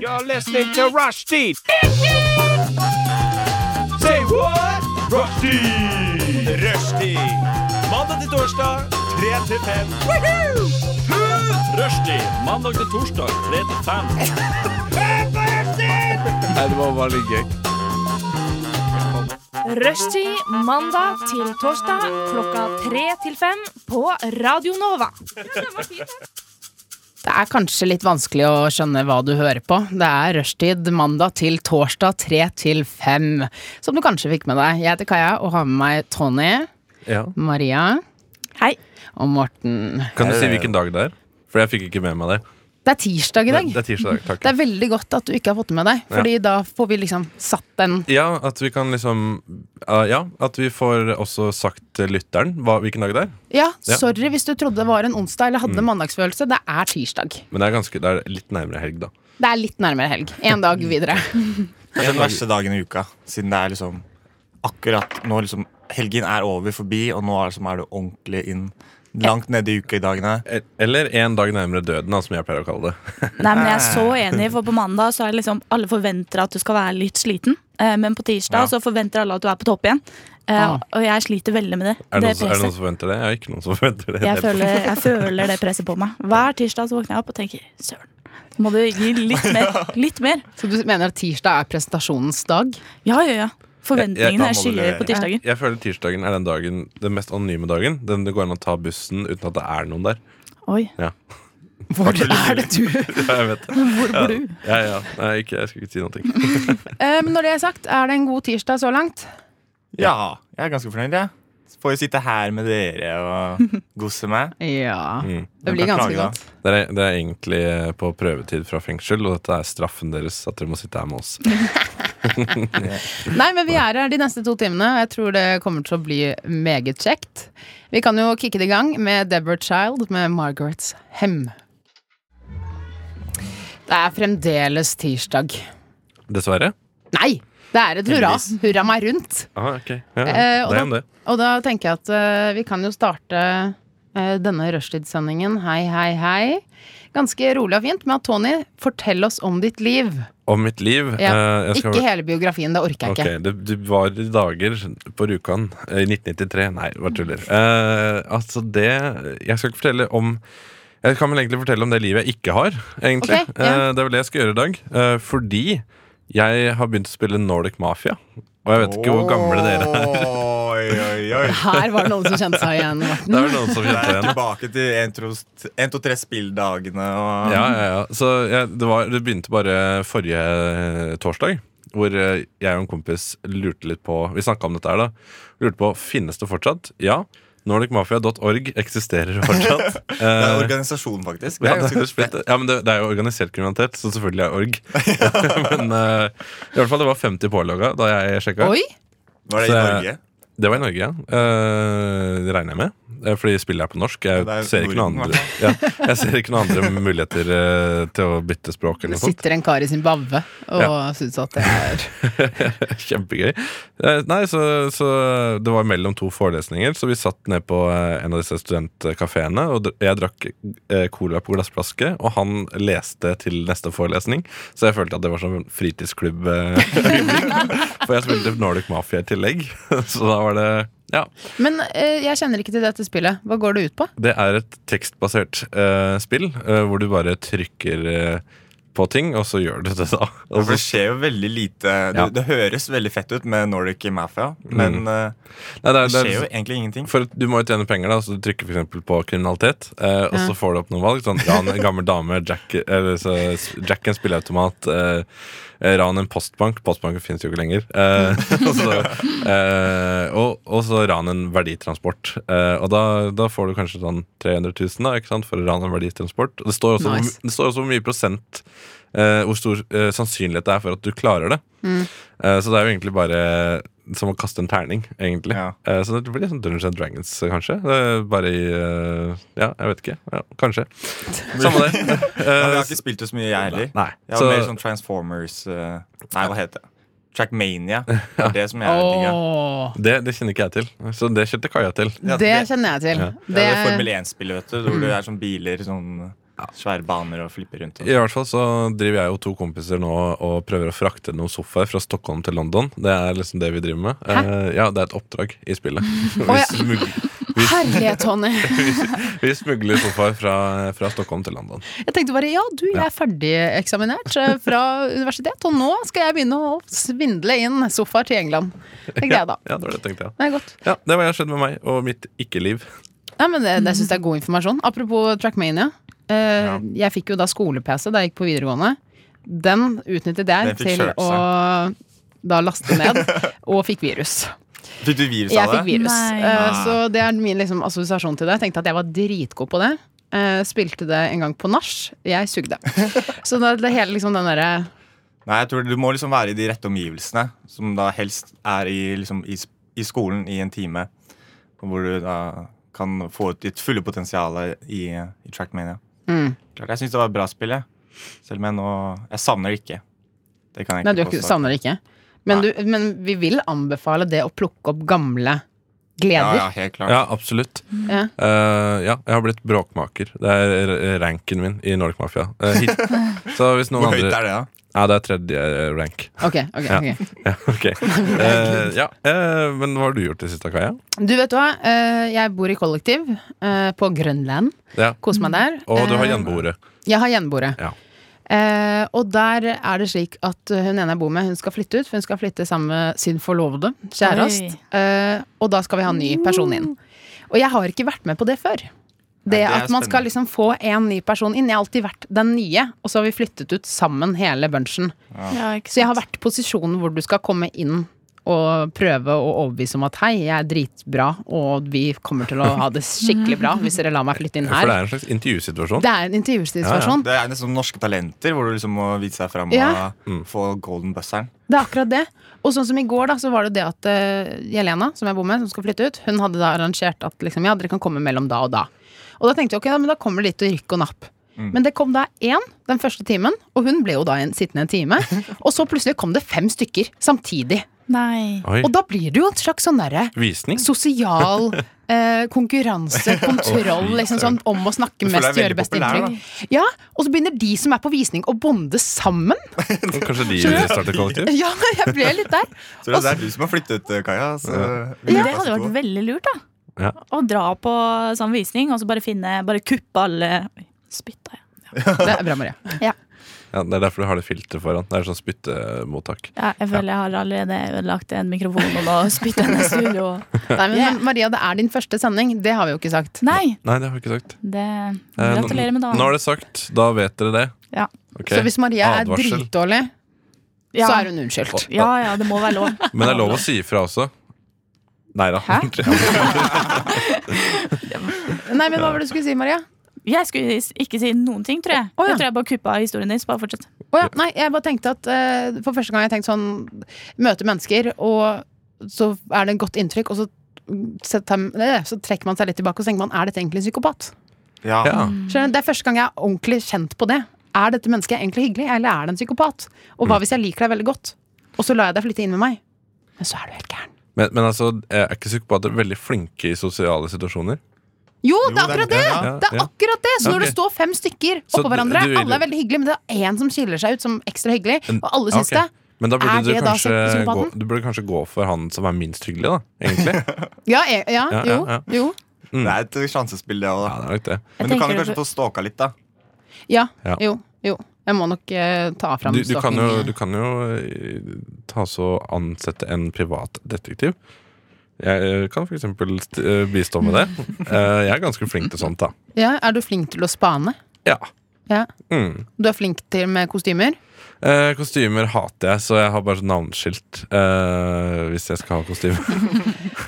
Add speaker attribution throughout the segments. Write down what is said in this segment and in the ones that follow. Speaker 1: You're listening to Rushdie. Say what? Rushdie. Rushdie. Mandag til torsdag, 3 til 5. Rushdie. Mandag til torsdag, 3 til 5.
Speaker 2: Rushtid mandag til torsdag klokka tre til fem på Radio Nova.
Speaker 3: Det er kanskje litt vanskelig å skjønne hva du hører på. Det er rushtid mandag til torsdag tre til fem, som du kanskje fikk med deg. Jeg heter Kaja og har med meg Tony,
Speaker 4: Ja.
Speaker 3: Maria
Speaker 2: Hei.
Speaker 3: og Morten.
Speaker 4: Kan du si hvilken dag det er? For jeg fikk ikke med meg det.
Speaker 3: Det er tirsdag i
Speaker 4: Det,
Speaker 3: dag.
Speaker 4: det er tirsdag. Takk.
Speaker 3: Det er veldig godt at du ikke har fått det med deg, Fordi da får vi liksom satt den.
Speaker 4: Ja, at vi kan liksom uh, Ja, at vi får også sagt til lytteren hva, hvilken dag det er.
Speaker 3: Ja,
Speaker 4: Ja. Mm.
Speaker 3: sorry hvis du trodde det var en onsdag eller hadde mandagsfølelse. Det er tirsdag.
Speaker 4: Men det er, ganske, det er litt nærmere helg, da.
Speaker 3: Det er litt nærmere helg. En dag
Speaker 4: Mm.
Speaker 3: videre.
Speaker 5: Kanskje den verste dagen i uka, siden det er liksom akkurat nå liksom Helgen er over forbi, og nå er, liksom, er det ordentlig inn langt nede i uka i dagene.
Speaker 4: E- Eller en dag nærmere døden, da, som jeg pleier å kalle det.
Speaker 6: Nei, men jeg er så enig, for på mandag så er det liksom Alle forventer at du skal være litt sliten, eh, men på tirsdag
Speaker 5: Ja.
Speaker 6: så forventer alle at du er på topp igjen. Eh,
Speaker 3: Ah.
Speaker 6: Og jeg sliter veldig med det.
Speaker 4: Er
Speaker 6: det
Speaker 4: det, noen, som- er det noen
Speaker 6: presset.
Speaker 4: som forventer det? Jeg er ikke noen som forventer det.
Speaker 6: Jeg føler, jeg føler det presset på meg. Hver tirsdag så våkner jeg opp og tenker søren, må du gi litt mer? Litt mer.
Speaker 3: Så du mener at tirsdag er presentasjonens dag?
Speaker 6: Ja, ja, ja.
Speaker 4: Jeg-
Speaker 6: Forventningene
Speaker 4: jeg-
Speaker 5: da
Speaker 6: jeg
Speaker 5: må du
Speaker 6: skiller
Speaker 5: levere.
Speaker 6: på tirsdagen.
Speaker 4: Jeg føler tirsdagen er den dagen Den mest anonyme dagen. Den det går an å ta bussen uten at det er noen der.
Speaker 6: Oi.
Speaker 3: Hvor er det du
Speaker 4: Ja, jeg vet det.
Speaker 6: Hvor bor du?
Speaker 4: Ja, ja. Nei, ikke, jeg skal ikke si noe.
Speaker 3: Eh, Men når det er sagt, er det en god tirsdag så langt?
Speaker 5: Ja, jeg er ganske fornøyd, jeg. Ja. Får jo sitte her med dere og gosse meg.
Speaker 3: Ja.
Speaker 4: Mm.
Speaker 3: Det blir
Speaker 5: kan
Speaker 3: ganske
Speaker 5: klage, da.
Speaker 3: godt.
Speaker 4: Dere, dere er egentlig eh, på prøvetid fra fengsel, og dette er straffen deres. At dere må sitte her med oss.
Speaker 3: Nei, men vi er her de neste to timene, og jeg tror det kommer til å bli meget kjekt. Vi kan jo kicke det i gang med Deborah Child med Margarets Hem. Det er fremdeles tirsdag.
Speaker 4: Dessverre.
Speaker 3: Nei! Det er et hurra. Hurra meg rundt.
Speaker 4: Ah, ok. Ja,
Speaker 3: Eh, og
Speaker 4: det
Speaker 3: da-
Speaker 4: er om det.
Speaker 3: Og da tenker jeg at eh, vi kan jo starte eh, denne rushtidssendingen, hei, hei, hei, ganske rolig og fint med at Tony, fortell oss om ditt liv.
Speaker 4: Om mitt liv
Speaker 3: Ja,
Speaker 4: eh, jeg skal-
Speaker 3: Ikke hele biografien, det orker jeg
Speaker 4: Ok,
Speaker 3: ikke.
Speaker 4: det, det var dager på Rjukan eh, i 1993. Nei, bare tuller. Eh, altså, det Jeg skal ikke fortelle om Jeg kan vel egentlig fortelle om det livet jeg ikke har, egentlig.
Speaker 3: Ok, ja.
Speaker 4: Eh, det er vel det jeg skal gjøre i dag. Eh, fordi jeg har begynt å spille Nordic Mafia. Og jeg vet ikke hvor gamle dere er.
Speaker 5: Oi, oi, oi.
Speaker 3: Her var det noen som kjente seg igjen, Morten.
Speaker 4: Det er vel noen som
Speaker 5: Det
Speaker 4: kjente
Speaker 5: er
Speaker 4: igjen.
Speaker 5: tilbake til 1, 2, 3 spilldagene og
Speaker 4: Ja, ja, ja. Så jeg, det, var, det begynte bare forrige eh, torsdag, hvor eh, jeg og en kompis lurte litt på Vi snakka om dette her, da. Lurte på finnes det fortsatt. Ja. Nordicmafia.org eksisterer fortsatt.
Speaker 5: Det er en
Speaker 4: Eh,
Speaker 5: organisasjon, faktisk. Det
Speaker 4: ja, det,
Speaker 5: er
Speaker 4: er
Speaker 5: ganske
Speaker 4: jo splitt- ja, men det, det er jo organisert kriminalitet, så selvfølgelig er org. men eh, i hvert fall det var 50 pålogga da jeg sjekka.
Speaker 3: Oi!
Speaker 5: Var det i
Speaker 4: Så-
Speaker 5: Norge?
Speaker 4: Det var i Norge, ja. Eh, det regner jeg med. Eh, Fordi spillet er på norsk. Jeg,
Speaker 5: Ja, det er
Speaker 4: ser, ikke noen
Speaker 5: Norden,
Speaker 4: andre, ja, jeg ser ikke noen andre muligheter eh, til å bytte språk. eller
Speaker 3: Det
Speaker 4: noe sånt
Speaker 3: sitter en kar i Zimbabwe og syns at det er
Speaker 4: Kjempegøy. Eh, Nei, så, så Det var mellom to forelesninger, så vi satt ned på eh, en av disse studentkafeene. Og dr- jeg drakk eh, cola på glassflaske, og han leste til neste forelesning. Så jeg følte at det var som en fritidsklubb. eh, øyeblikk. For jeg spilte Nordic Mafia i tillegg. Så da var det Ja.
Speaker 3: Men eh, jeg kjenner ikke til dette spillet. Hva går det ut på?
Speaker 4: Det er et tekstbasert eh, spill eh, hvor du bare trykker eh, på ting, og så gjør du det, da.
Speaker 5: Ja,
Speaker 4: Og så
Speaker 5: for det skjer jo veldig lite det,
Speaker 4: Ja.
Speaker 5: det høres veldig fett ut med Nordic Mafia, men eh,
Speaker 4: Nei, det er-
Speaker 5: det
Speaker 4: det er-
Speaker 5: skjer jo egentlig ingenting.
Speaker 4: For at du må jo tjene penger, da så du trykker for eksempel på kriminalitet. Eh, og så får du opp noen valg. Sånn, ran en gammel dame, jack, eller, så, jack en spilleautomat, eh, ran en postbank. Postbanken finnes jo ikke lenger. Eh, og, så, eh, og, og så ran en verditransport. Eh, og da, da får du kanskje sånn 300 000 da, ikke sant, for å rane en verditransport. Og det står også, hvor
Speaker 3: Nice.
Speaker 4: my- det står også hvor mye prosent eh, Hvor stor eh, sannsynlighet det er for at du klarer det. Eh, så det er jo egentlig bare som å kaste en terning, egentlig.
Speaker 5: Ja.
Speaker 4: Eh, så det blir litt sånn Dungeons and Dragons, eh, kanskje. Eh, bare i eh, Ja, jeg vet ikke. Ja, kanskje. Samme det.
Speaker 5: Ja,
Speaker 4: Eh,
Speaker 5: men jeg har ikke spilt det så mye, jeg heller.
Speaker 4: Nei.
Speaker 5: Jeg har
Speaker 4: Så,
Speaker 5: mer sånn Transformers eh, Nei, hva heter det? Trackmania. Det er det som jeg digger.
Speaker 3: Åh,
Speaker 4: det, det kjenner ikke jeg til. Så det kjente Kaja til.
Speaker 5: Ja,
Speaker 3: det
Speaker 5: det-
Speaker 3: kjenner jeg til.
Speaker 4: Ja.
Speaker 5: Det er det
Speaker 3: Det,
Speaker 5: Formel 1-spillet, vet du, hvor det er sånn biler sånn Svære baner og flipper rundt. Og.
Speaker 4: I hvert fall så driver jeg og to kompiser nå og prøver å frakte noen sofaer fra Stockholm til London. Det er liksom det vi driver med. Eh, ja, Det er et oppdrag i spillet. Vi,
Speaker 3: ja.
Speaker 4: smugler,
Speaker 3: Herlighet, Tony.
Speaker 4: vi smugler sofaer fra, fra Stockholm til London.
Speaker 3: Jeg tenkte bare ja, du, jeg er ferdigeksaminert eh, fra universitet, og nå skal jeg begynne å svindle inn sofaer til England. Tenker jeg da.
Speaker 4: Ja, det var det jeg tenkte, ja.
Speaker 3: Det er godt.
Speaker 4: ja. Det var det som skjedde med meg og mitt ikke-liv.
Speaker 3: Nei, men det, det syns jeg er god informasjon. Apropos Trackmania. Eh, Jeg fikk jo da skole-PC da jeg gikk på videregående. Den utnyttet jeg
Speaker 5: Den fikk
Speaker 3: til
Speaker 5: kjørt
Speaker 3: å da laste ned, og fikk virus.
Speaker 5: Fikk du virus
Speaker 3: Jeg
Speaker 5: av det? Ah.
Speaker 3: fikk virus.
Speaker 6: Nei.
Speaker 3: Eh, så det er min liksom, assosiasjon til det. Jeg tenkte at jeg var dritgod på det. Eh, spilte det en gang på nach. Jeg sugde. Så det, det hele liksom den derre
Speaker 5: Nei, jeg tror Du må liksom være i de rette omgivelsene, som da helst er i, liksom, i, s- i skolen i en time. Hvor du da kan få ut ditt fulle potensial i, i Trackmania.
Speaker 3: mm.
Speaker 5: Klart, jeg syns det var et bra spill, jeg. selv om jeg nå Jeg savner det ikke. Det kan jeg
Speaker 3: Nei, du
Speaker 5: ikke
Speaker 3: ikke-
Speaker 5: påstå.
Speaker 3: savner det ikke. Men, du, men vi vil anbefale det å plukke opp gamle gleder.
Speaker 5: Ja, ja, helt klart.
Speaker 4: Ja, absolutt.
Speaker 3: Ja.
Speaker 4: Eh, ja, jeg har blitt bråkmaker. Det er r- ranken min i Nordic Mafia. Eh, hit- så hvis noen
Speaker 5: Hvor høyt
Speaker 4: andre
Speaker 5: er det, da?
Speaker 4: Ja, det er tredje eh, rank.
Speaker 3: Ok, ok,
Speaker 4: Ja.
Speaker 3: ok.
Speaker 4: Ja, ok. Eh, ja. eh, men hva har du gjort i siste, Kaja?
Speaker 3: Du vet hva, eh, jeg bor i kollektiv eh, på Grønland.
Speaker 4: Ja.
Speaker 3: Koser meg der.
Speaker 4: Og du har
Speaker 3: Eh,
Speaker 4: gjenboere.
Speaker 3: Jeg har gjenboere.
Speaker 4: Ja.
Speaker 3: Eh, og der er det slik at hun ene jeg bor med, hun skal flytte ut. For hun skal flytte sammen med sin forlovede, kjæreste. Eh, og da skal vi ha en ny person inn. Og jeg har ikke vært med på det før. Det
Speaker 5: det er
Speaker 3: at man skal
Speaker 5: spennende.
Speaker 3: liksom få en ny person inn. Jeg har alltid vært den nye, og så har vi flyttet ut sammen hele bunchen.
Speaker 6: Ja, ikke
Speaker 3: Så jeg har
Speaker 6: sant?
Speaker 3: vært i posisjonen hvor du skal komme inn og prøve å overbevise om at hei, jeg er dritbra, og vi kommer til å ha det skikkelig bra hvis dere lar meg flytte inn
Speaker 4: For det
Speaker 3: her.
Speaker 4: er en slags intervjusituasjon.
Speaker 3: Det er en intervjusituasjon.
Speaker 5: Det er nesten som norske talenter, hvor du liksom må vise deg fram
Speaker 3: Ja.
Speaker 5: og
Speaker 4: Mm.
Speaker 5: få golden buzzeren.
Speaker 3: Det er akkurat det. Og sånn som i går, da, så var det det at eh, Jelena, som jeg bor med, som skal flytte ut, hun hadde da arrangert at liksom, ja, dere kan komme mellom da og da. Og da tenkte jeg ok, da, men da kommer det litt å rykke og napp.
Speaker 4: Mm.
Speaker 3: Men det kom da én den første timen, og hun ble jo da en, sittende en time. Og så plutselig kom det fem stykker samtidig.
Speaker 6: Nei.
Speaker 4: Oi.
Speaker 3: Og da blir det jo en slags sånn derre
Speaker 4: Visning?
Speaker 3: sosial eh, konkurranse, kontroll,
Speaker 4: Å, fy
Speaker 3: liksom sånn om å snakke
Speaker 5: Du føler
Speaker 3: mest,
Speaker 5: deg
Speaker 3: gjøre
Speaker 5: veldig
Speaker 3: best
Speaker 5: populær,
Speaker 3: inntrykk. Ja, og så begynner de som er på visning å bonde sammen.
Speaker 4: Kanskje de starter kollektiv?
Speaker 3: Ja, jeg ble litt der.
Speaker 5: Så det er du som har flyttet, eh, Kaja. Så vi
Speaker 6: Men
Speaker 5: lurer
Speaker 6: det
Speaker 5: oss
Speaker 6: hadde
Speaker 5: to.
Speaker 6: vært veldig lurt, da.
Speaker 4: Ja.
Speaker 6: Å dra på sånn visning og så bare finne Bare kuppe alle Oi, spytta jeg.
Speaker 3: Det er bra, Maria.
Speaker 4: Ja, det er derfor du har det filteret foran. Det er sånn spyttemottak.
Speaker 6: Ja, jeg føler jeg har allerede ødelagt en mikrofon og nå spytta jeg ned studio.
Speaker 3: Nei, men Maria, det er din første sending. Det har vi jo ikke sagt.
Speaker 6: Nei!
Speaker 4: Nei, det har jeg ikke sagt.
Speaker 6: Det,
Speaker 4: Eh, nå-
Speaker 6: gratulerer med
Speaker 4: Nå er
Speaker 6: dagen.
Speaker 4: det sagt. Da vet dere det.
Speaker 6: Ja.
Speaker 4: Ok.
Speaker 3: Så hvis Maria er
Speaker 4: Advarsel.
Speaker 3: dritdårlig,
Speaker 6: Ja.
Speaker 3: så er hun unnskyldt.
Speaker 6: ja ja, det må være lov.
Speaker 4: Men det er lov å si ifra også. Nei da.
Speaker 6: Hæ?
Speaker 3: Nei, men hva var det du skulle si, Maria?
Speaker 6: Jeg skulle is- ikke si noen ting, tror jeg.
Speaker 3: Å, ja.
Speaker 6: Jeg tror jeg bare kuppa historien din. Så bare fortsett.
Speaker 3: Å ja, nei, jeg bare tenkte at eh, For første gang har jeg tenkt sånn Møte mennesker, og så er det et godt inntrykk, og så, setter, eh, så trekker man seg litt tilbake og så tenker man er dette egentlig en psykopat?
Speaker 5: Ja.
Speaker 4: Ja.
Speaker 3: Skjønner du? Det er første gang jeg er ordentlig kjent på det. Er dette mennesket egentlig hyggelig, eller er det en psykopat? Og hva hvis jeg liker deg veldig godt, og så lar jeg deg flytte inn med meg? Men så er du helt gæren.
Speaker 4: Men, men altså, er ikke psykopater veldig flinke i sosiale situasjoner?
Speaker 3: Jo,
Speaker 5: Jo,
Speaker 3: det er akkurat det!
Speaker 5: Ja.
Speaker 4: Ja,
Speaker 3: Det er
Speaker 4: ja.
Speaker 3: akkurat det! Så når
Speaker 4: Ok.
Speaker 3: det står fem stykker
Speaker 4: Så
Speaker 3: oppå
Speaker 4: du-
Speaker 3: hverandre,
Speaker 4: du vil-
Speaker 3: alle er veldig hyggelige, men det er én som skiller seg ut som ekstra hyggelig,
Speaker 4: En-
Speaker 3: og alle syns
Speaker 4: Ok. Men da
Speaker 3: Er
Speaker 4: burde du
Speaker 3: det da
Speaker 4: kanskje, gå,
Speaker 3: psykopaten?
Speaker 4: du burde kanskje gå for han som er minst hyggelig, da. Egentlig.
Speaker 3: det. Ja, e- ja,
Speaker 4: Ja, ja,
Speaker 3: jo,
Speaker 4: ja.
Speaker 3: jo.
Speaker 5: Det er et eh, sjansespill, det
Speaker 4: mm. Ja,
Speaker 5: òg, da.
Speaker 4: det er nok det.
Speaker 5: Men du
Speaker 6: tenker
Speaker 5: kan jo
Speaker 6: det-
Speaker 5: kanskje få stalka litt, da.
Speaker 3: Ja,
Speaker 4: Ja.
Speaker 3: jo, jo. Jeg må nok eh, ta fram
Speaker 4: Du, du, kan jo,
Speaker 3: stalking.
Speaker 4: du kan jo eh, ta så ansette en privatdetektiv. Jeg eh, kan for eksempel st- eh, bistå med det. Eh, Jeg er ganske flink til sånt, da.
Speaker 3: Ja, er du flink til å spane?
Speaker 4: Ja.
Speaker 3: Ja.
Speaker 4: Mm.
Speaker 3: Du er flink til med kostymer?
Speaker 4: Eh, Kostymer hater jeg, så jeg har bare sånn navneskilt eh, hvis jeg skal ha kostyme.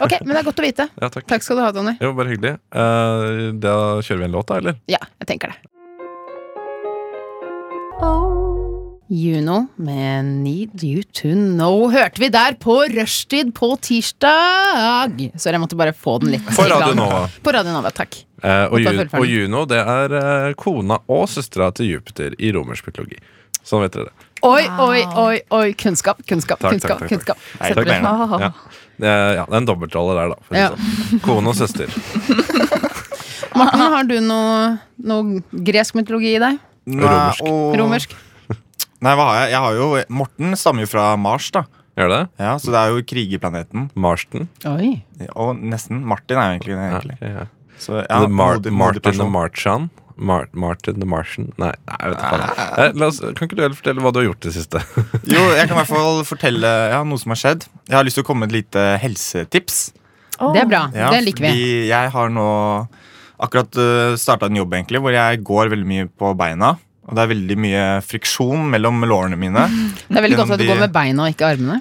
Speaker 3: Ok, men det er godt å vite.
Speaker 4: Ja, takk.
Speaker 3: Takk skal du ha, Tony.
Speaker 4: Jo, bare hyggelig. Eh, Da kjører vi en låt, da, eller?
Speaker 3: Ja, jeg tenker det. Juno med Need You To Know hørte vi der på rushtid på tirsdag. Sorry, jeg måtte bare få den litt
Speaker 4: På
Speaker 3: i gang.
Speaker 4: Radio Nova.
Speaker 3: På Radio Nova, takk.
Speaker 4: Eh, og,
Speaker 3: Godt å
Speaker 4: Ju-
Speaker 3: høre ferdig.
Speaker 4: og Juno, det er eh, kona og søstera til Jupiter i romersk mytologi. Sånn vet dere det.
Speaker 3: Oi,
Speaker 6: Wow.
Speaker 3: oi, oi, oi. Kunnskap, kunnskap,
Speaker 4: Takk,
Speaker 3: kunnskap.
Speaker 4: takk, takk,
Speaker 3: kunnskap.
Speaker 5: Nei,
Speaker 3: Setter
Speaker 5: takk,
Speaker 3: pris på.
Speaker 6: Åh.
Speaker 4: Ja. Eh, ja, det er en dobbeltrolle der, da. For å si det sånn. Kone og søster.
Speaker 3: Morten, har du noe, noe gresk mytologi i deg?
Speaker 4: Romersk.
Speaker 5: og-
Speaker 3: Romersk?
Speaker 5: Nei, hva har jeg? Jeg har jo eh, Morten stammer jo fra Mars, da.
Speaker 4: Gjør det?
Speaker 5: Ja, Så det er jo krigerplaneten.
Speaker 4: Marsten?
Speaker 3: Oi.
Speaker 5: Og nesten. Martin er jo egentlig det.
Speaker 4: Ja,
Speaker 5: egentlig
Speaker 4: ok, ja.
Speaker 5: Så, ja,
Speaker 4: The Mar
Speaker 5: modig- modig
Speaker 4: Martin the
Speaker 5: person.
Speaker 4: Marchan? Mar Martin the Martian? Nei, nei jeg vet ikke. faen. Eh, La oss, kan ikke du heller fortelle hva du har gjort i det siste?
Speaker 5: Jo, jeg kan i hvert fall fortelle ja, noe som har skjedd. Jeg har lyst til å komme med et lite helsetips.
Speaker 3: Det er bra.
Speaker 5: Ja,
Speaker 3: det liker vi.
Speaker 5: Fordi jeg har nå akkurat uh, starta en jobb egentlig, hvor jeg går veldig mye på beina. Og det er veldig mye friksjon mellom lårene mine.
Speaker 3: Det er veldig godt at du
Speaker 5: gjennom de-
Speaker 3: går med beina og ikke armene.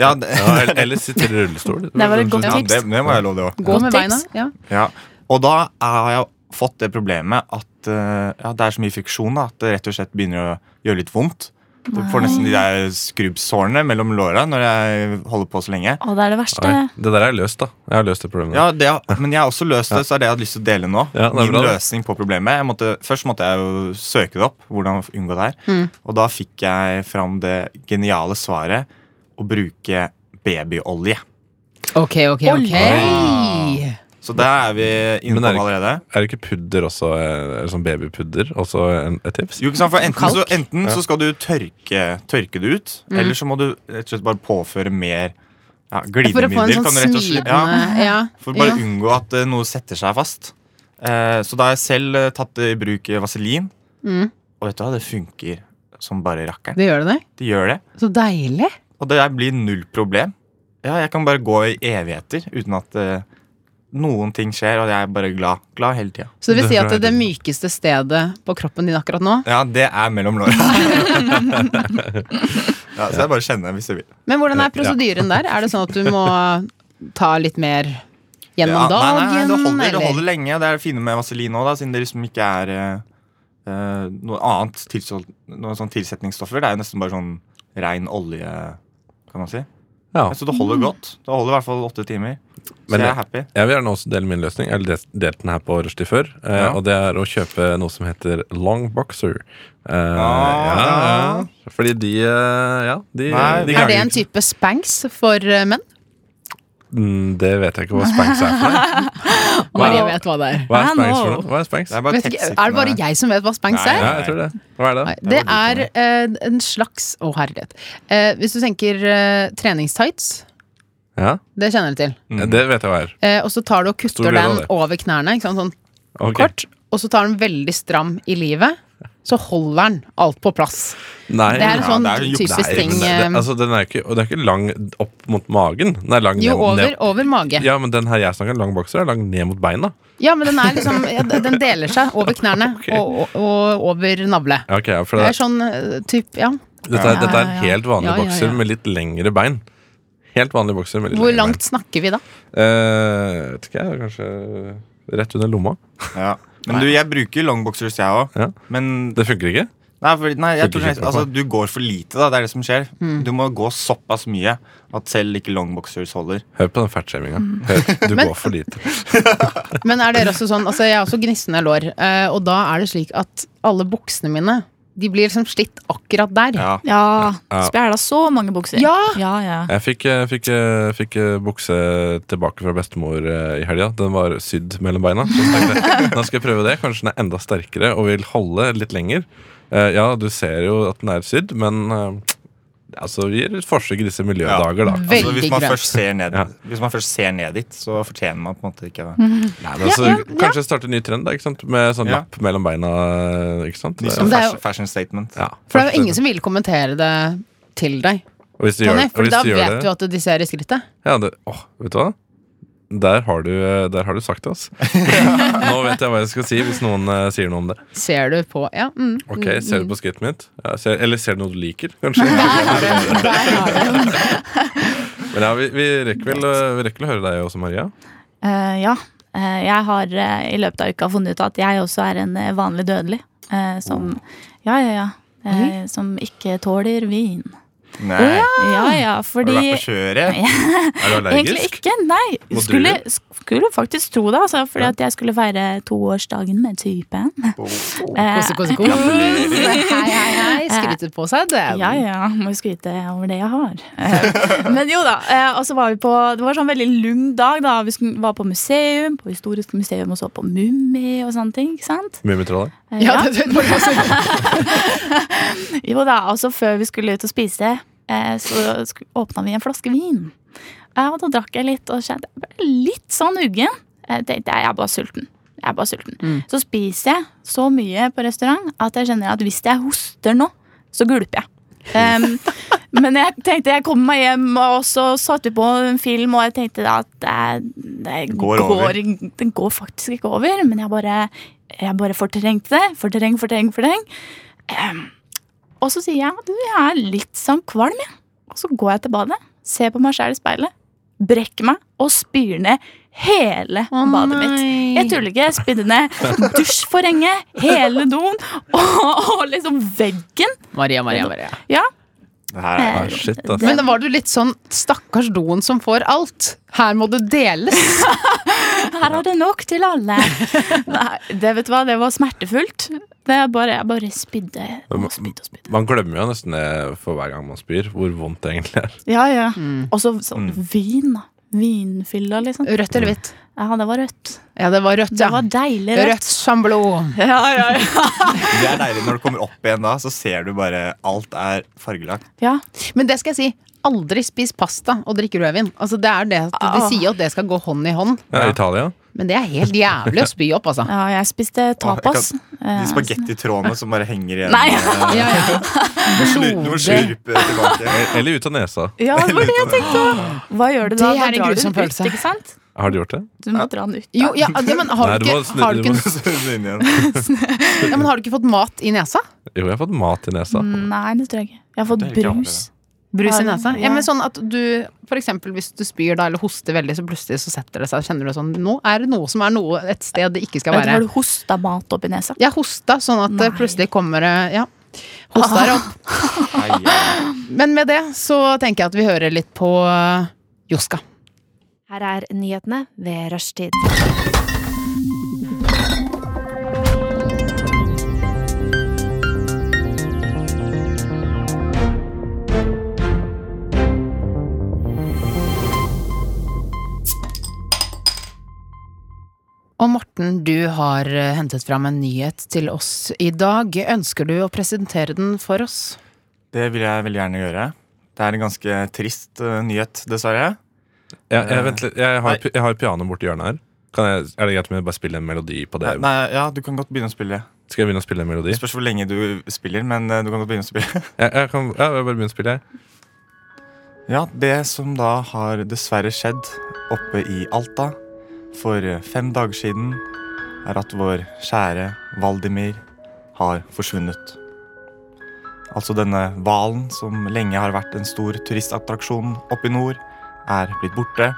Speaker 5: Ja, det,
Speaker 4: Ja, eller- eller sitter i rullestol?
Speaker 6: Det var et godt
Speaker 5: ja,
Speaker 6: tips.
Speaker 5: det, det må jeg love det også.
Speaker 3: Gå
Speaker 6: Godt
Speaker 3: med
Speaker 6: tips.
Speaker 3: beina. Ja.
Speaker 5: Ja. Og da har jeg fått det problemet at uh, ja, det er så mye friksjon da, at det rett og slett begynner å gjøre litt vondt. Du får nesten de der skrubbsårene mellom låra når jeg holder på så lenge.
Speaker 6: Å, det er det verste.
Speaker 4: Oi, det der er løst, da. Jeg har løst det problemet.
Speaker 5: Ja, det, men jeg har også løst det, så er det jeg hadde lyst til å dele nå.
Speaker 4: Mm. Ja, det er
Speaker 5: Min
Speaker 4: bra, det.
Speaker 5: løsning på problemet. Jeg måtte, først måtte jeg jo søke det opp, hvordan unngå det her.
Speaker 3: Mm.
Speaker 5: Og da fikk jeg fram det geniale svaret å bruke babyolje.
Speaker 3: Ok, ok, ok.
Speaker 5: Så der er vi inne
Speaker 4: Men er det
Speaker 5: på allerede.
Speaker 4: Er det ikke pudder også? eh, Eller sånn babypudder også en, et tips?
Speaker 5: Jo, ikke sant, for enten, så,
Speaker 3: Kalk?
Speaker 5: enten så skal du tørke, tørke det ut, eller så må du rett og slett bare påføre mer ja,
Speaker 3: Mm. For å få en
Speaker 5: glidemiddel.
Speaker 3: sånn
Speaker 5: kan du rett og slett-
Speaker 3: smidigende
Speaker 5: ja,
Speaker 3: ja.
Speaker 5: For bare
Speaker 3: ja.
Speaker 5: unngå at eh, noe setter seg fast. Eh, så da har jeg selv eh, tatt i bruk eh, vaselin.
Speaker 3: Mm.
Speaker 5: Og vet du hva, det funker som bare rakkeren.
Speaker 3: Det gjør det det?
Speaker 5: Det gjør det.
Speaker 3: Så deilig.
Speaker 5: Og det der blir null problem. Ja, jeg kan bare gå i evigheter uten at eh, noen ting skjer, og jeg er bare glad. Glad hele tida.
Speaker 3: Så det vil si
Speaker 4: Det
Speaker 3: at det,
Speaker 4: er-
Speaker 3: det mykeste stedet på kroppen din akkurat nå
Speaker 5: Ja, det er mellom låra. ja, så jeg bare kjenner hvis jeg vil.
Speaker 3: Men hvordan er prosedyren der? Er det sånn at du må ta litt mer gjennom
Speaker 5: Ja,
Speaker 3: dagen?
Speaker 5: Nei, nei, det holder, det
Speaker 3: eller?
Speaker 5: holder lenge. Det er det fine med vaselin òg, siden det liksom ikke er eh, eh, noe annet tilsol- noe sånn tilsetningsstoffer. Det er jo nesten bare sånn rein olje, kan man si.
Speaker 4: Ja.
Speaker 5: Så det
Speaker 3: Mm.
Speaker 5: holder godt. Det holder i hvert fall åtte timer. Så
Speaker 4: Men det-
Speaker 5: jeg er happy.
Speaker 4: Jeg vil gjerne også dele min løsning. Jeg har delt- delt den her på Rushdie før. eh,
Speaker 5: Ja.
Speaker 4: Og det er å kjøpe noe som heter long boxer. Eh, ja,
Speaker 5: Ah.
Speaker 4: ja. Fordi de eh, Ja, de,
Speaker 5: Nei,
Speaker 3: Er
Speaker 4: de
Speaker 5: men-
Speaker 3: det
Speaker 4: ganger
Speaker 3: en
Speaker 4: ikke-
Speaker 3: type spanks for eh, menn?
Speaker 4: Mm, Det vet jeg ikke hva spanks er for noe.
Speaker 3: Marie vet hva det er.
Speaker 4: Hva er
Speaker 6: I
Speaker 4: spanks for
Speaker 6: know.
Speaker 4: noe? Hva er spanks?
Speaker 5: Det er bare
Speaker 3: Vet ikke, er det bare jeg som vet hva spanks
Speaker 5: Nei,
Speaker 3: er?
Speaker 4: Ja, jeg tror det. Hva er det?
Speaker 3: Nei, det
Speaker 5: var
Speaker 3: er
Speaker 5: du
Speaker 3: eh, en slags Å, herlighet. Eh, hvis du tenker eh, treningstights,
Speaker 4: Ja,
Speaker 3: det kjenner du til.
Speaker 5: Mm.
Speaker 4: Det vet jeg hva er.
Speaker 3: Eh, og så tar du og
Speaker 4: Stor
Speaker 3: kutter
Speaker 4: glede av
Speaker 3: den
Speaker 4: det.
Speaker 3: over knærne, ikke sant? sånn
Speaker 4: Ok.
Speaker 3: kort. Og så tar den veldig stram i livet. Så holder den alt på plass.
Speaker 4: Nei.
Speaker 3: Det er en
Speaker 5: Ja,
Speaker 3: sånn
Speaker 5: det er jo juks.
Speaker 3: typisk
Speaker 4: Nei,
Speaker 3: ting.
Speaker 4: men det,
Speaker 3: eh,
Speaker 4: det, altså, den er ikke, og det er ikke lang opp mot magen. Den er lang
Speaker 3: jo,
Speaker 4: ned-
Speaker 3: over,
Speaker 4: ned,
Speaker 3: over mage.
Speaker 4: Ja, men den her jeg snakker om, lang bokser, er lang ned mot beina.
Speaker 3: Ja, men den er liksom ja, d- Den deler seg over knærne
Speaker 4: Ok.
Speaker 3: og, og, og over navle.
Speaker 4: Ja, ok, ja, for
Speaker 3: Det
Speaker 4: det,
Speaker 3: er sånn eh, typ, ja.
Speaker 4: dette, er, dette
Speaker 6: Ja, ja,
Speaker 4: er en
Speaker 6: ja.
Speaker 4: helt vanlig
Speaker 3: Ja, ja,
Speaker 4: bokser
Speaker 3: ja.
Speaker 4: med litt lengre bein. Helt vanlig bokser med litt
Speaker 3: Hvor
Speaker 4: lengre
Speaker 3: langt snakker vi da?
Speaker 4: bein. Eh, vet ikke jeg, kanskje rett under lomma.
Speaker 5: Ja. Men du, jeg bruker longboxers, jeg òg.
Speaker 4: Ja.
Speaker 5: Men
Speaker 4: Det funker ikke.
Speaker 5: nei, for, nei, jeg
Speaker 4: Funker
Speaker 5: tror,
Speaker 4: ikke.
Speaker 5: altså, du går for lite, da. Det er det som skjer.
Speaker 3: Mm.
Speaker 5: Du må gå såpass mye at selv ikke longboxers holder.
Speaker 4: Hør på den fatshaminga.
Speaker 3: Mm.
Speaker 4: Hør, Du går for lite.
Speaker 3: Men er dere også sånn Altså, jeg har også gnissende lår, eh, og da er det slik at alle buksene mine De blir liksom slitt akkurat der.
Speaker 5: Ja.
Speaker 6: Ja.
Speaker 4: Ja.
Speaker 6: Spjæla så mange bukser.
Speaker 3: Ja!
Speaker 6: ja, ja.
Speaker 4: Jeg fikk, eh, fikk, eh, fikk eh, bukse tilbake fra bestemor eh, i helga. Den var sydd mellom beina. Så tenkte jeg, Nå skal jeg prøve det. Kanskje den er enda sterkere og vil holde litt lenger. Eh, Ja, du ser jo at den er sydd, men eh, altså, vi gir et forsøk i disse miljødager, da.
Speaker 3: Veldig
Speaker 5: Så Altså, hvis man,
Speaker 3: grønt.
Speaker 5: først ser ned,
Speaker 4: Ja.
Speaker 5: hvis man først ser ned dit, så fortjener man på en måte
Speaker 3: Mhm.
Speaker 5: ikke det.
Speaker 3: Mm-hmm.
Speaker 4: Nei, men altså, Kanskje starte en ny trend da, ikke sant? med sånn
Speaker 5: Ja.
Speaker 4: lapp mellom beina. Ikke sant?
Speaker 5: Ny
Speaker 4: Det-
Speaker 5: sånn
Speaker 3: Men det er jo-
Speaker 5: fashion, fashion statement.
Speaker 4: ja.
Speaker 3: For det er jo ingen som vil kommentere det til deg,
Speaker 4: Og hvis du gjør,
Speaker 3: Tony.
Speaker 4: og
Speaker 3: For
Speaker 4: hvis
Speaker 3: da
Speaker 4: du gjør
Speaker 3: vet du
Speaker 4: det,
Speaker 3: at de ser i skrittet.
Speaker 4: ja, det åh, Vet du hva? Der har du, eh, der har du sagt det, altså. Nå vet jeg hva jeg skal si hvis noen eh, sier noe om det.
Speaker 3: Ser du på Ja. Mm.
Speaker 4: Ok, Ser du på skrittet mitt? Ja, ser, eller ser du noe du liker, kanskje? Men ja, vi, vi, rekker vel, eh, vi rekker vel å høre deg også, Maria.
Speaker 6: Eh, ja. Eh, jeg har eh, i løpet av uka funnet ut at jeg også er en eh, vanlig dødelig. eh, som Ja, ja, ja. eh, som ikke tåler vin.
Speaker 5: Nei,
Speaker 6: Ja, ja,
Speaker 5: har du vært
Speaker 6: fordi
Speaker 5: på kjøret?
Speaker 4: Er du
Speaker 6: Egentlig
Speaker 4: allergisk?
Speaker 6: ikke, nei.
Speaker 4: Mot
Speaker 6: Skulle, sk- skulle faktisk tro det, altså, fordi at jeg skulle feire toårsdagen med typen. Eh,
Speaker 3: Kose, kose, kose. Hei, hei, hei. Skryter på seg, det.
Speaker 6: Ja, ja, må jo skryte over det jeg har. Eh, Men jo da, eh, og så var vi på Det var sånn veldig lung dag, da. Vi skulle- var på museum, på historisk museum og så på Mummi og sånne ting. ikke sant?
Speaker 4: Mummitrollet.
Speaker 6: Eh,
Speaker 3: Ja, det, det, det,
Speaker 6: Jo da, og så før vi skulle ut og spise, eh, så sk- åpna vi en flaske vin. Eh, Og da drakk jeg litt og kjente jeg ble litt sånn uggen. Jeg tenkte jeg er bare sulten. Jeg er bare sulten. Så spiser jeg så mye på restaurant at jeg kjenner at hvis jeg hoster nå, så gulper jeg. Em, men jeg tenkte jeg kom meg hjem, og så satte vi på en film, og jeg tenkte at det, det,
Speaker 5: Går
Speaker 6: går
Speaker 5: over.
Speaker 6: det går faktisk ikke over. Men jeg bare, jeg bare fortrengte det. Fortreng, fortreng, fortreng. Og så sier jeg du, jeg er litt sånn kvalm, jeg. Og så går jeg til badet, ser på meg sjæl i speilet, brekker meg og spyr ned hele badet mitt. Jeg tuller ikke. Jeg spydde ned dusjforhenget, hele doen og, og liksom veggen.
Speaker 3: Maria, Maria, Maria.
Speaker 6: Ja,
Speaker 5: Det her er
Speaker 4: Ah, shit, ass.
Speaker 3: Men var du litt sånn stakkars doen som får alt? Her må det deles.
Speaker 6: her er det nok til alle. Nei, det vet du hva, det var smertefullt. Det er bare, jeg bare spydde og spydde og spydde.
Speaker 4: Man glemmer jo nesten det for hver gang man spyr, hvor vondt det egentlig er.
Speaker 6: Ja, ja. Mm. Og så så vin, da. Vinfylla, liksom.
Speaker 3: Rødt eller hvitt?
Speaker 6: Ja, det var rødt.
Speaker 3: Ja, det var rødt,
Speaker 6: Det
Speaker 3: ja.
Speaker 6: var deilig rødt.
Speaker 3: Rødt som blod.
Speaker 6: Ja, ja, ja.
Speaker 5: Det er deilig når du kommer opp igjen da, så ser du bare alt er fargelagt.
Speaker 6: ja.
Speaker 3: Men det skal jeg si. Aldri spis pasta og drikk rødvin. Altså, det er det, de
Speaker 6: Ah.
Speaker 3: sier jo at det skal gå hånd i hånd,
Speaker 4: Ja, Italia.
Speaker 3: men det er helt jævlig å spy opp, altså.
Speaker 6: Ja, jeg spiste tapas.
Speaker 5: De
Speaker 6: Eh,
Speaker 5: spagettitrådene som bare henger igjen.
Speaker 6: Nei.
Speaker 5: eh,
Speaker 3: Ja, ja.
Speaker 5: Du må slu- du må
Speaker 3: Blodig.
Speaker 5: slurpe tilbake.
Speaker 4: Eh, Eller ut av nesa.
Speaker 6: Ja, det var det jeg tenkte også. Hva gjør du da?
Speaker 3: Det
Speaker 6: Da
Speaker 3: er en
Speaker 6: drar du
Speaker 3: grusom
Speaker 6: den
Speaker 3: følelse.
Speaker 6: Ut, ikke sant?
Speaker 4: Har du gjort det?
Speaker 6: Du må dra den ut.
Speaker 3: Jo, ja, ja, men har
Speaker 4: Nei,
Speaker 3: du
Speaker 4: det var
Speaker 3: ikke, har du
Speaker 4: snill-
Speaker 3: ikke,
Speaker 5: Så snu den igjen.
Speaker 3: ja, men har du ikke fått mat i nesa?
Speaker 4: Jo, jeg har fått mat i nesa.
Speaker 6: Nei, det tror jeg ikke. Jeg har fått
Speaker 5: Det er ikke
Speaker 6: brus.
Speaker 3: Brus i
Speaker 6: Ja,
Speaker 3: nesa?
Speaker 6: ja.
Speaker 3: Ja, men sånn at du for eksempel hvis du spyr da, eller hoster veldig, så plutselig så setter det seg, kjenner du sånn Nå er det noe som er noe et sted det ikke skal
Speaker 6: Eller
Speaker 3: være.
Speaker 6: har du hosta mat opp i nesa?
Speaker 3: Jeg hosta, sånn at det
Speaker 6: Nei.
Speaker 3: plutselig kommer det Ja. Hosta det opp.
Speaker 5: Nei, ja.
Speaker 3: Men med det så tenker jeg at vi hører litt på eh, Joska.
Speaker 7: Her er nyhetene ved rushtid.
Speaker 3: Og Morten, du har eh, hentet fram en nyhet til oss i dag. Ønsker du å presentere den for oss?
Speaker 5: Det vil jeg veldig gjerne gjøre. Det er en ganske trist eh, nyhet, dessverre.
Speaker 4: Jeg, jeg, vent litt, jeg har, pi- jeg har piano borti hjørnet her. Kan jeg, er det greit om jeg bare spiller en melodi på det?
Speaker 5: Nei, ja, Du kan godt begynne å spille.
Speaker 4: Skal jeg begynne å spille en melodi?
Speaker 5: Det spørs hvor lenge du spiller, men eh, du kan godt begynne å spille.
Speaker 4: Jeg, jeg kan, ja, jeg bare begynner å spille, jeg.
Speaker 5: Ja, det som da har dessverre skjedd oppe i Alta for fem dager siden, er at vår kjære Valdimir har forsvunnet. Altså denne hvalen som lenge har vært en stor turistattraksjon oppe i nord, er blitt borte.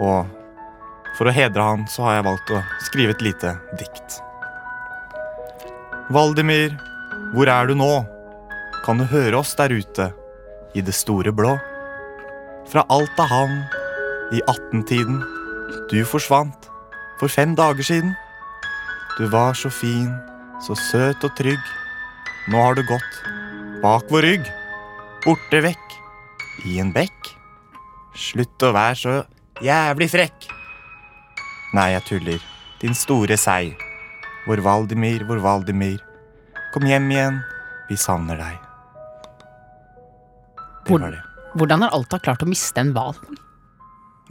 Speaker 5: Og for å hedre han, så har jeg valgt å skrive et lite dikt. Valdimir, hvor er du nå? Kan du høre oss der ute? i det store blå. Fra Alta havn i 18-tiden. Du forsvant for fem dager siden. Du var så fin, så søt og trygg. Nå har du gått bak vår rygg. Borte vekk i en bekk. Slutt å være så jævlig frekk. Nei, jeg tuller. Din store sei. Vår Valdimir, vår Valdimir. Kom hjem igjen. Vi savner deg. Det var det.
Speaker 3: Hvordan har Alta klart å miste en hval?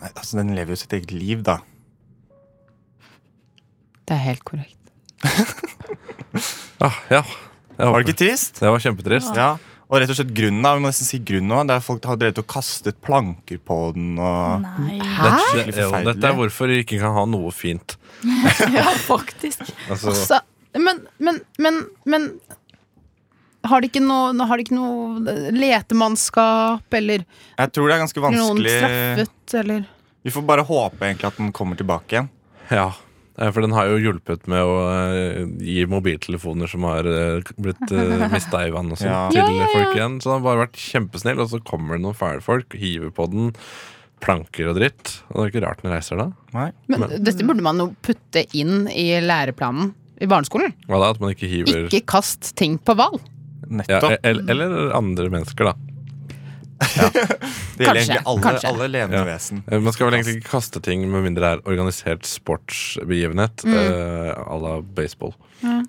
Speaker 5: Nei, altså Den lever jo sitt eget liv, da.
Speaker 3: Det er helt korrekt.
Speaker 4: Ah, ja. Jeg
Speaker 5: Var
Speaker 4: håper-
Speaker 5: det ikke trist?
Speaker 4: Det var kjempetrist.
Speaker 5: Ja, Og rett og slett grunnen, da, vi må nesten si grunnen nå, det er folk har drevet og kastet planker på den.
Speaker 4: Mm.
Speaker 5: og...
Speaker 6: Nei,
Speaker 4: Dette,
Speaker 5: Skikkelig
Speaker 4: jo,
Speaker 5: forferdelig.
Speaker 4: dette er hvorfor vi ikke kan ha noe fint.
Speaker 6: ja, faktisk.
Speaker 4: Altså,
Speaker 3: Altså, men, men, men, men har de ikke noe, har de ikke noe letemannskap eller
Speaker 5: Jeg tror det er ganske
Speaker 3: noen
Speaker 5: vanskelig.
Speaker 3: straffet eller
Speaker 5: Vi får bare håpe egentlig at den kommer tilbake igjen.
Speaker 4: ja. Eh, For den har jo hjulpet med å eh, gi mobiltelefoner som har eh, blitt uh, mista i vann og sånn,
Speaker 5: Ja.
Speaker 4: til
Speaker 3: Ja, ja, ja.
Speaker 4: folk igjen. Så den har bare vært kjempesnill, og så kommer det noen fæle folk, hiver på den, planker og dritt. Og det er ikke rart den reiser da.
Speaker 5: Nei.
Speaker 3: Men dette burde man jo putte inn i læreplanen i barneskolen.
Speaker 4: Hva da? At man ikke hiver
Speaker 3: Ikke kast ting på hval.
Speaker 4: ja,
Speaker 5: Nettopp.
Speaker 4: eller, eller andre mennesker, da.
Speaker 5: det gjelder
Speaker 3: kanskje,
Speaker 5: egentlig alle,
Speaker 3: kanskje.
Speaker 5: alle levende vesen.
Speaker 4: Eh, Man skal vel egentlig ikke kaste ting med mindre det er organisert sportsbegivenhet
Speaker 5: Mm.
Speaker 4: eh, à la baseball.
Speaker 3: Men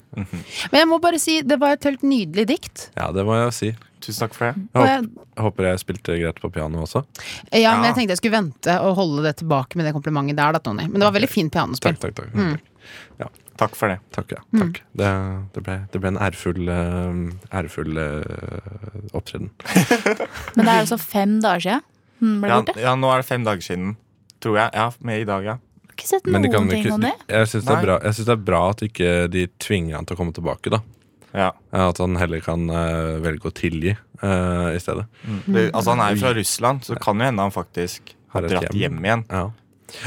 Speaker 3: jeg må bare si, det var et helt nydelig dikt.
Speaker 4: Ja, det må jeg jo si.
Speaker 5: Tusen takk for det.
Speaker 4: Jeg
Speaker 3: Og
Speaker 4: håper,
Speaker 3: jeg,
Speaker 4: håper jeg spilte greit på piano også.
Speaker 3: ja, men jeg
Speaker 5: Ja.
Speaker 3: tenkte jeg skulle vente og holde det tilbake med det komplimentet der, da, Tony. Men det var veldig fint pianospill.
Speaker 4: Takk, takk, takk.
Speaker 5: Mm. Takk for det.
Speaker 4: Takk, ja. Takk. Det, det, ble, det ble en ærefull, eh, ærefull eh, opptreden.
Speaker 6: Men det er altså fem dager siden den ble
Speaker 5: Ja,
Speaker 6: borte.
Speaker 5: ja, nå er det fem dager siden, tror jeg. Ja, med i dag, ja.
Speaker 6: Jeg har ikke sett
Speaker 4: Men de kan
Speaker 6: noen ting
Speaker 4: ikke,
Speaker 6: om det.
Speaker 4: jeg syns det, er
Speaker 5: Nei.
Speaker 4: bra- jeg synes det er bra at ikke de tvinger han til å komme tilbake. da
Speaker 5: ja.
Speaker 4: At han heller kan eh, velge å tilgi eh, i stedet.
Speaker 5: Det, altså, han er jo fra Russland, så det kan jo hende han faktisk
Speaker 4: Har
Speaker 5: har
Speaker 4: et
Speaker 5: dratt
Speaker 4: hjem.
Speaker 5: hjem igjen.
Speaker 4: Ja.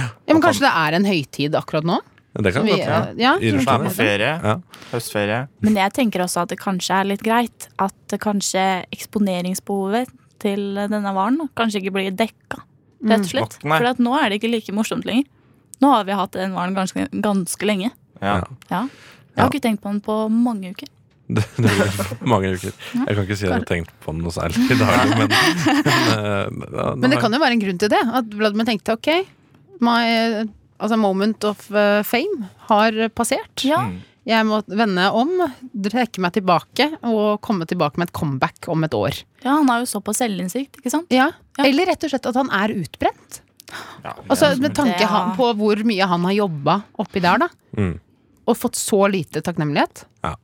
Speaker 3: Ja, men kanskje det er en høytid akkurat nå?
Speaker 4: Det
Speaker 3: Som
Speaker 4: kan
Speaker 3: vi- eh,
Speaker 4: godt hende.
Speaker 3: ja, som-
Speaker 4: I
Speaker 5: Så er
Speaker 4: Russland.
Speaker 5: på ferie.
Speaker 4: Ja.
Speaker 5: Høstferie.
Speaker 6: Men jeg tenker også at det kanskje er litt greit at det kanskje eksponeringsbehovet til denne varen da, kanskje ikke blir dekka,
Speaker 3: Mm.
Speaker 6: rett og slett.
Speaker 5: Nei.
Speaker 6: For at nå er det ikke like morsomt lenger. Nå har vi hatt den varen ganske, ganske lenge.
Speaker 5: Ja.
Speaker 4: Ja.
Speaker 6: Ja. Jeg har ikke tenkt på den på mange uker.
Speaker 4: Det, det blir mange uker. Jeg kan ikke si at jeg har tenkt på den noe særlig i dag, men, men, eh, ja,
Speaker 3: Men det
Speaker 4: nå
Speaker 3: kan jo være en grunn til det. At Vladimir tenkte ok, my altså moment of eh, fame har passert.
Speaker 6: Ja,
Speaker 3: Jeg må vende om, trekke meg tilbake og komme tilbake med et comeback om et år.
Speaker 6: ja han har jo såpass selvinnsikt, ikke sant?
Speaker 3: Ja.
Speaker 6: Ja.
Speaker 3: Eller rett og slett at han er utbrent.
Speaker 5: Ja.
Speaker 3: Altså Med tanke
Speaker 6: Det er-
Speaker 3: han- på hvor mye han har jobba oppi der, da.
Speaker 4: Mm.
Speaker 3: Og fått så lite takknemlighet.
Speaker 4: Nei,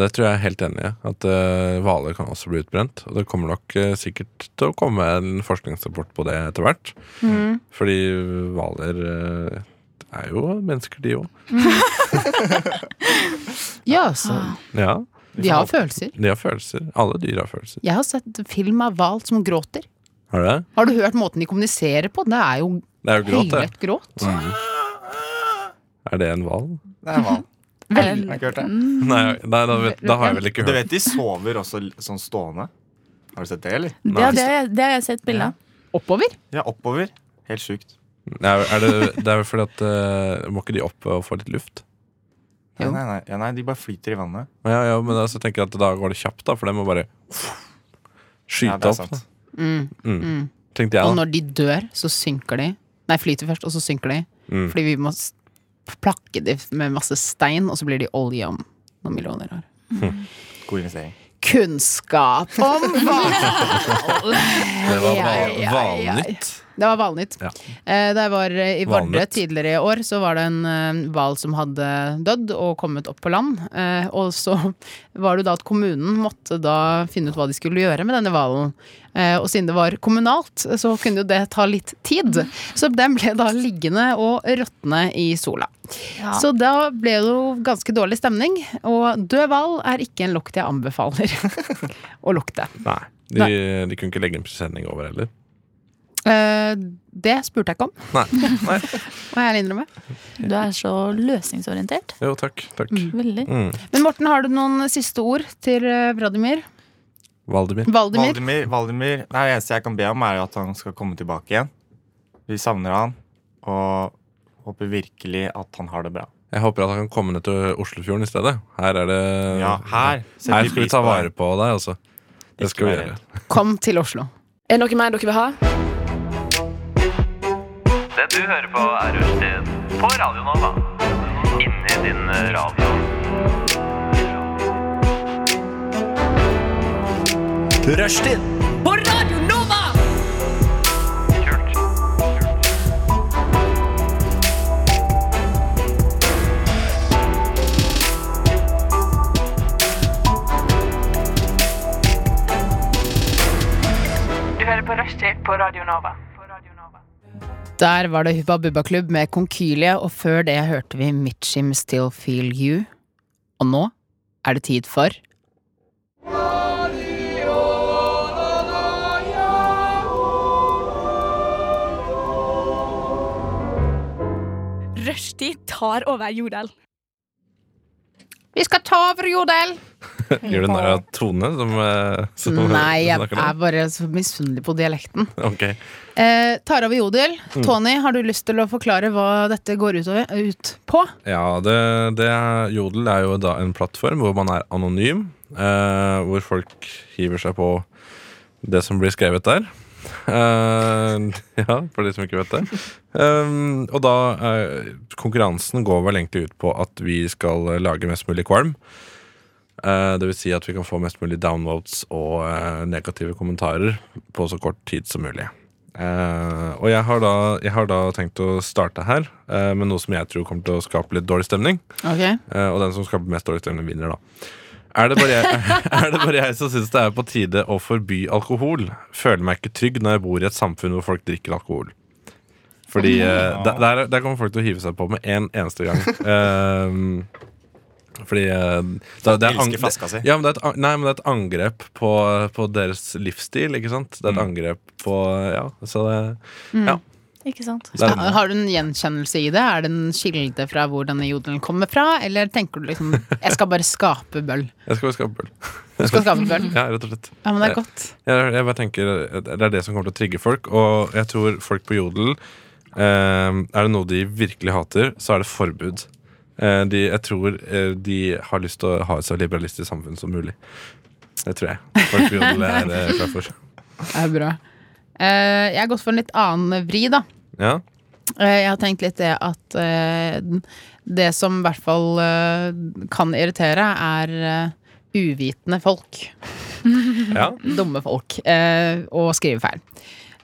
Speaker 4: Det tror jeg er helt enig i. At eh, hvaler kan også bli utbrent. Og det kommer nok eh, sikkert til å komme en forskningsrapport på det etter hvert.
Speaker 3: Mm.
Speaker 4: Fordi hvaler eh, er jo mennesker, de òg.
Speaker 3: Ja, så
Speaker 4: Ja,
Speaker 3: de har følelser.
Speaker 4: de har følelser. Alle dyr har følelser.
Speaker 3: Jeg har sett film av hval som gråter.
Speaker 4: Har du det?
Speaker 3: Har du hørt måten de kommuniserer på? Det er jo
Speaker 4: Det er jo gråt, det.
Speaker 3: høylett gråt.
Speaker 4: Er det en hval?
Speaker 5: Det er hval.
Speaker 3: Vel,
Speaker 5: Har ikke hørt det?
Speaker 4: Nei, nei da, vet, da har jeg vel ikke
Speaker 5: Du
Speaker 4: hørt
Speaker 5: vet de sover også l- sånn stående? Har du sett det, eller?
Speaker 6: Ja, det, det har jeg sett bilde av.
Speaker 3: oppover.
Speaker 5: Ja, oppover. Helt sjukt.
Speaker 4: Nei, er det, det er vel fordi at eh, Må ikke de opp og få litt luft?
Speaker 5: Nei,
Speaker 3: Jo.
Speaker 5: nei, nei, ja, nei, de bare flyter i vannet.
Speaker 4: Ja, ja, men da, så tenker jeg at da går det kjapt, da, for det må bare skyte
Speaker 5: Ja, det er
Speaker 4: opp.
Speaker 5: sant.
Speaker 3: Mm.
Speaker 4: Mm.
Speaker 3: Mm.
Speaker 4: Tenkte
Speaker 3: Og
Speaker 4: jeg, da.
Speaker 3: når de dør, så synker de. Nei, flyter først, og så synker de.
Speaker 4: Mm.
Speaker 3: Fordi vi må s- plakke de med masse stein, og så blir de olje om noen millioner år.
Speaker 5: God investering.
Speaker 3: Kunnskap om hval! Ja,
Speaker 4: Det var hval-
Speaker 3: ja, ja.
Speaker 4: hvalnytt.
Speaker 3: Det var Valnytt.
Speaker 4: Ja.
Speaker 3: Eh, Da jeg var eh, i Vardø
Speaker 4: Valnøtt.
Speaker 3: tidligere i år, så var det en eh, hval som hadde dødd og kommet opp på land. Eh, Og så var det da at kommunen måtte da finne ut hva de skulle gjøre med denne hvalen. Eh, Og siden det var kommunalt, så kunne jo det ta litt tid. Så den ble da liggende og råtne i sola.
Speaker 6: Ja.
Speaker 3: Så da ble det jo ganske dårlig stemning. Og død hval er ikke en lukt jeg anbefaler å lukte.
Speaker 4: Nei. De, de kunne ikke legge en presenning over heller.
Speaker 3: Eh, Det spurte jeg ikke om,
Speaker 4: Nei. Nei.
Speaker 3: må jeg ærlig innrømme.
Speaker 6: Du er så løsningsorientert.
Speaker 4: Jo, takk. takk.
Speaker 6: Veldig.
Speaker 4: Mm.
Speaker 3: Men Morten, har du noen siste ord til eh, Vladimir?
Speaker 4: Valdemir.
Speaker 3: Valdemir?
Speaker 5: Valdemir, Valdemir Nei, Det eneste jeg kan be om, er jo at han skal komme tilbake igjen. Vi savner han, og håper virkelig at han har det bra.
Speaker 4: Jeg håper at han kan komme ned til Oslofjorden i stedet. Her er det
Speaker 5: Ja, her setter
Speaker 4: Her skal vi ta
Speaker 5: på
Speaker 4: vare
Speaker 5: det.
Speaker 4: på deg, altså. Det
Speaker 5: Ikke
Speaker 4: skal vi
Speaker 5: vær
Speaker 4: gjøre.
Speaker 5: redd.
Speaker 3: Kom til Oslo.
Speaker 8: Er det noe mer dere vil ha?
Speaker 9: Det du hører på er Rushtid på Radio Nova. Inni din radio.
Speaker 1: Rushtid
Speaker 9: Kult.
Speaker 10: Du hører på Rushtid på Radio Nova.
Speaker 3: Der var det Hubba Bubba Klubb med Konkylie, og før det hørte vi Mitchim Still Feel You. Og nå er det tid for
Speaker 6: Rushtid tar over Jordal.
Speaker 3: Vi skal ta over Jodel!
Speaker 4: Gjør du narr av Tone? Som, eh, som
Speaker 3: Nei, jeg
Speaker 4: snakker nå?
Speaker 3: er bare så misunnelig på dialekten.
Speaker 4: Ok.
Speaker 3: Eh, tar over Jodel. Tony, har du lyst til å forklare hva dette går ut, over, ut på?
Speaker 4: Ja, det, det er, Jodel er jo da en plattform hvor man er anonym. eh, hvor folk hiver seg på det som blir skrevet der. Eh, ja, for de som ikke vet det. Um, og da eh, Konkurransen går vel egentlig ut på at vi skal eh, lage mest mulig kvalm. Eh, det vil si at vi kan få mest mulig downvotes og eh, negative kommentarer på så kort tid som mulig. Eh, og jeg har, da, jeg har da tenkt å starte her eh, med noe som jeg tror kommer til å skape litt dårlig stemning.
Speaker 3: Ok
Speaker 4: Eh, og den som skaper mest dårlig stemning, vinner, da. Er det, bare jeg, er det bare jeg som syns det er på tide å forby alkohol? Føler meg ikke trygg når jeg bor i et samfunn hvor folk drikker alkohol. Fordi eh, der, der, der kommer folk til å hive seg på med en eneste gang. Eh, fordi eh, det, det, er ang-
Speaker 5: Elsker flaska si.
Speaker 4: ja, men det er et, an- nei, men det er et angrep på, på deres livsstil, ikke sant? Det er et angrep på Ja, så det, ja,
Speaker 6: Ikke sant?
Speaker 4: det er,
Speaker 3: Har du en gjenkjennelse i det? Er det en kilde fra hvor denne jodelen kommer fra? Eller tenker du liksom Jeg skal bare skape bøll.
Speaker 4: Jeg skal bare skape bøll.
Speaker 3: Du skal skape bøll.
Speaker 4: Ja, rett og slett.
Speaker 3: Ja, men det er godt.
Speaker 4: Jeg, jeg bare tenker Det er det som kommer til å trigge folk, og jeg tror folk på Jodel eh, Er det noe de virkelig hater, så er det forbud. Eh, de, jeg tror eh, de har lyst til å ha et så liberalistisk samfunn som mulig. Det tror jeg. Folk på Jodel er eh, klar for.
Speaker 3: Det er bra. Eh, jeg har gått for en litt annen vri, da.
Speaker 4: Ja?
Speaker 3: Eh, jeg har tenkt litt det at eh, det som i hvert fall eh, kan irritere, er eh, uvitende folk.
Speaker 4: ja?
Speaker 3: Dumme folk. eh, og skrive feil.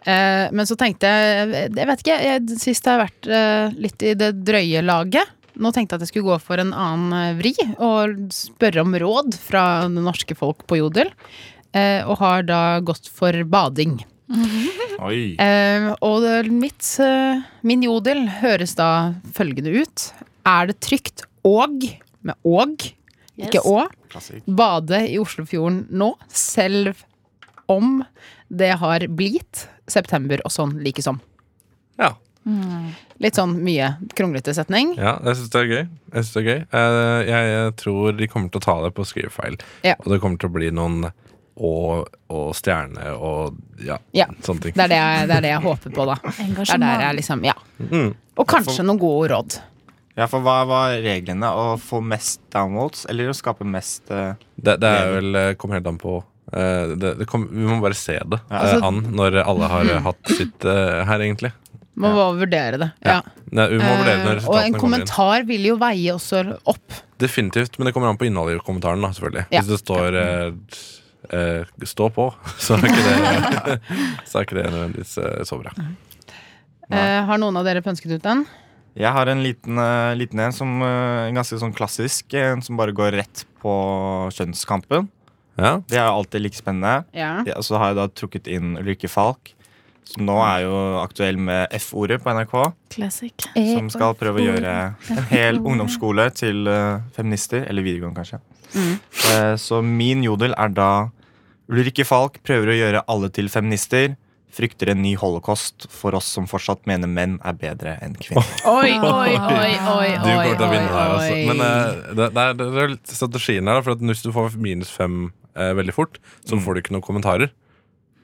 Speaker 3: Eh, men så tenkte jeg Jeg vet ikke, jeg, sist har jeg vært eh, litt i det drøye laget. Nå tenkte jeg at jeg skulle gå for en annen eh, vri og spørre om råd fra det norske folk på Jodel. eh, og har da gått for bading.
Speaker 5: Oi.
Speaker 3: Eh, og det, mitt, eh, min jodel høres da følgende ut. Er det trygt og, med og, ikke
Speaker 6: Yes.
Speaker 3: å,
Speaker 5: Klassik.
Speaker 3: bade i Oslofjorden nå, selv om det har blitt september og sånn likesom?
Speaker 4: ja.
Speaker 3: Litt sånn mye kronglete setning.
Speaker 4: Ja, jeg syns det er gøy. Jeg, synes det er gøy. Eh, jeg, jeg tror de kommer til å ta deg på skrivefeil.
Speaker 3: Ja.
Speaker 4: Og det kommer til å bli noen og, og stjerne og ja,
Speaker 3: Ja.
Speaker 4: sånne ting.
Speaker 3: Det er det, jeg, det er det jeg håper på, da. Det er der jeg
Speaker 6: Engasjement.
Speaker 3: liksom, ja.
Speaker 4: Mm.
Speaker 3: Og kanskje noen gode råd.
Speaker 5: Ja, for hva var reglene? Å få mest downvotes, eller å skape mest eh,
Speaker 4: Det, det er vel eh, Kommer helt an på eh, det, det kom, Vi må bare se det eh,
Speaker 3: Altså-
Speaker 4: an når alle har eh, hatt sitt eh, her, egentlig.
Speaker 3: Man må vurdere det. Ja.
Speaker 4: Nei, vi må vurdere når
Speaker 3: Eh, og en
Speaker 4: resultatene kommer inn.
Speaker 3: kommentar vil jo veie også opp.
Speaker 4: Definitivt, men det kommer an på innholdet i kommentaren. da, selvfølgelig
Speaker 3: Ja.
Speaker 4: Hvis det står eh, eh, 'stå på', så er ikke det, så er ikke det nødvendigvis eh, så bra.
Speaker 3: Eh, har noen av dere pønsket ut den?
Speaker 5: Jeg har en liten, eh, liten en som eh, en ganske sånn klassisk, en som bare går rett på kjønnskampen.
Speaker 4: Ja,
Speaker 5: Det er jo alltid like spennende.
Speaker 3: Ja.
Speaker 5: Ja, så har jeg da trukket inn Ulrikke Falk, som nå er jo aktuell med F-ordet på NRK.
Speaker 6: Classic.
Speaker 7: Eh,
Speaker 5: Som skal prøve å gjøre en hel ungdomsskole til eh, feminister. Eller videregående, kanskje. Eh, så min jodel er da Ulrikke Falk prøver å gjøre alle til feminister. Frykter en ny holocaust for oss som fortsatt mener menn er bedre enn kvinner.
Speaker 3: Oi, oi, oi, oi,
Speaker 4: Du kommer til å
Speaker 3: oi,
Speaker 4: vinne her, altså.
Speaker 3: oi.
Speaker 4: Men eh, det, det, er, det er litt strategien her. da, For at Hvis du får minus fem eh, veldig fort, så
Speaker 3: Mm.
Speaker 4: får du ikke noen kommentarer.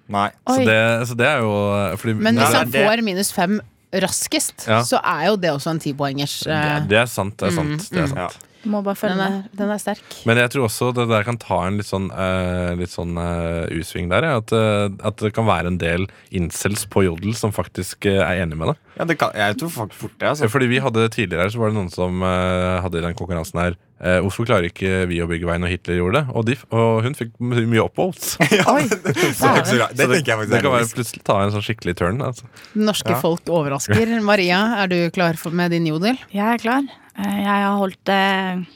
Speaker 5: Nei.
Speaker 4: Så
Speaker 6: Oi.
Speaker 4: det, så det er jo eh, fordi,
Speaker 3: Men hvis
Speaker 5: Nei,
Speaker 3: han
Speaker 5: det-
Speaker 3: får minus fem raskest,
Speaker 4: Ja.
Speaker 3: så er jo det også en tipoengers.
Speaker 4: det,
Speaker 3: eh,
Speaker 4: det er Mm, sant. Det er sant, det er sant.
Speaker 5: Ja.
Speaker 6: Må bare følge
Speaker 3: Den,
Speaker 6: med.
Speaker 3: er- den er sterk.
Speaker 4: Men jeg tror også det der kan ta en litt sånn, eh, litt sånn eh, utsving der. Ja. At, eh, at det kan være en del incels på Jodel som faktisk eh, er enig med deg.
Speaker 5: Ja, det kan, jeg tror folk fort det. Altså.
Speaker 4: Fordi vi hadde tidligere her, så var det noen som eh, hadde i den konkurransen her eh, Hvorfor klarer ikke vi å bygge vei når Hitler gjorde det? Og, de, og hun fikk my- mye oppholds.
Speaker 5: Ja, det, det, er ikke så rart. det tenker
Speaker 4: Det
Speaker 5: jeg faktisk
Speaker 4: kan
Speaker 5: er
Speaker 4: være
Speaker 5: logisk.
Speaker 4: plutselig ta en sånn skikkelig turn. Altså.
Speaker 3: Norske
Speaker 5: Ja.
Speaker 3: folk overrasker. Maria, er du klar for, med din jodel?
Speaker 6: Jeg er klar. Eh, Jeg har holdt det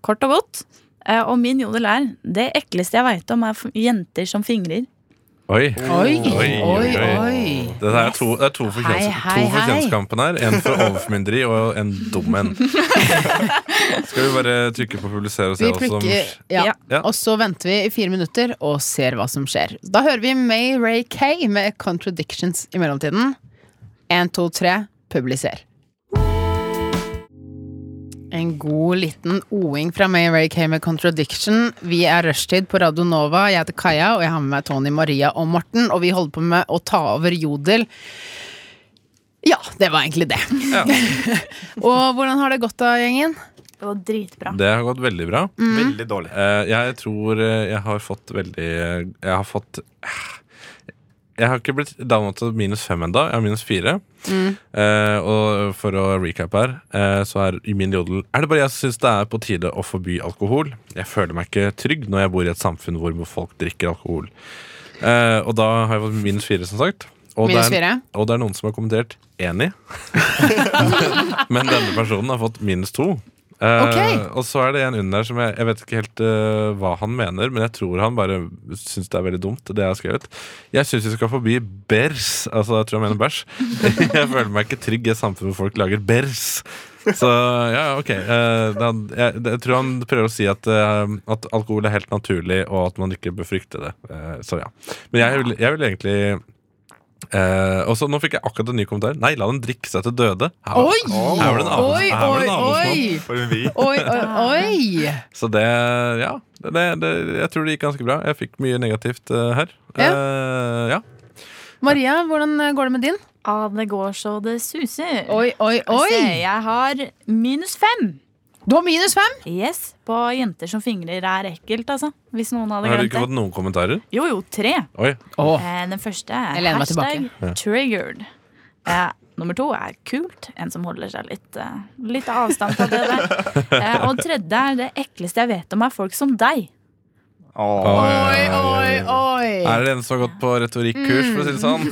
Speaker 6: kort og godt. Eh, Og min jodel er det ekleste jeg veit om, er f- jenter som fingrer.
Speaker 4: Oi.
Speaker 3: Oi, oi, oi.
Speaker 4: Det er to, det er to for
Speaker 3: Hei,
Speaker 4: kjønns-
Speaker 3: hei,
Speaker 4: to for
Speaker 3: hei.
Speaker 4: kjønnskampen her. En for overformynderi og en dum en. Skal vi bare trykke på publisere og se
Speaker 3: Vi
Speaker 4: hva som
Speaker 3: plukker, ja.
Speaker 4: Ja.
Speaker 3: Og så venter vi i fire minutter og ser hva som skjer. Da hører vi May Ray Kay med 'Contradictions' i mellomtiden. Én, to, tre, publiser. En god liten o-ing fra meg Ray K med Contradiction. Vi er Rushtid på Radio Nova. Jeg heter Kaja, og jeg har med meg Tony, Maria og Morten. Og vi holder på med å ta over Jodel. Ja, det var egentlig det. og hvordan har det gått da, gjengen?
Speaker 6: Det var dritbra.
Speaker 4: Det har gått veldig bra.
Speaker 3: Mm.
Speaker 5: Veldig dårlig.
Speaker 4: Eh, jeg tror eh, jeg har fått veldig Jeg har fått Jeg har ikke blitt down til minus fem ennå. Jeg har minus fire.
Speaker 3: Mm.
Speaker 4: Eh, og for å recap her, eh, så er i min jodel Er det bare jeg som syns det er på tide å forby alkohol? Jeg føler meg ikke trygg når jeg bor i et samfunn hvor folk drikker alkohol. Eh, og da har jeg fått minus fire, som sagt. Og
Speaker 3: Minus
Speaker 4: det er,
Speaker 3: fire?
Speaker 4: og det er noen som har kommentert 'enig'. Men denne personen har fått minus to. Eh,
Speaker 3: Ok.
Speaker 4: Og så er det en under som jeg, jeg vet ikke helt eh, hva han mener, men jeg tror han bare syns det er veldig dumt, det jeg har skrevet. Jeg syns vi skal forby bærs. Altså, jeg tror han mener bæsj. jeg føler meg ikke trygg i et samfunn hvor folk lager bærs. Så ja, ok. Eh, det, han- jeg, det, jeg tror han prøver å si at, eh, at alkohol er helt naturlig, og at man ikke bør frykte det. Eh, så ja. Men jeg vil, jeg vil egentlig eh, Og så nå fikk jeg akkurat en ny kommentar. Nei, la den drikke seg til døde. Her var-
Speaker 3: Oi!
Speaker 4: her var det en avs-
Speaker 3: Oi,
Speaker 4: her var det
Speaker 3: oi,
Speaker 4: en avsmak.
Speaker 3: oi!
Speaker 5: For en vi.
Speaker 3: Oi, oi, oi!
Speaker 4: Så det, ja det, det, det, Jeg tror det gikk ganske bra Jeg fikk mye negativt eh, her
Speaker 3: Ja.
Speaker 4: Eh, ja.
Speaker 3: Maria, hvordan går det med din?
Speaker 6: Ah, det går så det suser.
Speaker 3: Oi, oi,
Speaker 6: Se,
Speaker 3: oi!
Speaker 6: jeg har minus fem.
Speaker 3: Du har minus fem!
Speaker 6: Yes, på jenter som fingrer er ekkelt, altså. Hvis noen hadde
Speaker 4: Har du
Speaker 6: glemt
Speaker 4: ikke
Speaker 6: det.
Speaker 4: fått noen kommentarer?
Speaker 6: Jo, jo, tre.
Speaker 4: Oi,
Speaker 3: Åh,
Speaker 6: Eh, Den første
Speaker 3: Jeg
Speaker 6: er
Speaker 3: lener meg
Speaker 6: hashtag
Speaker 3: tilbake.
Speaker 6: triggered. Eh, nummer to er kult. En som holder seg litt, eh, litt avstand fra det der. Eh, og tredje er det ekleste jeg vet om, er folk som deg.
Speaker 5: Åh.
Speaker 3: Oi, oi, oi!
Speaker 4: Er det en som har gått på retorikkurs for å si det
Speaker 3: Mm.
Speaker 4: sånn?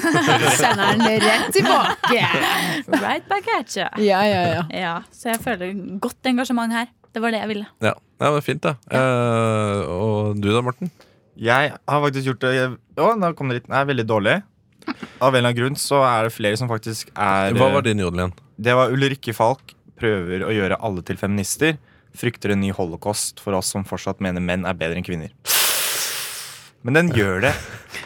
Speaker 3: Sender den rett tilbake!
Speaker 6: Right back at you.
Speaker 3: Ja, ja, ja.
Speaker 6: Ja, så jeg føler godt engasjement her. Det var det jeg ville.
Speaker 4: Ja, ja men fint da Eh, Og du da, Morten?
Speaker 5: Jeg har faktisk gjort det jeg, Å, nå kom det litt Nei, veldig dårlig. Av en eller annen grunn så er det flere som faktisk er eh,
Speaker 4: Hva var din jodel igjen?
Speaker 5: Det var Ulrikke Falk prøver å gjøre alle til feminister. Frykter en ny holocaust for oss som fortsatt mener menn er bedre enn kvinner. Men den gjør det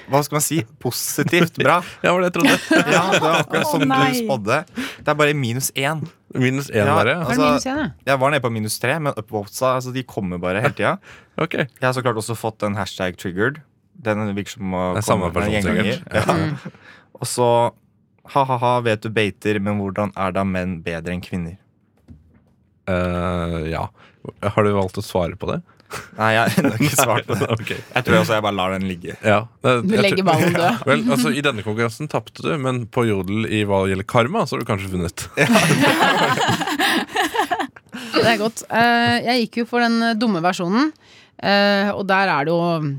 Speaker 5: Hva skal man si? Positivt bra.
Speaker 4: Ja, var det jeg trodde
Speaker 5: Ja, Det var akkurat som du
Speaker 6: nei.
Speaker 5: spådde. Det er bare minus én.
Speaker 4: Minus en
Speaker 5: Ja,
Speaker 4: bare, ja
Speaker 3: Var
Speaker 5: altså,
Speaker 3: det minus én, ja?
Speaker 5: jeg var nede på minus tre, men upvotesa altså, de kommer bare hele tida.
Speaker 4: Ok,
Speaker 5: Jeg har så klart også fått en hashtag triggered. Den virker som å
Speaker 4: Det er samme
Speaker 5: komme med en
Speaker 4: person,
Speaker 5: gjenganger. Ja. Og så ha-ha-ha, vet du beiter, men hvordan er da menn bedre enn kvinner?
Speaker 4: Eh, ja Har du valgt å svare på det?
Speaker 5: Nei, jeg har ennå ikke svart på det.
Speaker 4: Ok
Speaker 5: Jeg tror også jeg bare lar den ligge.
Speaker 4: Ja, det-
Speaker 3: Du
Speaker 4: Eh, jeg
Speaker 3: legger
Speaker 4: tror-
Speaker 3: ballen død.
Speaker 4: Vel, altså I denne konkurransen tapte du, men på jodel i hva gjelder karma, så har du kanskje vunnet.
Speaker 3: Det er godt. Eh, jeg gikk jo for den eh, dumme versjonen, eh, og der er det jo mm,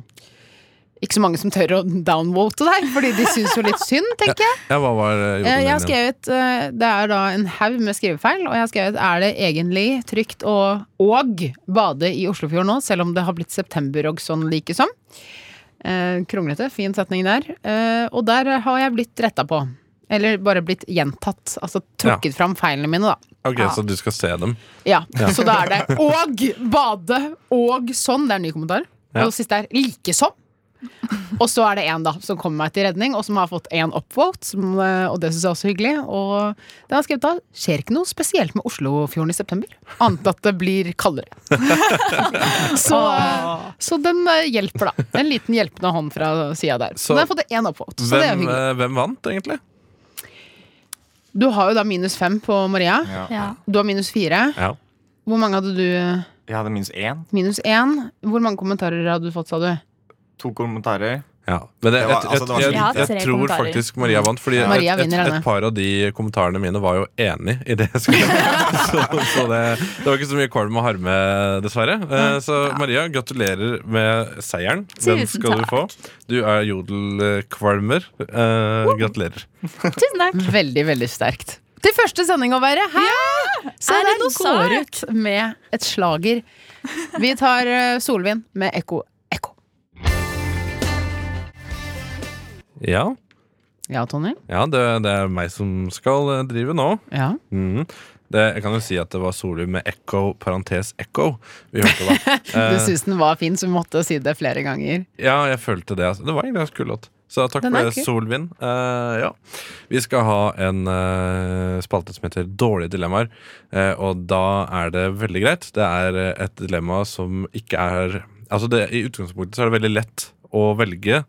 Speaker 3: ikke så mange som tør å downvote deg, fordi de syns jo litt synd, tenker jeg.
Speaker 4: Ja, hva var eh,
Speaker 3: Eh,
Speaker 4: jodelen
Speaker 3: jeg har
Speaker 4: din igjen?
Speaker 3: skrevet eh, Det er da en haug med skrivefeil, og jeg har skrevet Er det egentlig trygt å og bade i Oslofjorden nå, selv om det har blitt september og sånn likesom? Eh, kronglete. Fin setning der. Eh, og der har jeg blitt retta på. Eller bare blitt gjentatt. Altså trukket fram feilene mine, da.
Speaker 4: Ok,
Speaker 3: Ja.
Speaker 4: Så du skal se dem?
Speaker 3: Ja, så da er det og bade og sånn. Det er en ny kommentar.
Speaker 4: Ja.
Speaker 3: Og det siste er like som. Og så er det én da som kommer meg til redning, og som har fått én upvote. Som, eh, og det syns jeg også er hyggelig. Og den har skrevet da skjer ikke noe spesielt med Oslofjorden i september. Annet at det blir kaldere. så, eh, så den eh, hjelper, da. En liten hjelpende hånd fra sida der.
Speaker 4: Så
Speaker 3: Så den har fått én upvote. Så det er
Speaker 4: Hvem,
Speaker 3: hyggelig.
Speaker 4: eh, hvem vant, egentlig?
Speaker 3: Du har jo da minus fem på Maria.
Speaker 6: Ja.
Speaker 3: Du har minus fire.
Speaker 4: Ja.
Speaker 3: Hvor mange hadde du? eh?
Speaker 5: Jeg hadde minus én.
Speaker 3: Minus én. Hvor mange kommentarer hadde du fått, sa du?
Speaker 5: To kommentarer.
Speaker 4: Ja. Men jeg,
Speaker 5: Det
Speaker 4: jeg,
Speaker 5: var-
Speaker 4: jeg,
Speaker 5: altså, det var så
Speaker 6: lite.
Speaker 4: jeg, jeg,
Speaker 6: Jeg har tre
Speaker 4: tror
Speaker 6: kommentarer.
Speaker 4: faktisk Maria vant, fordi
Speaker 3: Ja. Maria
Speaker 4: et, et,
Speaker 3: vinner
Speaker 4: et,
Speaker 3: denne.
Speaker 4: par av de kommentarene mine var jo enig i det jeg skulle Så, så det, det var ikke så mye kvalm og harme, dessverre. Eh, Så Maria, gratulerer med seieren. Den
Speaker 6: Tusen
Speaker 4: skal du få. Du er jodelkvalmer. Eh, gratulerer.
Speaker 6: Tusen takk.
Speaker 3: Veldig, veldig sterkt. Til første sending å være! Hæ? Så
Speaker 6: Er det
Speaker 3: den
Speaker 6: noe sak?
Speaker 3: går ut med et slager. Vi tar eh, Solvind med Ekko Ekko.
Speaker 4: Ja,
Speaker 3: Ja, Tony?
Speaker 4: ja det, det er meg som skal eh, drive nå.
Speaker 3: Ja.
Speaker 4: Mhm. Det, jeg kan jo si at det var Solum med Echo, parentes Echo. Vi hørte da.
Speaker 3: Du
Speaker 4: Eh,
Speaker 3: syns den var fin, så vi måtte si det flere ganger.
Speaker 4: ja, jeg følte det. Altså. Det var egentlig en ganske kul låt. Så takk
Speaker 3: Den
Speaker 4: for
Speaker 3: er
Speaker 4: det,
Speaker 3: kul.
Speaker 4: Solvin. Eh, ja. Vi skal ha en eh, spalte som heter Dårlige dilemmaer. Eh, og da er det veldig greit. Det er eh, et dilemma som ikke er Altså det, I utgangspunktet så er det veldig lett å velge,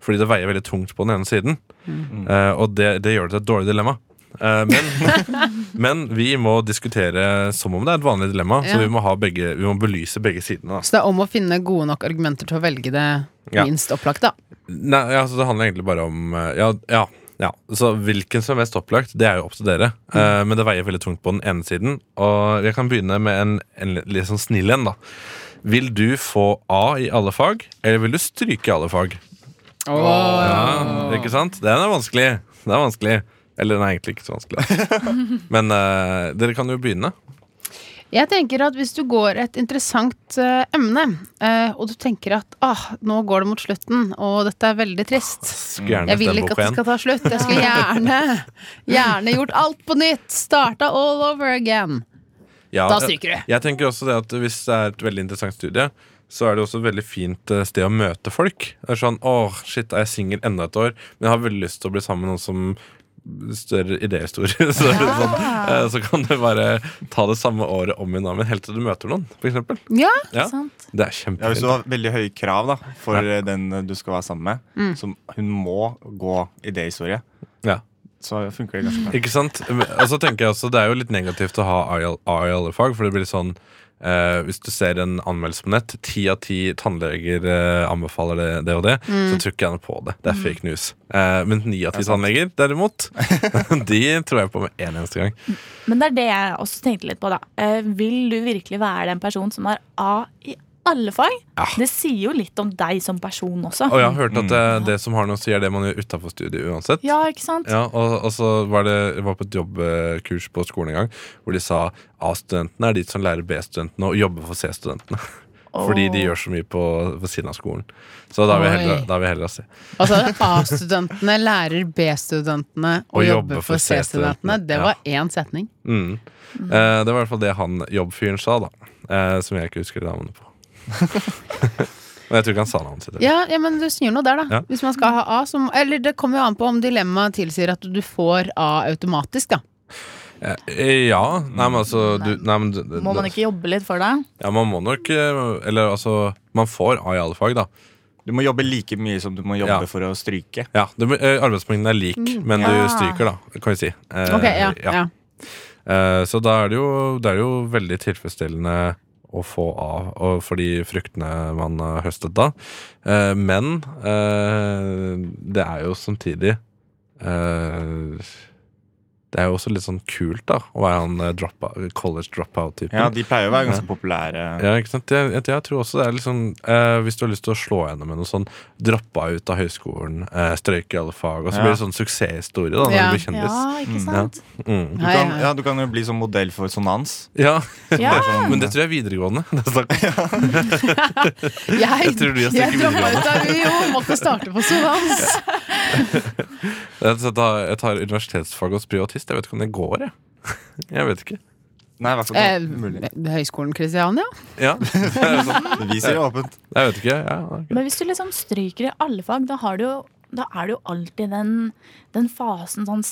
Speaker 4: fordi det veier veldig tungt på den ene siden. Eh, og det, det gjør det til et dårlig dilemma. Eh, men, men vi må diskutere som om det er et vanlig dilemma.
Speaker 3: Ja.
Speaker 4: Så vi må, ha begge, vi må belyse begge sidene. Da.
Speaker 3: Så det er om å finne gode nok argumenter til å velge det
Speaker 4: Ja.
Speaker 3: minst opplagte. da.
Speaker 4: Nei, altså, det handler egentlig bare om eh, Ja, ja, ja. Så hvilken som er mest opplagt, det er jo opp til dere. Eh, men det veier veldig tungt på den ene siden. Og jeg kan begynne med en, en litt sånn snill en, da. Vil du få A i alle fag, eller vil du stryke i alle fag? Ja, ikke sant? Den er vanskelig. Den er vanskelig. Eller den er egentlig ikke så vanskelig. Men eh, dere kan jo begynne.
Speaker 3: Jeg tenker at hvis du går et interessant eh, emne, eh, og du tenker at ah, nå går det mot slutten, og dette er veldig trist
Speaker 4: Ah, Skulle gjerne
Speaker 3: Jeg vil
Speaker 4: stemme
Speaker 3: ikke at
Speaker 4: på
Speaker 3: det
Speaker 4: en.
Speaker 3: skal ta slutt. Jeg skulle gjerne, gjerne gjort alt på nytt. Starta all over again.
Speaker 4: Ja, eh,
Speaker 3: Da stryker du.
Speaker 4: Jeg tenker også det at Hvis det er et veldig interessant studie, så er det også et veldig fint eh, sted å møte folk. Det er sånn, åh, shit, er jeg singel enda et år, men jeg har veldig lyst til å bli sammen med noen som Større idéhistorie. Så, er det sånn, eh, så kan du bare ta det samme året om igjen, da, men helt til du møter noen. For eksempel.
Speaker 3: Ja,
Speaker 4: Ja,
Speaker 6: Sant?
Speaker 4: det er
Speaker 5: Ja, hvis
Speaker 4: kjempefint.
Speaker 5: du har veldig høye krav da, for eh, den eh, du skal være sammen med, som hun må gå idéhistorie,
Speaker 4: Ja.
Speaker 5: så funker det ganske bra.
Speaker 4: Ikke sant? Og så tenker jeg også Det er jo litt negativt å ha A i all- A i alle fag, for det blir sånn eh, Hvis du ser en anmeldelse på nett, ti av ti tannleger eh, anbefaler det, det og det, så tror ikke jeg noe på det. Det er fake news. Eh, men ni av ti tannleger, derimot, de tror jeg på med en eneste gang.
Speaker 6: Men det er det jeg også tenkte litt på, da. Eh, vil du virkelig være den personen som har A i alle fag?
Speaker 4: Ja.
Speaker 6: Det sier jo litt om deg som person også.
Speaker 4: Og jeg har hørt at det, det som har noe å si, er det man gjør utafor studiet uansett.
Speaker 6: Ja, ikke sant?
Speaker 4: Ja, og, og så var det jeg var på et jobbkurs på skolen en gang hvor de sa A-studentene er de som lærer B-studentene å jobbe for C-studentene. Fordi de gjør så mye på, ved siden av skolen. Så da vil jeg heller,
Speaker 3: Oi.
Speaker 4: da vil jeg heller se.
Speaker 3: Altså A-studentene lærer B-studentene å
Speaker 4: Og jobbe
Speaker 3: jobbe
Speaker 4: for
Speaker 3: for C-studentene.
Speaker 4: C-studentene,
Speaker 3: Det
Speaker 4: ja.
Speaker 3: var én setning.
Speaker 4: Mm. Eh, det var i hvert fall det han jobbfyren sa, da. Eh, som jeg ikke husker navnet på. Men jeg tror ikke han sa navnet sitt. heller.
Speaker 3: Ja, ja, men du snur noe der, da.
Speaker 4: Ja.
Speaker 3: Hvis man skal ha A, så må- Eller det kommer jo an på om dilemmaet tilsier at du får A automatisk, da.
Speaker 4: Eh, ja. Nei, men altså du, nei, men, du-
Speaker 6: Må man ikke jobbe litt for deg?
Speaker 4: Ja, man må nok eh, Eller altså Man får A i alle fag, da.
Speaker 5: Du må jobbe like mye som du må jobbe
Speaker 4: Ja.
Speaker 5: for å stryke.
Speaker 4: Ja, det, eh, Arbeidsmengden er lik, men
Speaker 6: Ja.
Speaker 4: du stryker, da, kan vi si. Eh,
Speaker 3: Ok, ja,
Speaker 4: ja.
Speaker 3: ja.
Speaker 4: Eh, Så da er det jo, det er jo veldig tilfredsstillende å få av og for de fruktene man har høstet da. Eh, Men eh, det er jo samtidig eh, Det er jo også litt sånn kult, da, å være han eh, dropout, college dropout-typen.
Speaker 5: Ja, De pleier å være ganske
Speaker 4: Ja.
Speaker 5: populære.
Speaker 4: Ja, ikke sant? Jeg, jeg, jeg tror også det er litt sånn eh, Hvis du har lyst til å slå gjennom med noe sånn Droppa ut av høyskolen, eh, strøyke i alle fag, og så
Speaker 5: Ja.
Speaker 4: blir det sånn suksesshistorie da når
Speaker 3: Ja.
Speaker 4: du blir kjendis.
Speaker 6: Ja, Ah, ikke
Speaker 5: Mm.
Speaker 6: sant?
Speaker 4: Ja. Mm.
Speaker 5: Du
Speaker 3: Hei,
Speaker 5: kan,
Speaker 3: hei.
Speaker 5: ja, du kan jo bli som modell for Sonans. Sånn-
Speaker 4: ja,
Speaker 6: Ja.
Speaker 4: Men det tror jeg er sånn- videregående. Det er snakk-
Speaker 3: Jeg,
Speaker 4: Jeg tror du har strøket
Speaker 3: droppa
Speaker 4: videregående.
Speaker 3: ut av UiO, måtte starte på Solans.
Speaker 4: Jeg tar, jeg tar universitetsfag hos privatist. Jeg vet ikke om det går, jeg. Jeg vet ikke.
Speaker 5: Nei, i hvert fall
Speaker 3: Eh,
Speaker 5: ikke mulig.
Speaker 3: Høgskolen Kristiania?
Speaker 4: Ja,
Speaker 5: Vi sier åpent.
Speaker 4: jeg vet ikke. Ja, ok.
Speaker 6: Men hvis du liksom stryker i alle fag, da, har du, jo- da er det jo alltid den, den fasen, sånn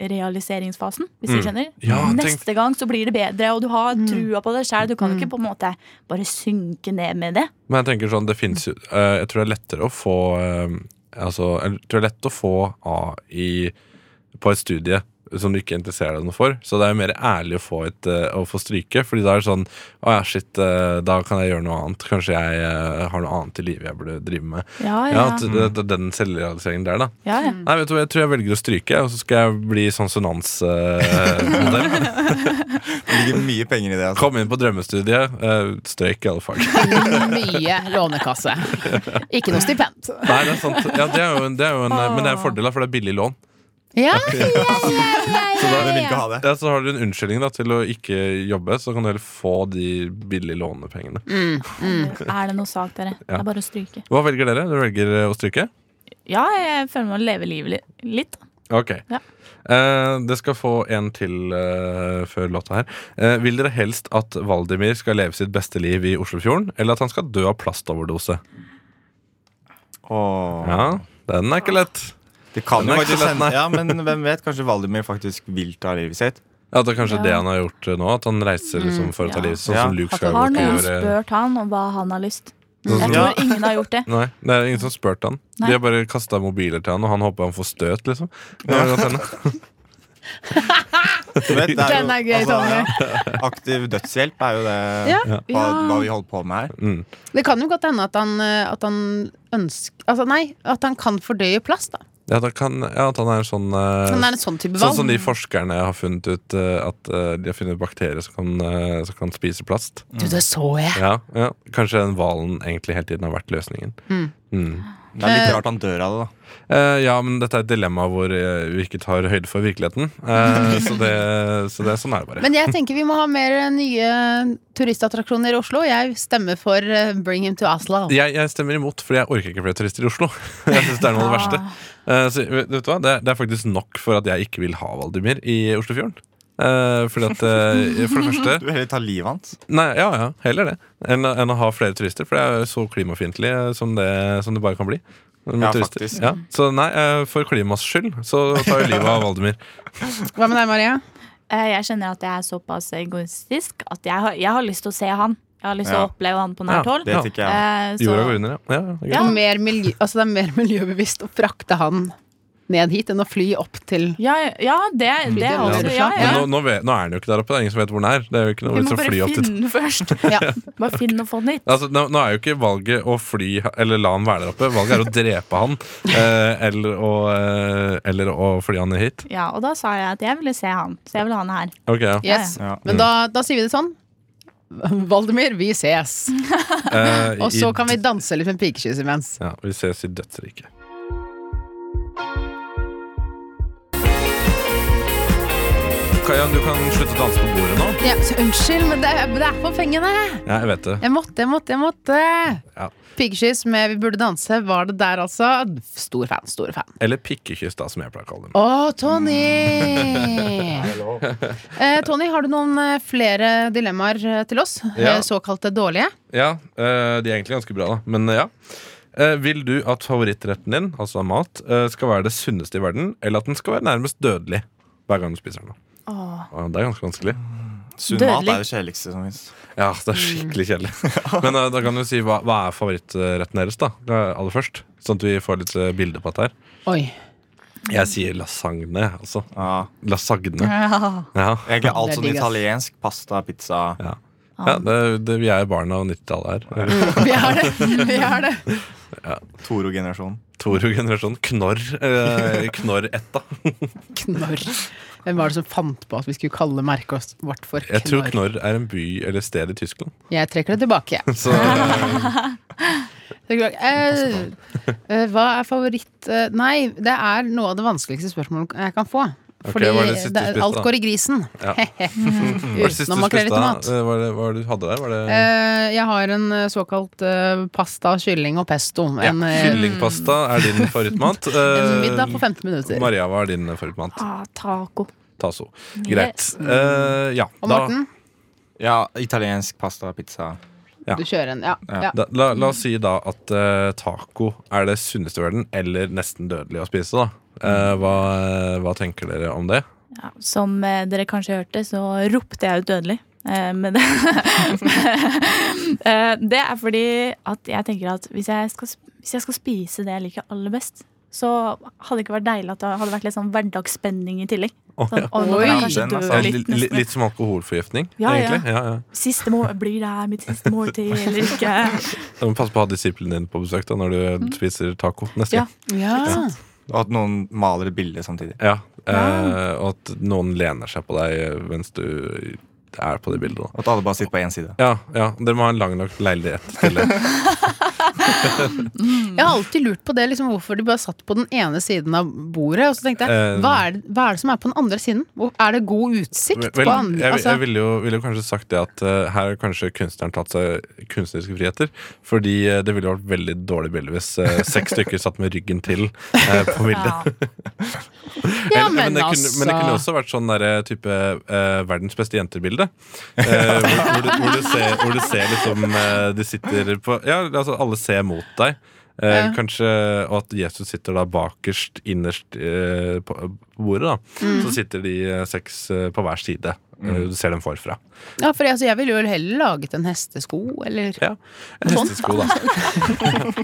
Speaker 6: selvrealiseringsfasen, hvis du skjønner.
Speaker 4: Mm. Ja, tenk-
Speaker 6: Neste gang så blir det bedre, og du har trua på deg sjæl. Du kan jo ikke på en måte bare synke ned med det.
Speaker 4: Men jeg tenker sånn, det finnes jo eh, Jeg tror det er lettere å få eh, Altså, jeg tror det er lett å få A i, på et studie som du ikke interesserer deg noe for. Så det er jo mer ærlig å få, et, eh, å få stryke, Fordi da er det sånn Å ja, shit, eh, da kan jeg gjøre noe annet. Kanskje jeg eh, har noe annet i livet jeg burde drive med.
Speaker 6: Ja,
Speaker 4: Ja, altså. at det, det, Den selvrealiseringen der, da.
Speaker 6: ja, ja.
Speaker 4: Nei, vet du hva, Jeg tror jeg velger å stryke, og så skal jeg bli sånn sonansmodell.
Speaker 5: Det ligger mye penger i det. Altså.
Speaker 4: Kom inn på drømmestudiet. eh, Strøyk i alle fag.
Speaker 3: Mye lånekasse. Ikke noe stipend.
Speaker 4: Nei, det er sant. Ja, det er jo, en- det er jo en, eh, men det er en fordel, da, for det er billig lån.
Speaker 3: Ja, ja, ja, ja, ja,
Speaker 5: Hvem vil
Speaker 3: ja.
Speaker 5: ikke ha det?
Speaker 4: Ja, Så har du en unnskyldning da, til å ikke jobbe, så kan du heller få de billige lånepengene.
Speaker 6: Er det noe sak, dere? Det er bare å stryke.
Speaker 4: Hva velger dere? Dere velger eh, å stryke?
Speaker 6: Ja, jeg føler meg å leve livet li- litt.
Speaker 4: Ok.
Speaker 6: Ja.
Speaker 4: Eh, det skal få en til eh, før låta her. Eh, vil dere helst at Valdimir skal leve sitt beste liv i Oslofjorden, eller at han skal dø av plastoverdose?
Speaker 5: Åh.
Speaker 4: Ja, Den er ikke lett.
Speaker 5: Det kan
Speaker 4: Den
Speaker 5: jo
Speaker 4: er ikke
Speaker 5: faktisk
Speaker 4: lett,
Speaker 5: hende,
Speaker 4: nei.
Speaker 5: ja, men hvem vet? Kanskje Valdemir faktisk vil ta livet sitt?
Speaker 4: Ja, det er kanskje det han har gjort eh, nå, at han reiser liksom, for å ta
Speaker 6: Ja.
Speaker 4: livet sånn
Speaker 5: Ja.
Speaker 4: som Luke
Speaker 6: Har
Speaker 4: Skywalker
Speaker 6: noen
Speaker 4: gjør. eh,
Speaker 6: spurt han om hva han har lyst?
Speaker 4: Sånn
Speaker 6: Jeg
Speaker 4: som,
Speaker 5: Ja.
Speaker 6: tror ingen har gjort det.
Speaker 4: Nei, det er ingen som har spurt han.
Speaker 6: Nei.
Speaker 4: De har bare kasta mobiler til han, og han håper han får støt, liksom. Det kan godt hende.
Speaker 5: Du vet, det jo- altså,
Speaker 3: Den er gøy,
Speaker 5: ja, Aktiv dødshjelp er jo det
Speaker 3: Ja.
Speaker 5: hva,
Speaker 3: Ja.
Speaker 5: hva vi holder på med her.
Speaker 4: Mm.
Speaker 3: Det kan jo godt hende at han, eh, at han ønsker Altså, nei, at han kan fordøye plast, da.
Speaker 4: Ja, da kan, ja, at han er en sånn eh,
Speaker 3: Han er en sånn type hval.
Speaker 4: Sånn som de forskerne har funnet ut eh, at eh, de har funnet bakterier som kan, eh, som kan spise plast.
Speaker 3: Du, det så jeg!
Speaker 4: Ja, ja. Kanskje den hvalen egentlig hele tiden har vært løsningen.
Speaker 3: Mm.
Speaker 4: Mm.
Speaker 5: Det er litt
Speaker 3: Eh.
Speaker 5: rart han dør av det, da.
Speaker 4: Eh, ja, men dette er et dilemma hvor eh, vi ikke tar høyde for virkeligheten. Eh, så, det, så det er sånn er det bare.
Speaker 3: Men jeg tenker vi må ha mer eh, nye turistattraksjoner i Oslo. Jeg stemmer for eh, Bring him to Oslo.
Speaker 4: jeg, jeg stemmer imot, fordi jeg orker ikke flere turister i Oslo. Jeg synes Det er noe av det verste
Speaker 6: Ah.
Speaker 4: Eh, så, vet vet du hva? Det, er- det er faktisk nok for at jeg ikke vil ha Valdimir i Oslofjorden. Eh, fordi at, eh, for det første
Speaker 5: Du vil heller ta livet hans.
Speaker 4: Nei, ja, ja, heller det enn, å- enn å ha flere turister, for det er jo så klimafiendtlig eh, som, det- som det bare kan bli. med
Speaker 5: Ja,
Speaker 4: turister.
Speaker 5: faktisk.
Speaker 4: Ja. Så nei, eh, for klimas skyld så tar jeg livet av Valdimir.
Speaker 3: Hva med deg, Maria?
Speaker 6: Eh, Jeg kjenner at jeg er såpass egoistisk at jeg har, jeg har lyst til å se han. Jeg har lyst til
Speaker 5: Ja.
Speaker 6: å oppleve han på
Speaker 4: Ja,
Speaker 6: nært hold.
Speaker 5: Det
Speaker 4: Ja.
Speaker 5: tenker jeg.
Speaker 6: Eh, så-
Speaker 4: Jorda går under, ja. ja, ja,
Speaker 3: Og
Speaker 4: greit.
Speaker 3: Mer miljø, altså det er mer miljøbevisst å frakte han ned hit enn å fly opp til
Speaker 6: Ja, ja, det, det er
Speaker 3: Ja,
Speaker 6: også
Speaker 3: det er
Speaker 6: ja,
Speaker 3: sant.
Speaker 6: ja.
Speaker 4: Men nå, nå, vet, nå er han jo ikke der oppe. Det er ingen som vet hvor han er. Det er jo ikke noe
Speaker 6: Vi
Speaker 4: vits
Speaker 6: må
Speaker 4: å fly
Speaker 6: bare
Speaker 4: opp dit.
Speaker 6: finne den først.
Speaker 3: Ja.
Speaker 6: Bare finn og få den hit.
Speaker 4: Altså, nå, nå er jo ikke valget å fly eller la han være der oppe. Valget er å drepe han eh, eller, å, eh, eller å fly han hit.
Speaker 6: Ja, og da sa jeg at jeg ville se han. Så jeg ville ha han her.
Speaker 4: Ok, ja.
Speaker 3: Yes.
Speaker 5: Ja.
Speaker 4: Mm.
Speaker 3: Men da, da sier vi det sånn. Valdemir, vi ses.
Speaker 4: Eh,
Speaker 3: Og så
Speaker 4: i-
Speaker 3: kan vi danse litt med pikekyss imens.
Speaker 4: ja, Vi ses i dødsriket. Kaja, du kan slutte å danse på bordet nå.
Speaker 3: Ja, så unnskyld, men det, er- det er på pengene!
Speaker 4: Ja, jeg vet det.
Speaker 3: Jeg måtte, jeg måtte, jeg måtte.
Speaker 4: Ja.
Speaker 3: Pikekyss med Vi burde danse var det der, altså. Stor fan, stor fan.
Speaker 4: Eller pikkekyss, da, som jeg pleier å kalle det.
Speaker 3: Å, Tony! eh, Tony, har du noen eh, flere dilemmaer eh, til oss?
Speaker 4: Ja.
Speaker 3: Eh, Såkalte dårlige?
Speaker 4: Ja, eh, de er egentlig ganske bra, da. Men eh, ja. Eh, vil du at favorittretten din, altså mat, eh, skal være det sunneste i verden, eller at den skal være nærmest dødelig hver gang du spiser den?
Speaker 6: Åh.
Speaker 4: Ja, Det er ganske vanskelig.
Speaker 5: Sunn mat
Speaker 6: Dødelig.
Speaker 5: er det kjedeligste som fins.
Speaker 4: Ja, det er
Speaker 6: Mm.
Speaker 4: skikkelig kjedelig. Men eh, da kan du si hva, hva er favorittretten deres, da? Eh, Aller først. Sånn at vi får litt eh, bilde på dette her.
Speaker 3: Oi.
Speaker 4: Jeg sier lasagne, altså.
Speaker 5: Ja.
Speaker 4: Lasagne.
Speaker 6: Ja.
Speaker 4: Ja.
Speaker 5: Egentlig alt
Speaker 3: Det er
Speaker 5: sånn
Speaker 3: digg, ass.
Speaker 5: italiensk. Pasta, pizza.
Speaker 6: Ah.
Speaker 4: Ja, det, det, vi er barna av 90-tallet her.
Speaker 6: Mm.
Speaker 3: Vi har det. Vi har det.
Speaker 5: Toro-generasjonen.
Speaker 4: Toro-generasjon. Knorr. Eh, Knorr-etta.
Speaker 3: Knorr. Hvem var det som fant på at vi skulle kalle merket vårt for
Speaker 4: Jeg tror
Speaker 3: knorr?
Speaker 4: Knorr er en by eller sted i Tyskland.
Speaker 3: Jeg trekker det tilbake. jeg.
Speaker 4: Så eh,
Speaker 3: Trekker det tilbake. Eh, eh, hva er favoritt eh, Nei, det er noe av det vanskeligste spørsmålet jeg kan få.
Speaker 4: Ok,
Speaker 3: Fordi
Speaker 4: hva er det siste
Speaker 3: det
Speaker 4: du spiste,
Speaker 3: alt
Speaker 4: da?
Speaker 3: går i grisen.
Speaker 4: Ja. Hva er det siste
Speaker 3: Utenom
Speaker 4: du
Speaker 3: makrell i
Speaker 4: spiste, da?
Speaker 3: tomat.
Speaker 4: Eh, Hva er det, hva er det du hadde der? Var det
Speaker 3: Eh, jeg har en eh, såkalt eh, pasta, kylling og pesto. En, eh,
Speaker 4: Kyllingpasta er din favorittmat.
Speaker 3: en
Speaker 4: Eh,
Speaker 3: middag på 15 minutter.
Speaker 4: Maria, hva er din favorittmat?
Speaker 6: Ah, taco.
Speaker 4: Taso. Greit. Eh, ja,
Speaker 3: Og
Speaker 4: da,
Speaker 3: Morten,
Speaker 5: Ja, italiensk pasta, pizza.
Speaker 4: ja.
Speaker 3: du kjører en. Ja,
Speaker 5: Ja.
Speaker 3: ja.
Speaker 4: da, la, la oss si da at eh, taco er det sunneste i verden, eller nesten dødelig å spise. da Eh, hva, hva tenker dere om det?
Speaker 6: Ja, som eh, dere kanskje hørte, så ropte jeg ut dødelig. Eh, men det, eh, det er fordi at jeg tenker at hvis jeg, skal, hvis jeg skal spise det jeg liker aller best, så hadde det ikke vært deilig at det hadde vært litt sånn hverdagsspenning i tillegg.
Speaker 4: Å,
Speaker 6: Sånn,
Speaker 4: ja. sånn
Speaker 6: å, nå kan jeg kanskje
Speaker 5: Den er
Speaker 6: dø
Speaker 5: sant.
Speaker 6: litt,
Speaker 4: litt, li-
Speaker 6: nesten.
Speaker 4: litt som alkoholforgiftning,
Speaker 6: Ja, ja.
Speaker 4: egentlig. Ja, ja.
Speaker 6: Siste mål, blir det her mitt siste måltid eller ikke?
Speaker 4: Du må passe på å ha disiplinen din på besøk da når du
Speaker 3: Mm.
Speaker 4: spiser taco neste
Speaker 6: Ja.
Speaker 4: gang.
Speaker 3: Ja.
Speaker 5: Og at noen maler et bilde samtidig.
Speaker 4: Ja. eh, og at noen lener seg på deg mens du er på det bildet. da
Speaker 5: Og at alle bare sitter på én side.
Speaker 4: ja, ja, Dere må ha en lang nok leilighet til det.
Speaker 3: Jeg har alltid lurt på det, liksom, hvorfor de bare satt på den ene siden av bordet. Og så tenkte
Speaker 4: Eh,
Speaker 3: jeg, hva er det, hva er det som er på den andre siden? Hvor- Er det god utsikt
Speaker 4: Vel,
Speaker 3: på andre?
Speaker 4: jeg,
Speaker 3: Altså,
Speaker 4: jeg ville jo, ville jo kanskje sagt det at eh, her har kanskje kunstneren tatt seg kunstneriske friheter. Fordi eh, det ville vært veldig dårlig bilde hvis eh, seks stykker satt med ryggen til eh, på bildet.
Speaker 6: Ja.
Speaker 3: ja,
Speaker 4: Eller-
Speaker 3: men
Speaker 4: det kunne, men det kunne
Speaker 3: altså.
Speaker 4: også vært sånn derre type eh, verdens beste jenter-bilde. Eh, hvor, hvor, du- hvor, du ser- hvor du ser liksom eh, De sitter på Ja, altså alle ser mot deg. eh, Eh,
Speaker 3: Ja.
Speaker 4: Kanskje, Og at Jesus sitter da bakerst, innerst eh, på på bordet. da
Speaker 3: Mm.
Speaker 4: Så sitter de eh, seks eh, på hver side. Eh, Du ser dem forfra.
Speaker 3: Ja, for jeg, altså, jeg ville jo heller laget en hestesko, eller
Speaker 4: Ja, En
Speaker 3: Sånn.
Speaker 4: hestesko, da.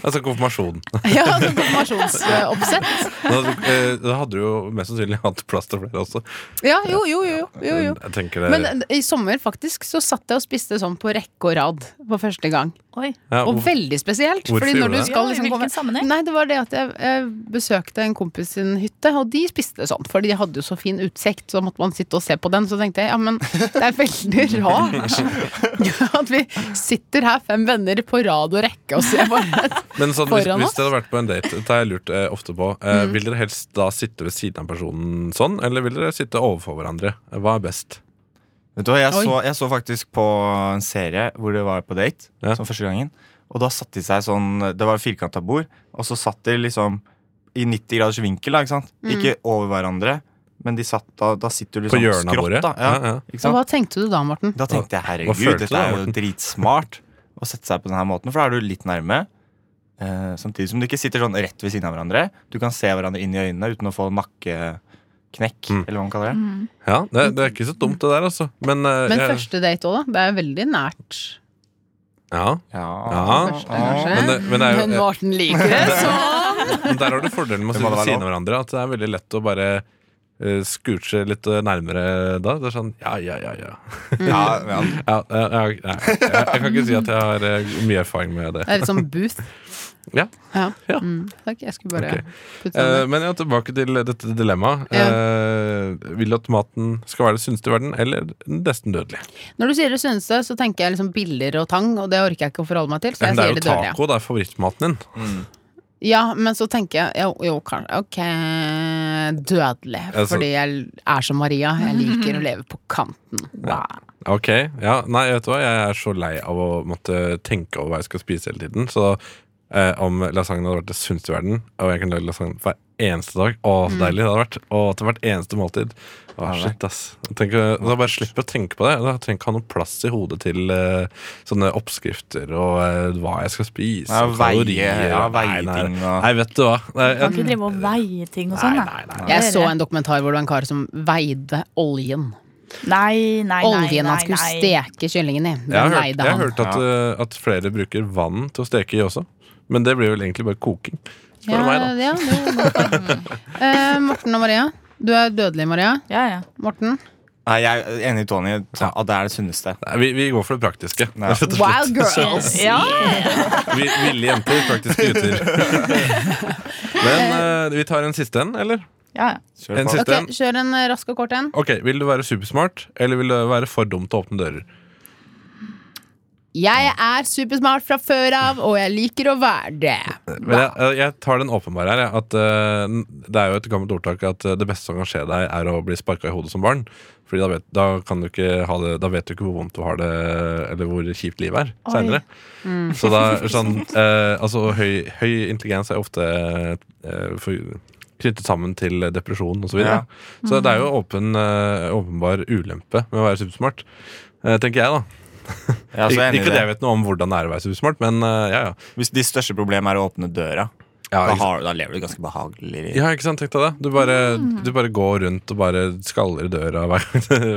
Speaker 4: altså konfirmasjonen.
Speaker 3: Ja, sånn konfirmasjonsoppsett.
Speaker 4: Da hadde, eh, da hadde du jo mest sannsynlig hatt plass til flere også.
Speaker 3: Ja, jo, jo, jo. jo, jo.
Speaker 4: Jeg tenker det
Speaker 3: Men eh, i sommer faktisk så satt jeg og spiste sånn på rekke og rad for første gang.
Speaker 6: Oi.
Speaker 4: ja,
Speaker 3: Og
Speaker 4: hvorfor-
Speaker 3: veldig spesielt.
Speaker 4: hvorfor
Speaker 3: fordi
Speaker 4: gjorde
Speaker 3: når
Speaker 4: du
Speaker 3: du
Speaker 4: det?
Speaker 3: skal
Speaker 6: Ja, i
Speaker 3: liksom
Speaker 6: hvilken
Speaker 3: komme
Speaker 6: sammenheng?
Speaker 3: Nei, det var det at jeg, jeg besøkte en kompis sin hytte, og de spiste sånn. For de hadde jo så fin utsikt, så måtte man sitte og se på den. Så tenkte jeg ja, men det er veldig rart at vi sitter her fem venner på rad og rekke og ser bare
Speaker 4: Men sånn, hvis,
Speaker 3: Foran
Speaker 4: hvis
Speaker 3: oss? Mm.
Speaker 4: dere hadde vært på en date, det har jeg lurt eh, ofte på eh, Vil dere helst da sitte ved siden av personen sånn, eller vil dere sitte overfor hverandre? Hva er best?
Speaker 5: Vet du hva, jeg
Speaker 3: Oi.
Speaker 5: så, jeg så faktisk på en serie hvor det var på date.
Speaker 4: Ja.
Speaker 5: Som første gangen Og da satte de seg sånn Det var firkanta bord, og så satt de liksom i 90 graders vinkel. da, Ikke sant?
Speaker 3: Mm.
Speaker 5: Ikke over hverandre, men de satt da, da sitter du
Speaker 4: På
Speaker 5: liksom
Speaker 4: hjørnet av bordet?
Speaker 5: Da, ja,
Speaker 4: Ja, ja.
Speaker 5: Ikke
Speaker 3: Og
Speaker 5: sant?
Speaker 3: hva tenkte du da, Morten?
Speaker 5: da tenkte jeg
Speaker 4: følte
Speaker 5: herregud,
Speaker 4: du
Speaker 5: dette
Speaker 4: da,
Speaker 5: er jo dritsmart å sette seg på denne måten, for da er du litt nærme. Eh, samtidig som du ikke sitter sånn rett ved siden av hverandre. Du kan se hverandre inn i øynene uten å få nakkeknekk,
Speaker 4: Mm.
Speaker 5: eller hva man kaller det.
Speaker 4: Ja, det, det er ikke så dumt, det der, altså. Men, eh,
Speaker 3: Men
Speaker 4: jeg-
Speaker 3: første date òg, da. Det er veldig nært.
Speaker 4: ja.
Speaker 5: Ja,
Speaker 4: Ja.
Speaker 3: Første, kanskje.
Speaker 4: Ah. Men, det, men, det er
Speaker 3: Men
Speaker 4: jo,
Speaker 3: Morten liker det, så
Speaker 4: men der har du fordelen med å
Speaker 5: Det
Speaker 4: sitte
Speaker 5: må
Speaker 4: ved
Speaker 5: det være
Speaker 4: siden av hverandre. At det er veldig lett å bare eh, Skurche litt eh, nærmere da. Det er sånn ja, ja, ja. ja,
Speaker 5: ja, ja.
Speaker 4: ja eh, jeg, nei, jeg, jeg kan ikke si at jeg har eh, mye erfaring med det.
Speaker 3: Det er litt sånn booth.
Speaker 4: Ja.
Speaker 3: Ja.
Speaker 4: Ja.
Speaker 3: Mm, takk, jeg skulle bare
Speaker 4: Ok.
Speaker 3: putte
Speaker 4: Eh,
Speaker 3: den der.
Speaker 4: men ja, tilbake til dette dilemmaet. Eh, vil du at maten skal være det sunneste i verden, eller nesten dødelig?
Speaker 3: Når du sier det sunneste, så tenker jeg liksom biller og tang, og det orker jeg ikke å forholde meg til. Så
Speaker 4: Men
Speaker 3: jeg
Speaker 4: det er
Speaker 3: sier
Speaker 4: jo
Speaker 3: det dødelige.
Speaker 4: taco, det er favorittmaten din.
Speaker 3: Ja, men så tenker jeg jo, jo kanskje Ok, dødelig.
Speaker 4: Altså-
Speaker 3: fordi jeg er som Maria. Jeg liker å leve på kanten.
Speaker 4: Ok, ja, nei, vet du hva, jeg er så lei av å måtte tenke over hva jeg skal spise hele tiden. Så eh, om lasagne hadde vært det sunneste i verden, og jeg kan lage lasagne hver eneste dag, å, så deilig det hadde vært. Og til hvert eneste måltid. Å, shit, ass. Tenk, å- da bare slipper jeg å tenke på det. Da trenger jeg ikke ha noe plass i hodet til eh, sånne oppskrifter og eh, hva jeg skal spise.
Speaker 5: Ja,
Speaker 4: og
Speaker 5: veie-
Speaker 4: kalorier,
Speaker 5: ja,
Speaker 4: og- nei, nei,
Speaker 5: veiting og-
Speaker 4: Nei, vet du hva. Nei,
Speaker 6: Kan
Speaker 4: jeg,
Speaker 6: ikke drive og veie ting og
Speaker 4: nei,
Speaker 6: sånn. da.
Speaker 4: nei, nei.
Speaker 3: Jeg så en dokumentar hvor det var en kar som veide oljen.
Speaker 6: Nei, nei, nei.
Speaker 3: Oljen han
Speaker 6: nei,
Speaker 3: skulle
Speaker 6: nei.
Speaker 3: steke kyllingen i.
Speaker 4: Jeg har
Speaker 3: Den
Speaker 4: hørt,
Speaker 3: veide
Speaker 4: jeg har
Speaker 3: han.
Speaker 4: hørt at, eh, at flere bruker vann til å steke i også. Men det blir vel egentlig bare koking. Spør du meg, da.
Speaker 3: ja, det er godt poeng. Eh, Morten og Maria. Du er dødelig, Maria.
Speaker 6: Ja, ja.
Speaker 3: Morten.
Speaker 5: Nei, jeg er enig i Tony. Ta, At det er det sunneste.
Speaker 4: Nei, vi, vi går for det praktiske.
Speaker 5: Ja.
Speaker 4: Rett og slett.
Speaker 3: Wild girls.
Speaker 6: ja.
Speaker 4: Vi, ville jenter, praktiske gutter. Men eh, vi tar en siste en, eller?
Speaker 6: ja.
Speaker 5: Kjør
Speaker 4: En
Speaker 5: på.
Speaker 4: siste.
Speaker 3: Ok, kjør en eh, rask og kort en.
Speaker 4: Ok, Vil du være supersmart, eller vil du være for dum til å åpne dører?
Speaker 3: Jeg er supersmart fra før av, og jeg liker å være det.
Speaker 4: Men jeg, eh, jeg tar den åpenbare her. jeg, At, eh, n- det er jo et gammelt ordtak at eh, det beste som kan skje deg, er å bli sparka i hodet som barn. Fordi da vet, da kan du ikke ha det, da vet du ikke hvor vondt du har det, eller hvor kjipt livet er
Speaker 6: Oi.
Speaker 4: seinere.
Speaker 5: Mm.
Speaker 4: Så da er sånn eh, Altså, høy, høy intelligens er ofte eh, for, knyttet sammen til depresjon osv. Så, videre.
Speaker 5: Ja. Mm.
Speaker 4: så det er jo åpen, eh, åpenbar ulempe med å være supersmart. eh, tenker jeg, da.
Speaker 5: Altså, Jeg er så
Speaker 4: Ik-
Speaker 5: enig
Speaker 4: ikke
Speaker 5: i
Speaker 4: at jeg
Speaker 5: det.
Speaker 4: vet noe om hvordan det er å være supersmart, men eh, ja, ja.
Speaker 5: Hvis de største problemet er å åpne døra,
Speaker 4: ja
Speaker 5: da,
Speaker 4: ikke-
Speaker 5: har, da lever du ganske behagelig.
Speaker 4: Ja, ikke sant, tenk deg det Du bare,
Speaker 6: Mm.
Speaker 4: du bare går rundt og bare skaller i døra hver,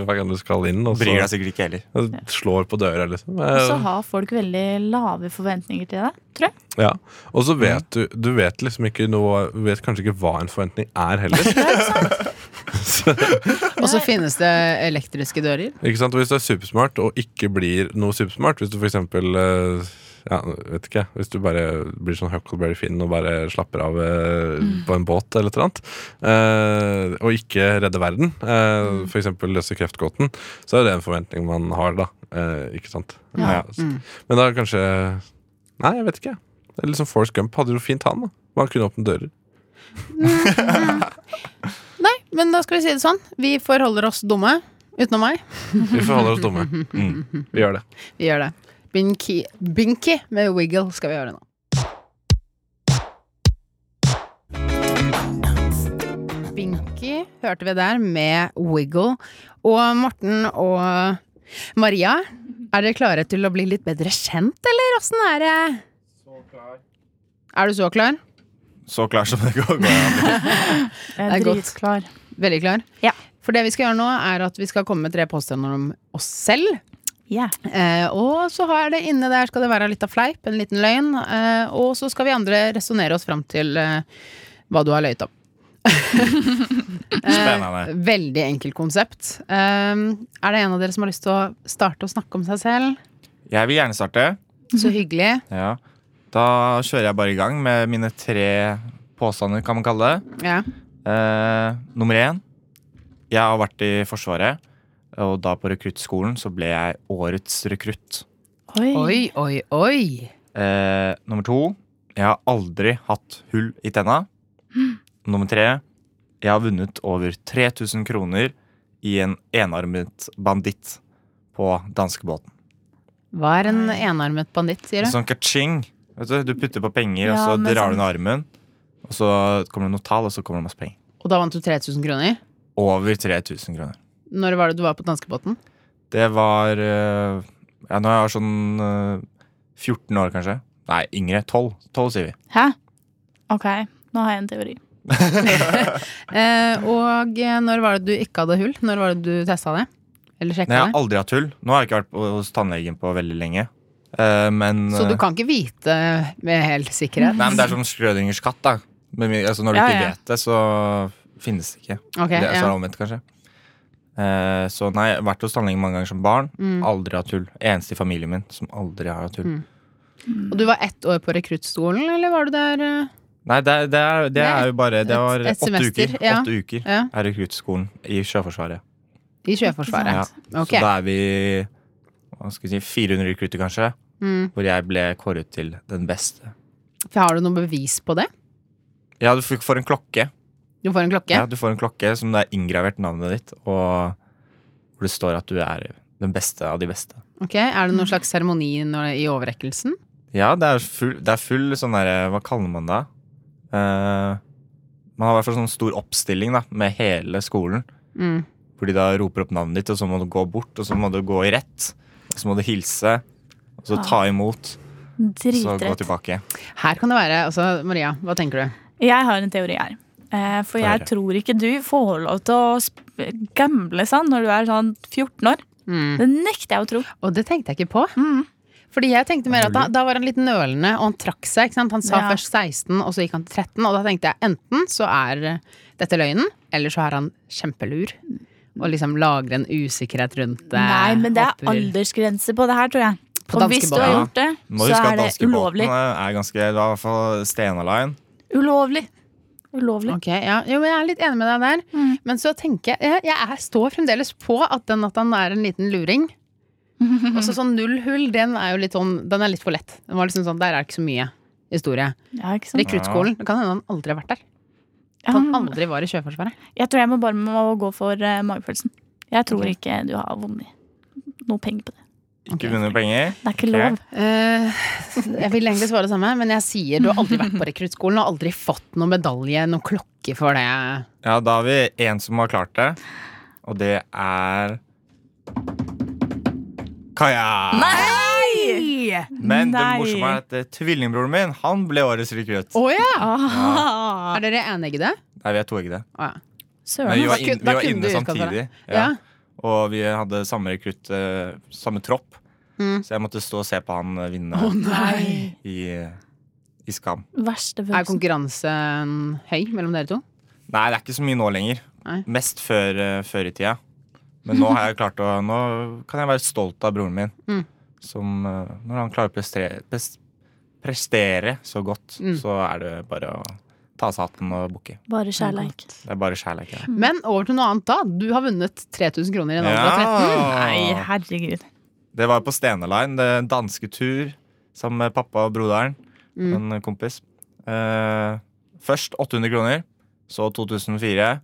Speaker 4: hver gang du skal inn Og
Speaker 5: Bryr deg
Speaker 4: så
Speaker 5: sikkert ikke heller.
Speaker 4: slår på døra liksom
Speaker 6: Og så
Speaker 4: Eh,
Speaker 6: har folk veldig lave forventninger til deg, tror jeg.
Speaker 4: ja. Og så
Speaker 5: Mm.
Speaker 4: vet du, du vet liksom ikke noe Du vet kanskje ikke hva en forventning er heller
Speaker 3: Og så finnes det elektriske dører.
Speaker 4: Ikke sant, og hvis du er supersmart og ikke blir noe supersmart Hvis du for eksempel eh, ja, vet ikke, jeg, hvis du bare blir sånn Huckleberry Finn og bare slapper av eh, på en båt eller et eller annet, eh, og ikke redder verden, eh, for eksempel løser kreftgåten, så er det en forventning man har, da. Eh, ikke sant?
Speaker 5: Ja.
Speaker 4: Eh, så- Men da kanskje Nei, jeg vet ikke. Det er Liksom Forrest Gump hadde jo fint han, da. Man kunne åpne dører.
Speaker 3: Nei, men da skal vi si det sånn. Vi forholder oss dumme. Utenom meg.
Speaker 4: Vi forholder oss dumme. Mm. Vi gjør det.
Speaker 3: Vi gjør det. Binky, Binky med Wiggle skal vi gjøre nå. Binky hørte vi der med Wiggle. Og Morten og Maria, er dere klare til å bli litt bedre kjent, eller åssen er det? Er du så klar?
Speaker 5: Så klar som det går. går an.
Speaker 6: Jeg er
Speaker 3: Det er godt.
Speaker 6: Eh, dritklar.
Speaker 3: Veldig klar?
Speaker 6: Ja.
Speaker 3: For det vi skal gjøre nå, er at vi skal komme med tre påstander om oss selv.
Speaker 6: Ja.
Speaker 3: Eh, og så har det inne der skal det være litt av fleip, en liten løgn. Eh, og så skal vi andre resonnere oss fram til eh, hva du har løyet om. Eh,
Speaker 5: Spennende.
Speaker 3: Veldig enkelt konsept. Eh, er det en av dere som har lyst til å starte å snakke om seg selv?
Speaker 5: Jeg vil gjerne starte.
Speaker 3: Så hyggelig.
Speaker 5: Ja. Da kjører jeg bare i gang med mine tre påstander, kan man kalle det.
Speaker 3: Ja.
Speaker 5: Eh, nummer én. Jeg har vært i Forsvaret, og da på rekruttskolen så ble jeg årets rekrutt.
Speaker 3: Oi, oi, oi.
Speaker 5: Eh, nummer to. Jeg har aldri hatt hull i tenna. Nummer tre. Jeg har vunnet over 3000 kroner i en enarmet banditt på danskebåten.
Speaker 3: Hva er en enarmet banditt, sier du?
Speaker 5: Sånn ka-ching. Vet du, du putter på penger, og
Speaker 6: Ja,
Speaker 5: så
Speaker 6: men
Speaker 5: drar
Speaker 6: sånn-
Speaker 5: du ned armen. Og så kommer det noe tall, og så kommer det masse penger.
Speaker 3: Og da vant du 3000 kroner?
Speaker 5: Over 3000 kroner.
Speaker 3: Når var det du var på danskebåten?
Speaker 5: Det var eh, Ja, nå er jeg sånn eh, 14 år, kanskje. Nei, yngre. 12. 12 sier vi.
Speaker 6: Hæ? Ok, nå har jeg en teori.
Speaker 3: Eh, og eh, når var det du ikke hadde hull? Når var det du testa det? Eller
Speaker 5: Nei,
Speaker 3: sjekka
Speaker 5: jeg har
Speaker 3: det?
Speaker 5: aldri hatt hull. Nå har jeg ikke vært på, hos tannlegen på veldig lenge. Eh, men
Speaker 3: Så du
Speaker 5: eh,
Speaker 3: kan ikke vite med hel sikkerhet?
Speaker 5: Nei, men det er som Schrødingers katt, da. Men, vi- altså, når du
Speaker 6: Ja,
Speaker 5: ikke
Speaker 6: ja.
Speaker 5: vet det, så finnes det ikke.
Speaker 3: Ok,
Speaker 5: det, Så er sånn
Speaker 3: ja.
Speaker 5: det omvendt, kanskje. Eh, så nei, jeg har vært hos tannlegen mange ganger som barn.
Speaker 3: Mm.
Speaker 5: Aldri hatt hull. Eneste i familien min som aldri har hatt hull.
Speaker 3: Og du var ett år på rekruttskolen, eller var du der eh?
Speaker 5: Nei, det, er- det, er, det
Speaker 3: Nei,
Speaker 5: er jo bare Det
Speaker 3: et-
Speaker 5: var
Speaker 3: et
Speaker 5: åtte
Speaker 3: semester,
Speaker 5: uker.
Speaker 3: ja.
Speaker 5: Åtte uker
Speaker 3: ja,
Speaker 5: er rekruttskolen i Sjøforsvaret.
Speaker 3: i Sjøforsvaret?
Speaker 5: Ja.
Speaker 3: Ok.
Speaker 5: Så da er vi hva skal vi si, 400 rekrutter, kanskje,
Speaker 3: Mm.
Speaker 5: hvor jeg ble kåret til den beste.
Speaker 3: For Har du noe bevis på det?
Speaker 5: Ja, du får får en klokke.
Speaker 3: Du får en klokke?
Speaker 5: Ja, du får en klokke som det er inngravert navnet ditt, og hvor det står at du er den beste av de beste.
Speaker 3: Ok, Er det noen slags seremoni når- i overrekkelsen?
Speaker 5: Ja, det er full, det er full sånn derre Hva kaller man det? Eh, man har i hvert fall sånn stor oppstilling da, med hele skolen.
Speaker 3: Mm.
Speaker 5: Hvor de da roper opp navnet ditt, og så må du gå bort, og så må du gå i rett. Og så må du hilse, og så ta imot, og så gå
Speaker 6: Dritrett.
Speaker 5: tilbake.
Speaker 3: Her kan det være altså, Maria, hva tenker du?
Speaker 6: Jeg har en teori her. Eh, For
Speaker 5: Få
Speaker 6: jeg
Speaker 5: høre.
Speaker 6: tror ikke du får lov til å sp- gamble sånn når du er sånn 14 år.
Speaker 3: Mm.
Speaker 6: Det nekter jeg å tro.
Speaker 3: Og det tenkte jeg ikke på.
Speaker 6: Mm.
Speaker 3: Fordi jeg tenkte mer at da, da var han litt nølende, og han trakk seg. ikke sant? Han sa
Speaker 6: Ja.
Speaker 3: først 16, og så gikk han til 13. Og da tenkte jeg enten så er eh, dette løgnen, eller så er han kjempelur. Og liksom lager en usikkerhet rundt det.
Speaker 6: Mm. Nei, men det er
Speaker 3: Håper-
Speaker 6: aldersgrense på det her, tror jeg.
Speaker 3: På
Speaker 6: og hvis du har
Speaker 3: danskebåten.
Speaker 6: gjort det,
Speaker 5: Må
Speaker 6: så
Speaker 5: huske
Speaker 6: er
Speaker 5: at
Speaker 6: det
Speaker 5: danskebåten
Speaker 6: ulovlig.
Speaker 5: er ganske Det var i hvert fall Stena Line.
Speaker 6: Ulovlig. Ulovlig.
Speaker 3: Ok, ja. Jo, men jeg er litt enig med deg der.
Speaker 6: Mm.
Speaker 3: Men så tenker jeg Jeg, jeg er, står fremdeles på at den at han er en liten luring. Og så sånn null hull, den er jo litt sånn Den er litt for lett. Den var liksom sånn, Der er det ikke så mye historie.
Speaker 6: Ja, ikke sant?
Speaker 3: Rekruttskolen. Det kan hende han aldri har vært der. At han
Speaker 6: Ja,
Speaker 3: aldri var i Sjøforsvaret.
Speaker 6: jeg tror jeg må bare må gå for eh, magefølelsen. Jeg tror ikke du har vunnet noe penger på det.
Speaker 5: Ikke vunnet penger.
Speaker 6: Det er ikke
Speaker 5: Ok.
Speaker 6: lov.
Speaker 3: Eh, jeg vil egentlig svare det samme, men jeg sier du har aldri vært på rekruttskolen og aldri fått noen medalje, noen klokke for det.
Speaker 5: Ja, da har vi én som har klart det, og det er Kaja!
Speaker 6: Nei!
Speaker 5: Men det
Speaker 6: Nei.
Speaker 5: morsomme er at eh, tvillingbroren min Han ble årets rekrutt.
Speaker 3: Å ja!
Speaker 6: Ah.
Speaker 3: Er dere eneggede?
Speaker 5: Nei, vi er toeggede.
Speaker 3: Å ja.
Speaker 5: Men
Speaker 6: Søren.
Speaker 5: vi
Speaker 3: da
Speaker 5: var,
Speaker 3: kun-
Speaker 5: inn,
Speaker 3: da
Speaker 5: vi var
Speaker 3: kunne
Speaker 5: inne
Speaker 3: du utkalt
Speaker 5: samtidig.
Speaker 3: det. Ja.
Speaker 5: Og vi hadde samme rekrutt, eh, samme tropp.
Speaker 3: Mm.
Speaker 5: Så jeg måtte stå og se på han eh, vinne
Speaker 3: Å nei!
Speaker 5: i, eh, i Skam.
Speaker 6: Verste
Speaker 3: Er
Speaker 6: følelsen.
Speaker 3: konkurransen høy mellom dere to?
Speaker 5: Nei, det er ikke så mye nå lenger.
Speaker 3: Nei.
Speaker 5: Mest før, eh, før i tida. Men nå, har jeg klart å, nå kan jeg være stolt av broren min.
Speaker 3: Mm.
Speaker 5: Som, eh, når han klarer å prestere, pres- prestere så godt,
Speaker 3: Mm.
Speaker 5: så er det bare å ta seg hatten og bukke.
Speaker 6: Bare kjærleik.
Speaker 5: Det er bare
Speaker 6: Mm.
Speaker 5: kjærlighet. ja.
Speaker 3: Men over til noe annet da. Du har vunnet 3000 kroner i en alder av 13.
Speaker 6: Nei,
Speaker 5: Ja.
Speaker 6: herregud.
Speaker 5: Det var på Stena Line. Det er en danske tur sammen med pappa og broderen.
Speaker 3: Mm.
Speaker 5: En kompis. Eh, først 800 kroner, så 2004.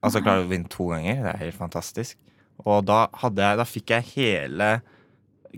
Speaker 5: Altså klarer du å vinne to ganger. Det er helt fantastisk. Og da, hadde jeg, da fikk jeg hele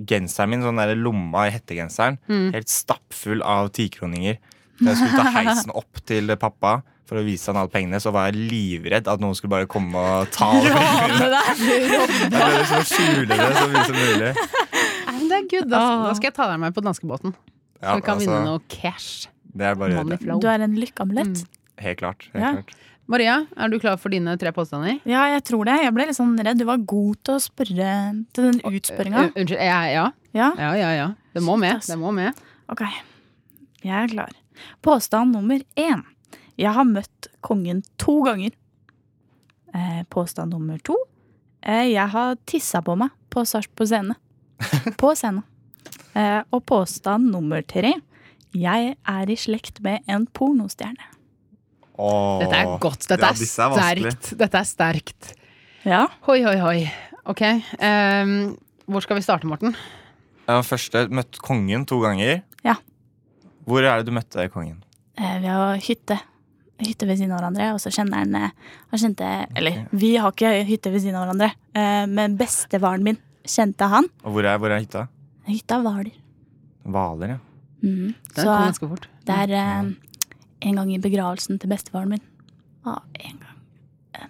Speaker 5: genseren min, sånn der lomma i hettegenseren, helt stappfull av tikroninger. Da jeg skulle ta heisen opp til pappa for å vise han alle pengene, så var jeg livredd at noen skulle bare komme og ta alle pengene. Jeg prøvde liksom å skjule det så mye som mulig.
Speaker 3: Nei, men det er good. Da,
Speaker 6: Åh.
Speaker 3: da skal jeg ta deg med på danskebåten.
Speaker 5: Ja,
Speaker 3: Så vi kan
Speaker 5: altså,
Speaker 3: vinne noe cash.
Speaker 5: Det er bare
Speaker 3: Money
Speaker 5: det.
Speaker 3: flow.
Speaker 6: Du er en lykkeamulett.
Speaker 5: Helt klart. Helt
Speaker 6: Ja.
Speaker 5: klart.
Speaker 3: Maria, er du klar for dine tre påstander?
Speaker 6: Ja, jeg tror det. Jeg ble litt sånn redd. Du var god til å spørre til den utspørringa.
Speaker 3: Eh, Unnskyld. Ja, ja.
Speaker 6: Ja,
Speaker 3: ja, ja, ja. Det må med.
Speaker 6: ass.
Speaker 3: Det må med.
Speaker 6: ok. Jeg er klar. Påstand nummer én. Jeg har møtt kongen to ganger. Eh, Påstand nummer to. Eh, Jeg har tissa på meg på Sars på scene. På scenen. Eh, Og påstand nummer tre. Jeg er i slekt med en pornostjerne.
Speaker 5: Åh.
Speaker 3: Dette er godt. Dette
Speaker 5: Ja,
Speaker 3: er
Speaker 5: disse er vanskelig.
Speaker 3: sterkt. Dette er sterkt.
Speaker 6: Ja.
Speaker 3: Hoi, hoi, hoi. Ok. ehm, hvor skal vi starte, Morten?
Speaker 5: Jeg har først møtt kongen to ganger.
Speaker 6: Ja.
Speaker 5: Hvor er det du møtte kongen?
Speaker 6: eh, ved å hytte. Hytte ved siden av hverandre, og så kjenner han eh, Han kjente Eller, vi har ikke hytte ved siden av hverandre, eh, men bestefaren min kjente han.
Speaker 5: Og hvor er, hvor er hytta?
Speaker 6: Hytta Hvaler.
Speaker 5: Hvaler, ja.
Speaker 6: Mhm.
Speaker 3: Den kom
Speaker 6: Så
Speaker 3: ganske fort.
Speaker 6: det er eh, en gang i begravelsen til bestefaren min. Og en gang eh,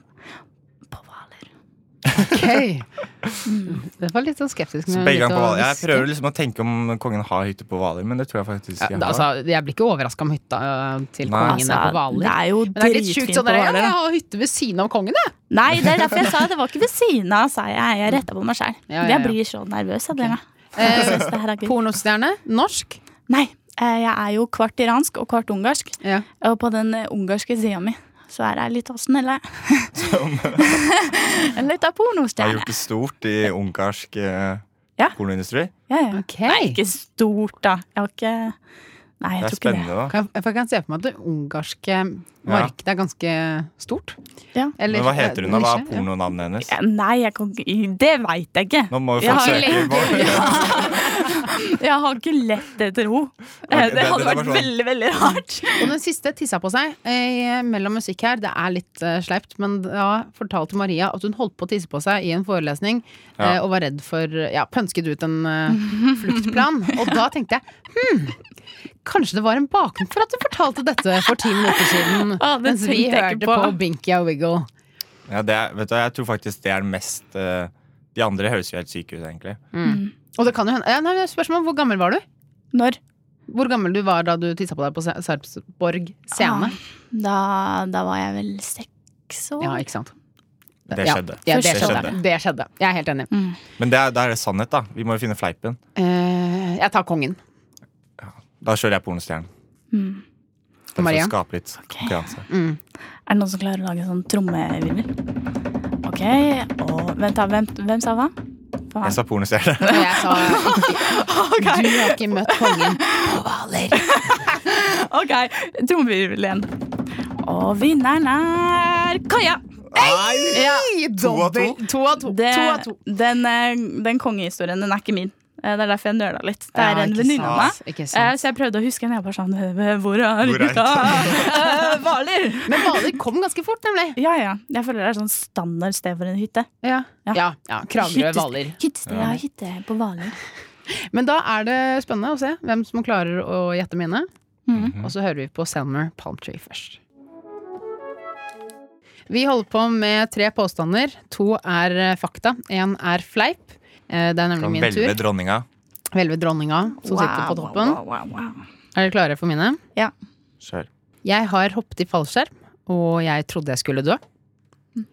Speaker 6: på Hvaler.
Speaker 3: Ok. Det var litt sånn skeptisk.
Speaker 5: Så
Speaker 3: men
Speaker 5: begge
Speaker 3: litt
Speaker 5: ganger på
Speaker 3: å
Speaker 5: Hvaler. Jeg
Speaker 3: hviske.
Speaker 5: prøver liksom å tenke om kongen har hytte på Hvaler, men det tror jeg faktisk
Speaker 3: Ja,
Speaker 5: ikke
Speaker 3: da,
Speaker 5: har.
Speaker 3: altså, jeg blir ikke overraska om hytta øh, til
Speaker 5: Nei.
Speaker 3: kongen er på
Speaker 6: Altså, det
Speaker 3: Hvaler.
Speaker 6: er jo
Speaker 3: Men det er litt
Speaker 6: dritfint
Speaker 3: sjukt
Speaker 6: på
Speaker 3: sånn der, ja,
Speaker 6: Hvaler.
Speaker 3: jeg
Speaker 6: da.
Speaker 3: har hytte ved siden av kongen, jeg!
Speaker 6: Nei, det er derfor jeg sa det. Det var ikke ved siden av, sa jeg. Jeg retta på meg sjæl.
Speaker 3: Ja, ja, ja.
Speaker 6: Jeg blir så nervøs av det.
Speaker 3: Ok.
Speaker 6: Jeg
Speaker 3: Eh,
Speaker 6: synes det her er gøy.
Speaker 3: Pornostjerne. Norsk.
Speaker 6: Nei, eh, jeg er jo kvart iransk og kvart ungarsk.
Speaker 3: Ja.
Speaker 6: Og på den eh, ungarske sida mi så er jeg litt av snille. En litt av
Speaker 5: Jeg har
Speaker 6: pornostjerne.
Speaker 5: gjort det stort i ungarsk eh,
Speaker 6: Ja.
Speaker 5: pornoindustri.
Speaker 6: Ja, ja.
Speaker 3: Ok.
Speaker 6: Ikke stort, da. Jeg har ikke Nei, jeg
Speaker 5: Det er
Speaker 6: tror ikke det.
Speaker 5: spennende, da.
Speaker 3: Kan jeg, for jeg kan se for meg at det ungarske markedet er ganske stort.
Speaker 6: Ja.
Speaker 3: Eller-
Speaker 5: Men hva heter hun da? Hva
Speaker 3: nisje,
Speaker 5: er
Speaker 3: ja.
Speaker 5: pornonavnet hennes?
Speaker 6: Ja, Nei, jeg kan ikke Det veit jeg ikke.
Speaker 5: Nå må vi
Speaker 6: Jeg har
Speaker 5: forsøke.
Speaker 6: ikke
Speaker 5: Bård.
Speaker 6: Jeg har ikke lett etter henne. Eh,
Speaker 5: det-
Speaker 6: Det
Speaker 5: det
Speaker 6: hadde
Speaker 5: var
Speaker 6: vært
Speaker 5: sånn-
Speaker 6: veldig, veldig rart.
Speaker 3: Og den siste tissa på seg eh, mellom musikk her. Det er litt eh, sleipt, men da fortalte Maria at hun holdt på å tisse på seg i en forelesning eh, og var redd for Ja, pønsket ut en eh, fluktplan. Og da tenkte jeg hm, kanskje det var en bakgrunn for at du fortalte dette for ti minutter siden.
Speaker 6: Ah, det
Speaker 3: mens vi
Speaker 6: tenkte jeg
Speaker 3: hørte
Speaker 6: ikke
Speaker 3: på,
Speaker 6: på.
Speaker 3: Binky og Wiggle.
Speaker 5: Ja, det er, vet du, hva, jeg tror faktisk det er den mest eh, De andre høres jo helt syke ut, egentlig.
Speaker 3: Og det kan jo hende ja, nei, Spørsmål hvor gammel var du?
Speaker 6: Når?
Speaker 3: Hvor gammel du var da du tissa på deg på Se- Sarpsborg
Speaker 6: Ah,
Speaker 3: scene?
Speaker 6: Da, da var jeg vel seks år.
Speaker 3: Ja, ikke sant.
Speaker 5: Det
Speaker 3: Ja.
Speaker 5: skjedde.
Speaker 3: Ja, det
Speaker 6: Først
Speaker 3: skjedde.
Speaker 5: skjedde.
Speaker 3: Det skjedde. Jeg er helt enig.
Speaker 5: Men det er, da er det sannhet, da. Vi må jo finne fleipen.
Speaker 3: Eh, jeg tar kongen.
Speaker 5: Da kjører jeg pornostjernen.
Speaker 6: Mm.
Speaker 5: For
Speaker 3: Hmm. Maria?
Speaker 5: å skape litt konkurranse.
Speaker 3: Mm.
Speaker 6: Er det noen som klarer å lage sånn trommevirvel? Ok, og vent da, hvem, hvem sa hva?
Speaker 5: Jeg sa pornostjerne.
Speaker 3: Og jeg sa Du har ikke møtt kongen.
Speaker 6: Ok, trommevirvel igjen. Og vinneren er Kaja!
Speaker 5: Nei!
Speaker 6: Ja,
Speaker 5: To av to.
Speaker 3: To av to.
Speaker 6: det,
Speaker 3: to, av to.
Speaker 6: Den, eh, den kongehistorien, den er ikke min. Eh, Det er derfor jeg nøla litt. Det er
Speaker 3: Ja,
Speaker 6: en
Speaker 3: ikke
Speaker 6: venninne av meg.
Speaker 3: sant, ikke
Speaker 6: Eh,
Speaker 3: sant.
Speaker 6: Så jeg prøvde å huske henne. Jeg bare sånn eh, Hvor er
Speaker 5: Hvor er
Speaker 6: gutta? Eh, Hvaler!
Speaker 3: Men Hvaler kom ganske fort, nemlig.
Speaker 6: Ja, ja. Jeg føler det er sånn standard sted for en hytte.
Speaker 3: Ja,
Speaker 6: Ja.
Speaker 3: ja, Kragerø,
Speaker 6: Hyttest-
Speaker 3: Hvaler.
Speaker 6: Hyttested, ja. Hytte på Hvaler.
Speaker 3: Men da er det spennende å se hvem som klarer å gjette mine.
Speaker 6: Mhm.
Speaker 3: Og så hører vi på Selmer Palm Tree først. Vi holder på med tre påstander. To er eh, fakta, én er fleip. Eh, Det er nemlig
Speaker 5: Kan
Speaker 3: min
Speaker 5: velge
Speaker 3: tur.
Speaker 5: dronninga.
Speaker 3: Hvelve dronninga som sitter på toppen.
Speaker 6: Wow, wow, wow, wow.
Speaker 3: Er dere klare for mine?
Speaker 5: Kjør.
Speaker 3: Jeg har hoppet i fallskjerm, og jeg trodde jeg skulle dø.
Speaker 6: Mm.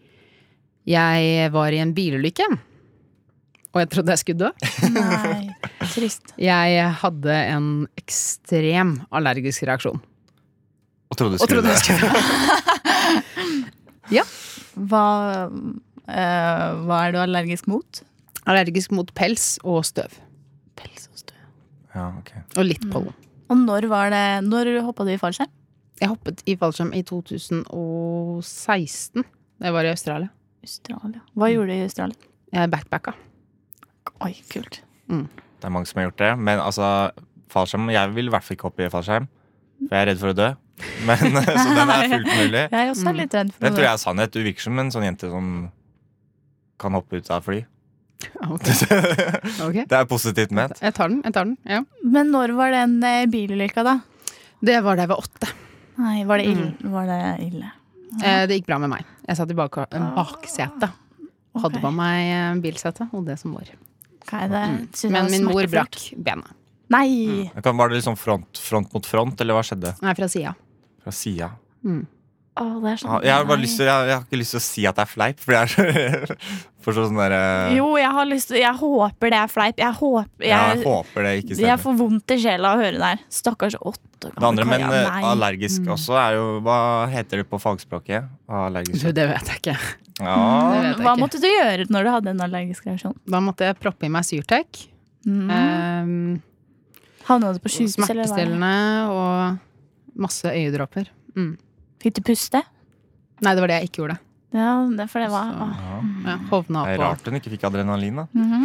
Speaker 3: Jeg var i en bilulykke, og jeg trodde jeg skulle dø.
Speaker 6: Nei, trist.
Speaker 3: Jeg hadde en ekstrem allergisk reaksjon.
Speaker 5: Og trodde du
Speaker 3: Og trodde jeg
Speaker 5: skulle
Speaker 3: skulle dø.
Speaker 6: Hva, eh, hva er du allergisk mot?
Speaker 3: Allergisk mot pels og støv.
Speaker 6: Pels og støv. Mm.
Speaker 5: Ja, ok.
Speaker 3: Og litt pollen.
Speaker 6: Og når var det Når hoppa du i fallskjerm?
Speaker 3: Jeg hoppet i fallskjerm i 2016. Da jeg var i Australia.
Speaker 6: Australia. Hva gjorde du i Australia?
Speaker 3: Jeg backpacka.
Speaker 6: Oi, kult.
Speaker 5: Det er mange som har gjort det. Men altså, fallskjerm Jeg vil i hvert fall ikke hoppe i fallskjerm. For jeg er redd for å dø. Men, så den er fullt mulig.
Speaker 6: Jeg er også litt redd for
Speaker 5: Mm. Det
Speaker 6: noe.
Speaker 5: tror jeg er sannhet. Du virker som en sånn jente som kan hoppe ut av fly.
Speaker 3: Ok.
Speaker 5: det
Speaker 3: ok.
Speaker 5: er positivt ment.
Speaker 3: Jeg tar den. jeg tar den, ja.
Speaker 6: Men når var den eh, bilulykka, da?
Speaker 3: Det var da jeg var åtte.
Speaker 6: Nei, var det ille?
Speaker 5: Mm.
Speaker 6: Var det ille?
Speaker 3: Eh, Det gikk bra med meg. Jeg satt i bak baksetet. Og hadde
Speaker 6: Ok.
Speaker 3: på meg eh, bilsete og det som var. Mm.
Speaker 6: Ok, det, synes jeg
Speaker 5: Mm.
Speaker 3: Men
Speaker 6: var
Speaker 3: min mor
Speaker 6: smertefullt.
Speaker 3: brakk benet.
Speaker 6: Nei!
Speaker 5: Jeg kan- Var det liksom front, front mot front, eller hva skjedde?
Speaker 3: Nei, fra sida.
Speaker 5: Fra sida.
Speaker 6: Å, det er sånn
Speaker 5: Ja, Ah, Jeg har, bare
Speaker 6: Nei.
Speaker 5: lyst til, jeg, har- jeg har ikke lyst til å si at det er fleip, for jeg er for sånn derre
Speaker 6: Jo, jeg har lyst til Jeg håper det er fleip. Jeg håper
Speaker 5: Ja, jeg
Speaker 6: jeg,
Speaker 5: håper det ikke
Speaker 6: jeg
Speaker 5: stemmer.
Speaker 6: får vondt i sjela av å høre det her. Stakkars åtte
Speaker 5: Det andre,
Speaker 6: gamle
Speaker 5: men
Speaker 6: Kaja.
Speaker 5: eh,
Speaker 6: Nei. Mm.
Speaker 5: allergisk også er jo Hva heter det på fagspråket? Allergisk.
Speaker 3: Du, det vet jeg ikke.
Speaker 5: Ja.
Speaker 3: Det vet jeg
Speaker 6: Hva
Speaker 3: ikke.
Speaker 6: måtte du gjøre når du hadde en allergisk reaksjon?
Speaker 3: Da måtte jeg proppe i meg Syrtec.
Speaker 6: Mm.
Speaker 5: Eh,
Speaker 3: ehm,
Speaker 6: Havna du på sjukehus, eller hva?
Speaker 3: Smertestillende og masse øyedråper. Mm.
Speaker 6: Fikk du puste?
Speaker 3: Nei, det var det jeg ikke gjorde.
Speaker 6: Ja, det, for det var
Speaker 3: Så-
Speaker 5: Altså-
Speaker 6: åh.
Speaker 3: Ja, hovna
Speaker 5: Det er
Speaker 3: opp
Speaker 5: rart hun ikke fikk adrenalin, da.
Speaker 6: Mm.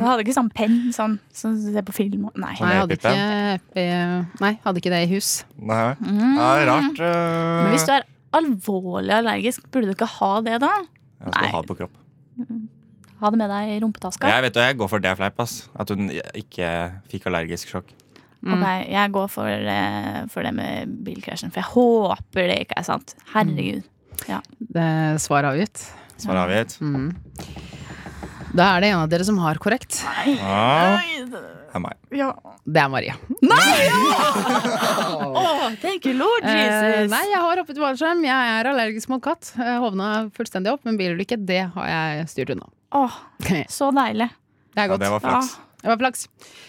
Speaker 6: Du hadde ikke sånn penn sånn som du ser på film? og- Nei.
Speaker 3: og Nei, jeg hadde ikke, epi- eh, nei, hadde ikke det i hus.
Speaker 5: Nei. Ja, det er rart. eh,
Speaker 6: Mm. Men hvis du er alvorlig allergisk, burde du ikke ha det da?
Speaker 5: jeg skal
Speaker 6: Nei.
Speaker 5: ha det på kropp.
Speaker 6: Ha det med deg i rumpetaska.
Speaker 5: Jeg vet det, jeg går for det er fleip, ass. At hun ikke fikk allergisk sjokk.
Speaker 6: Ok, jeg går for, eh, for det med bilkrasjen, for jeg håper det ikke er sant. Herregud.
Speaker 3: Det svar avgitt.
Speaker 5: Svar avgitt.
Speaker 3: Mm. Da er det en av dere som har korrekt.
Speaker 5: Ja, det er meg.
Speaker 3: Det er Maria.
Speaker 6: Åh, thank you, Lord
Speaker 3: Eh,
Speaker 6: Jesus!
Speaker 3: nei, jeg har hoppet vareskjerm. Jeg er allergisk mot katt. Jeg Hovna fullstendig opp, men bilulykke, det har jeg styrt unna.
Speaker 6: Åh,
Speaker 3: Det
Speaker 6: så deilig.
Speaker 3: er
Speaker 5: Ja,
Speaker 3: godt.
Speaker 5: det var
Speaker 6: Ja.
Speaker 5: flaks.
Speaker 3: Det var flaks.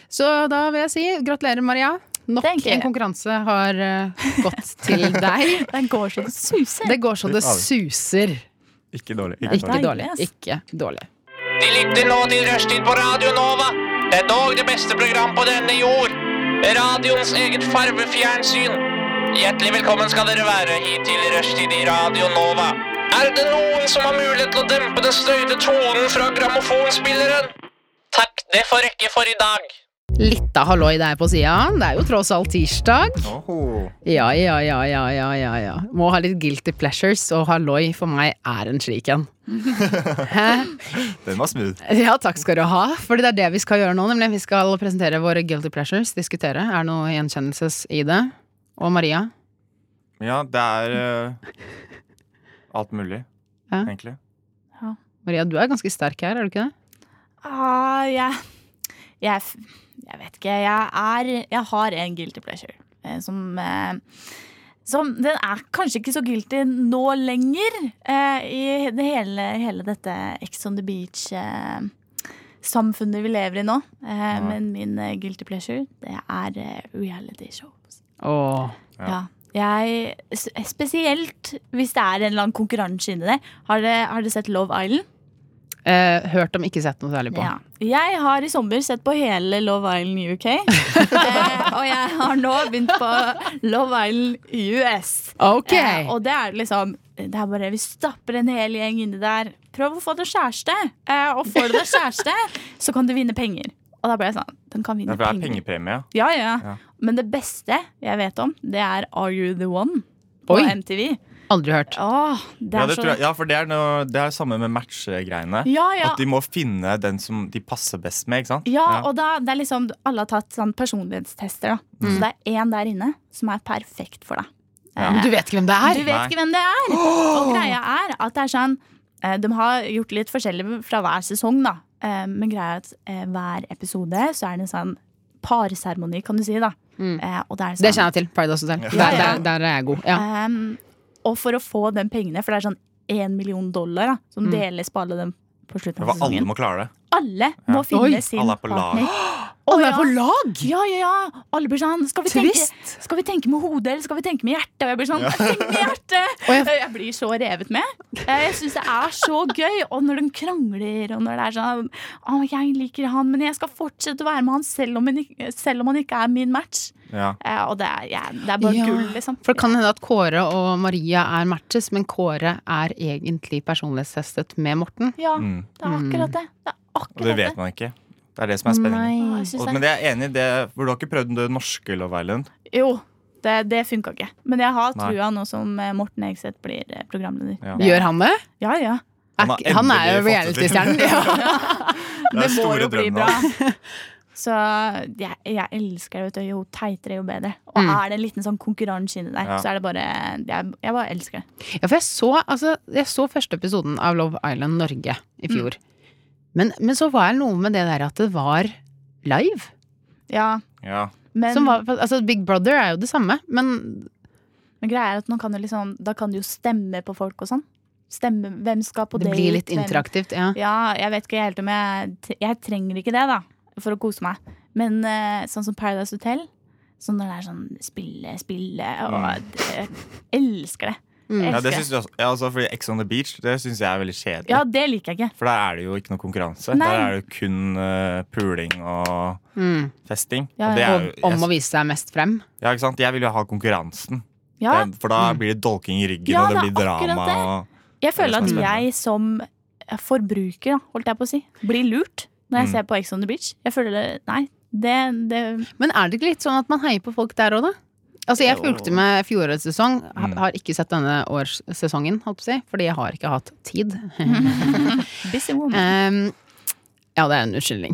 Speaker 3: Så da vil jeg si gratulerer, Maria. Nok
Speaker 6: Thank you.
Speaker 3: en konkurranse har eh, gått til deg.
Speaker 6: Den går så det suser.
Speaker 3: Det går så det
Speaker 5: Litt av.
Speaker 3: suser.
Speaker 5: Ikke dårlig. Ikke
Speaker 3: Ikke
Speaker 5: dårlig.
Speaker 6: Deilig,
Speaker 3: dårlig.
Speaker 6: ass.
Speaker 3: Ikke dårlig.
Speaker 9: De lytter nå til Rushtid på Radio Nova. Det er dog det beste program på denne jord. Radioens eget farvefjernsyn. Hjertelig velkommen skal dere være hit til Rushtid i Radio Nova. Er det noen som har mulighet til å dempe den støyte tonen fra grammofonspilleren? Takk, det får rekke for i dag.
Speaker 3: Litt av halloi der på sida. Det er jo tross alt tirsdag.
Speaker 5: Åhå.
Speaker 3: Ja, ja, ja, ja, ja, ja, ja. Må ha litt guilty pleasures, og halloi for meg er en slik en. Hæ?
Speaker 5: Den var smooth.
Speaker 3: Ja, takk skal du ha. Fordi det er det vi skal gjøre nå. Nemlig Vi skal presentere våre guilty pleasures. Diskutere. Er det noe gjenkjennelses i det? Og Maria?
Speaker 5: Ja, det er eh, alt mulig,
Speaker 3: Ja.
Speaker 5: egentlig.
Speaker 3: Maria, du er ganske sterk her, er du ikke det?
Speaker 6: Ah, jeg, jeg, f- jeg vet ikke. Jeg, er, jeg har en guilty pleasure eh, som eh, som, den er kanskje ikke så guilty nå lenger, eh, i det hele, hele dette Ex on the Beach-samfunnet vi lever i nå. Eh, Men min eh, guilty pleasure, det er eh, reality shows.
Speaker 3: Åh.
Speaker 6: Ja. Jeg, s- spesielt hvis det er en eller annen konkurranse inni det. Har dere har dere sett Love Island?
Speaker 3: Eh, hørt om, ikke sett noe særlig på.
Speaker 6: Ja. Jeg har i sommer sett på hele Love Island UK. eh, og jeg har nå begynt på Love Island US.
Speaker 3: Ok!
Speaker 6: Eh, og det er liksom Det er bare Vi stapper en hel gjeng inni der. Prøv å få deg kjæreste. Eh, og får du deg kjæreste, så kan du vinne penger. Og da ble jeg sånn Den kan vinne
Speaker 5: Derfor er det
Speaker 6: penger.
Speaker 5: pengepremie.
Speaker 6: Ja, ja.
Speaker 5: Ja.
Speaker 6: Men det beste jeg vet om, det er Are You The One på
Speaker 3: Oi.
Speaker 6: MTV.
Speaker 3: Aldri hørt.
Speaker 6: Åh, det
Speaker 5: Ja,
Speaker 6: er
Speaker 5: det
Speaker 6: så
Speaker 5: tror jeg, ja for det er, noe, det er samme med matchegreiene.
Speaker 6: Ja, ja.
Speaker 5: At de må finne den som de passer best med, ikke sant?
Speaker 6: Ja, og da, det er liksom alle har tatt sånn personlighetstester. Da.
Speaker 5: Mm.
Speaker 6: Så det er én der inne som er perfekt for deg.
Speaker 5: Ja.
Speaker 3: Men Du vet ikke hvem det
Speaker 6: Du
Speaker 3: er?
Speaker 6: vet ikke hvem det er! Og greia er at det er sånn eh, De har gjort litt forskjellig fra hver sesong, da. Eh, Men greia er at eh, hver episode så er det en sånn parseremoni, kan du si, da. Eh, Og det er sånn
Speaker 3: Mm. Det kjenner jeg til. Paradise Hotel. Der,
Speaker 6: ja.
Speaker 3: der, der er jeg god. Ja.
Speaker 6: Ehm, og for å få den pengene, for det er sånn én million dollar da, som deles på alle dem på slutten
Speaker 5: Mm. Det
Speaker 6: av
Speaker 5: var alle
Speaker 6: sesongen.
Speaker 5: må klare det.
Speaker 6: Alle må finne
Speaker 3: Oi.
Speaker 6: sin
Speaker 5: Alle er på lag.
Speaker 6: partner.
Speaker 3: Å, det
Speaker 6: ja.
Speaker 3: er på lag!
Speaker 6: Ja, ja, ja! Alle blir sånn skal vi, tenke,
Speaker 3: Twist.
Speaker 6: skal vi tenke med hodet, eller skal vi tenke med hjertet? Og jeg blir sånn jeg tenker med hjertet!
Speaker 3: Og jeg-
Speaker 6: Jeg blir så revet med. Eh, Jeg syns det er så gøy. Og når de krangler, og når det er sånn Å, jeg liker han, men jeg skal fortsette å være med han selv om han ikke, selv om han ikke er min match.
Speaker 5: Ja.
Speaker 6: Eh, Og det er, ja, det er bare
Speaker 3: Ja.
Speaker 6: gull, liksom.
Speaker 3: For det kan hende at Kåre og Maria er matches, men Kåre er egentlig personlighetstestet med Morten.
Speaker 6: Ja,
Speaker 5: Mm.
Speaker 6: det er akkurat det. Det er
Speaker 5: Og det
Speaker 6: akkurat
Speaker 5: vet man ikke. Det er det som er spenningen.
Speaker 6: Å, jeg synes
Speaker 5: Og,
Speaker 6: det-
Speaker 5: men det er jeg enig i det, for du har ikke prøvd det norske Love Island.
Speaker 6: Jo, det, det funka ikke. Men jeg har
Speaker 5: Nei.
Speaker 6: trua nå som eh, Morten Egseth blir eh, programleder. Det-
Speaker 5: Ja.
Speaker 3: Mm. Gjør han det?
Speaker 6: Ja, ja.
Speaker 3: Er
Speaker 5: Han har
Speaker 3: ikke- Han er jo
Speaker 5: endelig fått det til.
Speaker 3: reality-stjernen. Ja.
Speaker 5: Det er
Speaker 6: Det må
Speaker 5: store
Speaker 6: jo bli
Speaker 5: drømmen
Speaker 6: bra.
Speaker 5: hans.
Speaker 6: Så jeg, jeg elsker det. Vet du. Jo teitere, jo bedre. Og
Speaker 3: Mm.
Speaker 6: er det en liten sånn konkurranse inni der,
Speaker 5: Ja.
Speaker 6: så er det bare Jeg, jeg bare elsker det.
Speaker 3: Ja, for jeg så, altså, jeg så første episoden av Love Island Norge i fjor. Men, men så var det noe med det der at det var live.
Speaker 6: Ja,
Speaker 5: Ja.
Speaker 6: men,
Speaker 3: Som var, altså, Big Brother er jo det samme, men
Speaker 6: men greia er at nå kan du liksom, da kan du jo stemme på folk og sånn. Stemme, hvem skal på
Speaker 3: det
Speaker 6: date,
Speaker 3: blir litt
Speaker 6: hvem-
Speaker 3: interaktivt. Ja.
Speaker 6: Ja, jeg vet ikke helt om jeg t- Jeg trenger ikke det, da, for å kose meg. Men eh, sånn som Paradise Hotel, sånn når det er sånn spille, spille og Jeg elsker det. Jeg
Speaker 5: Mm. ja,
Speaker 6: elsker
Speaker 5: det syns jeg også. Ja, altså, fordi Ex on the beach det synes jeg er veldig kjedelig.
Speaker 6: Ja, det liker jeg ikke.
Speaker 5: For der er det jo ikke noe konkurranse.
Speaker 6: Nei.
Speaker 5: Der er det jo kun eh, puling og
Speaker 3: Mm.
Speaker 5: festing.
Speaker 6: Ja,
Speaker 5: og det er
Speaker 3: Og,
Speaker 5: jo,
Speaker 3: om å
Speaker 5: jeg,
Speaker 3: vise seg mest frem.
Speaker 5: ja, ikke sant? Jeg vil jo ha konkurransen.
Speaker 6: Ja,
Speaker 5: Det er- for da blir det dolking i ryggen,
Speaker 6: Ja,
Speaker 5: og det
Speaker 6: det er
Speaker 5: blir
Speaker 6: akkurat
Speaker 5: drama.
Speaker 6: det.
Speaker 5: Og,
Speaker 6: jeg føler
Speaker 5: det
Speaker 6: at
Speaker 5: som er spennende.
Speaker 6: jeg som forbruker, da, holdt jeg på å si, blir lurt når jeg
Speaker 5: Mm.
Speaker 6: ser på Ex on the Beach. Jeg føler det Nei, det, det
Speaker 3: Men er det ikke litt sånn at man heier på folk der òg, da? Altså, jeg fulgte med fjorårets sesong. ha-
Speaker 5: Mm.
Speaker 3: Har ikke sett denne årssesongen, holdt på å si. Fordi jeg har ikke hatt tid.
Speaker 6: Busy
Speaker 3: Eh.
Speaker 6: woman.
Speaker 3: Em, ja, det er en unnskyldning.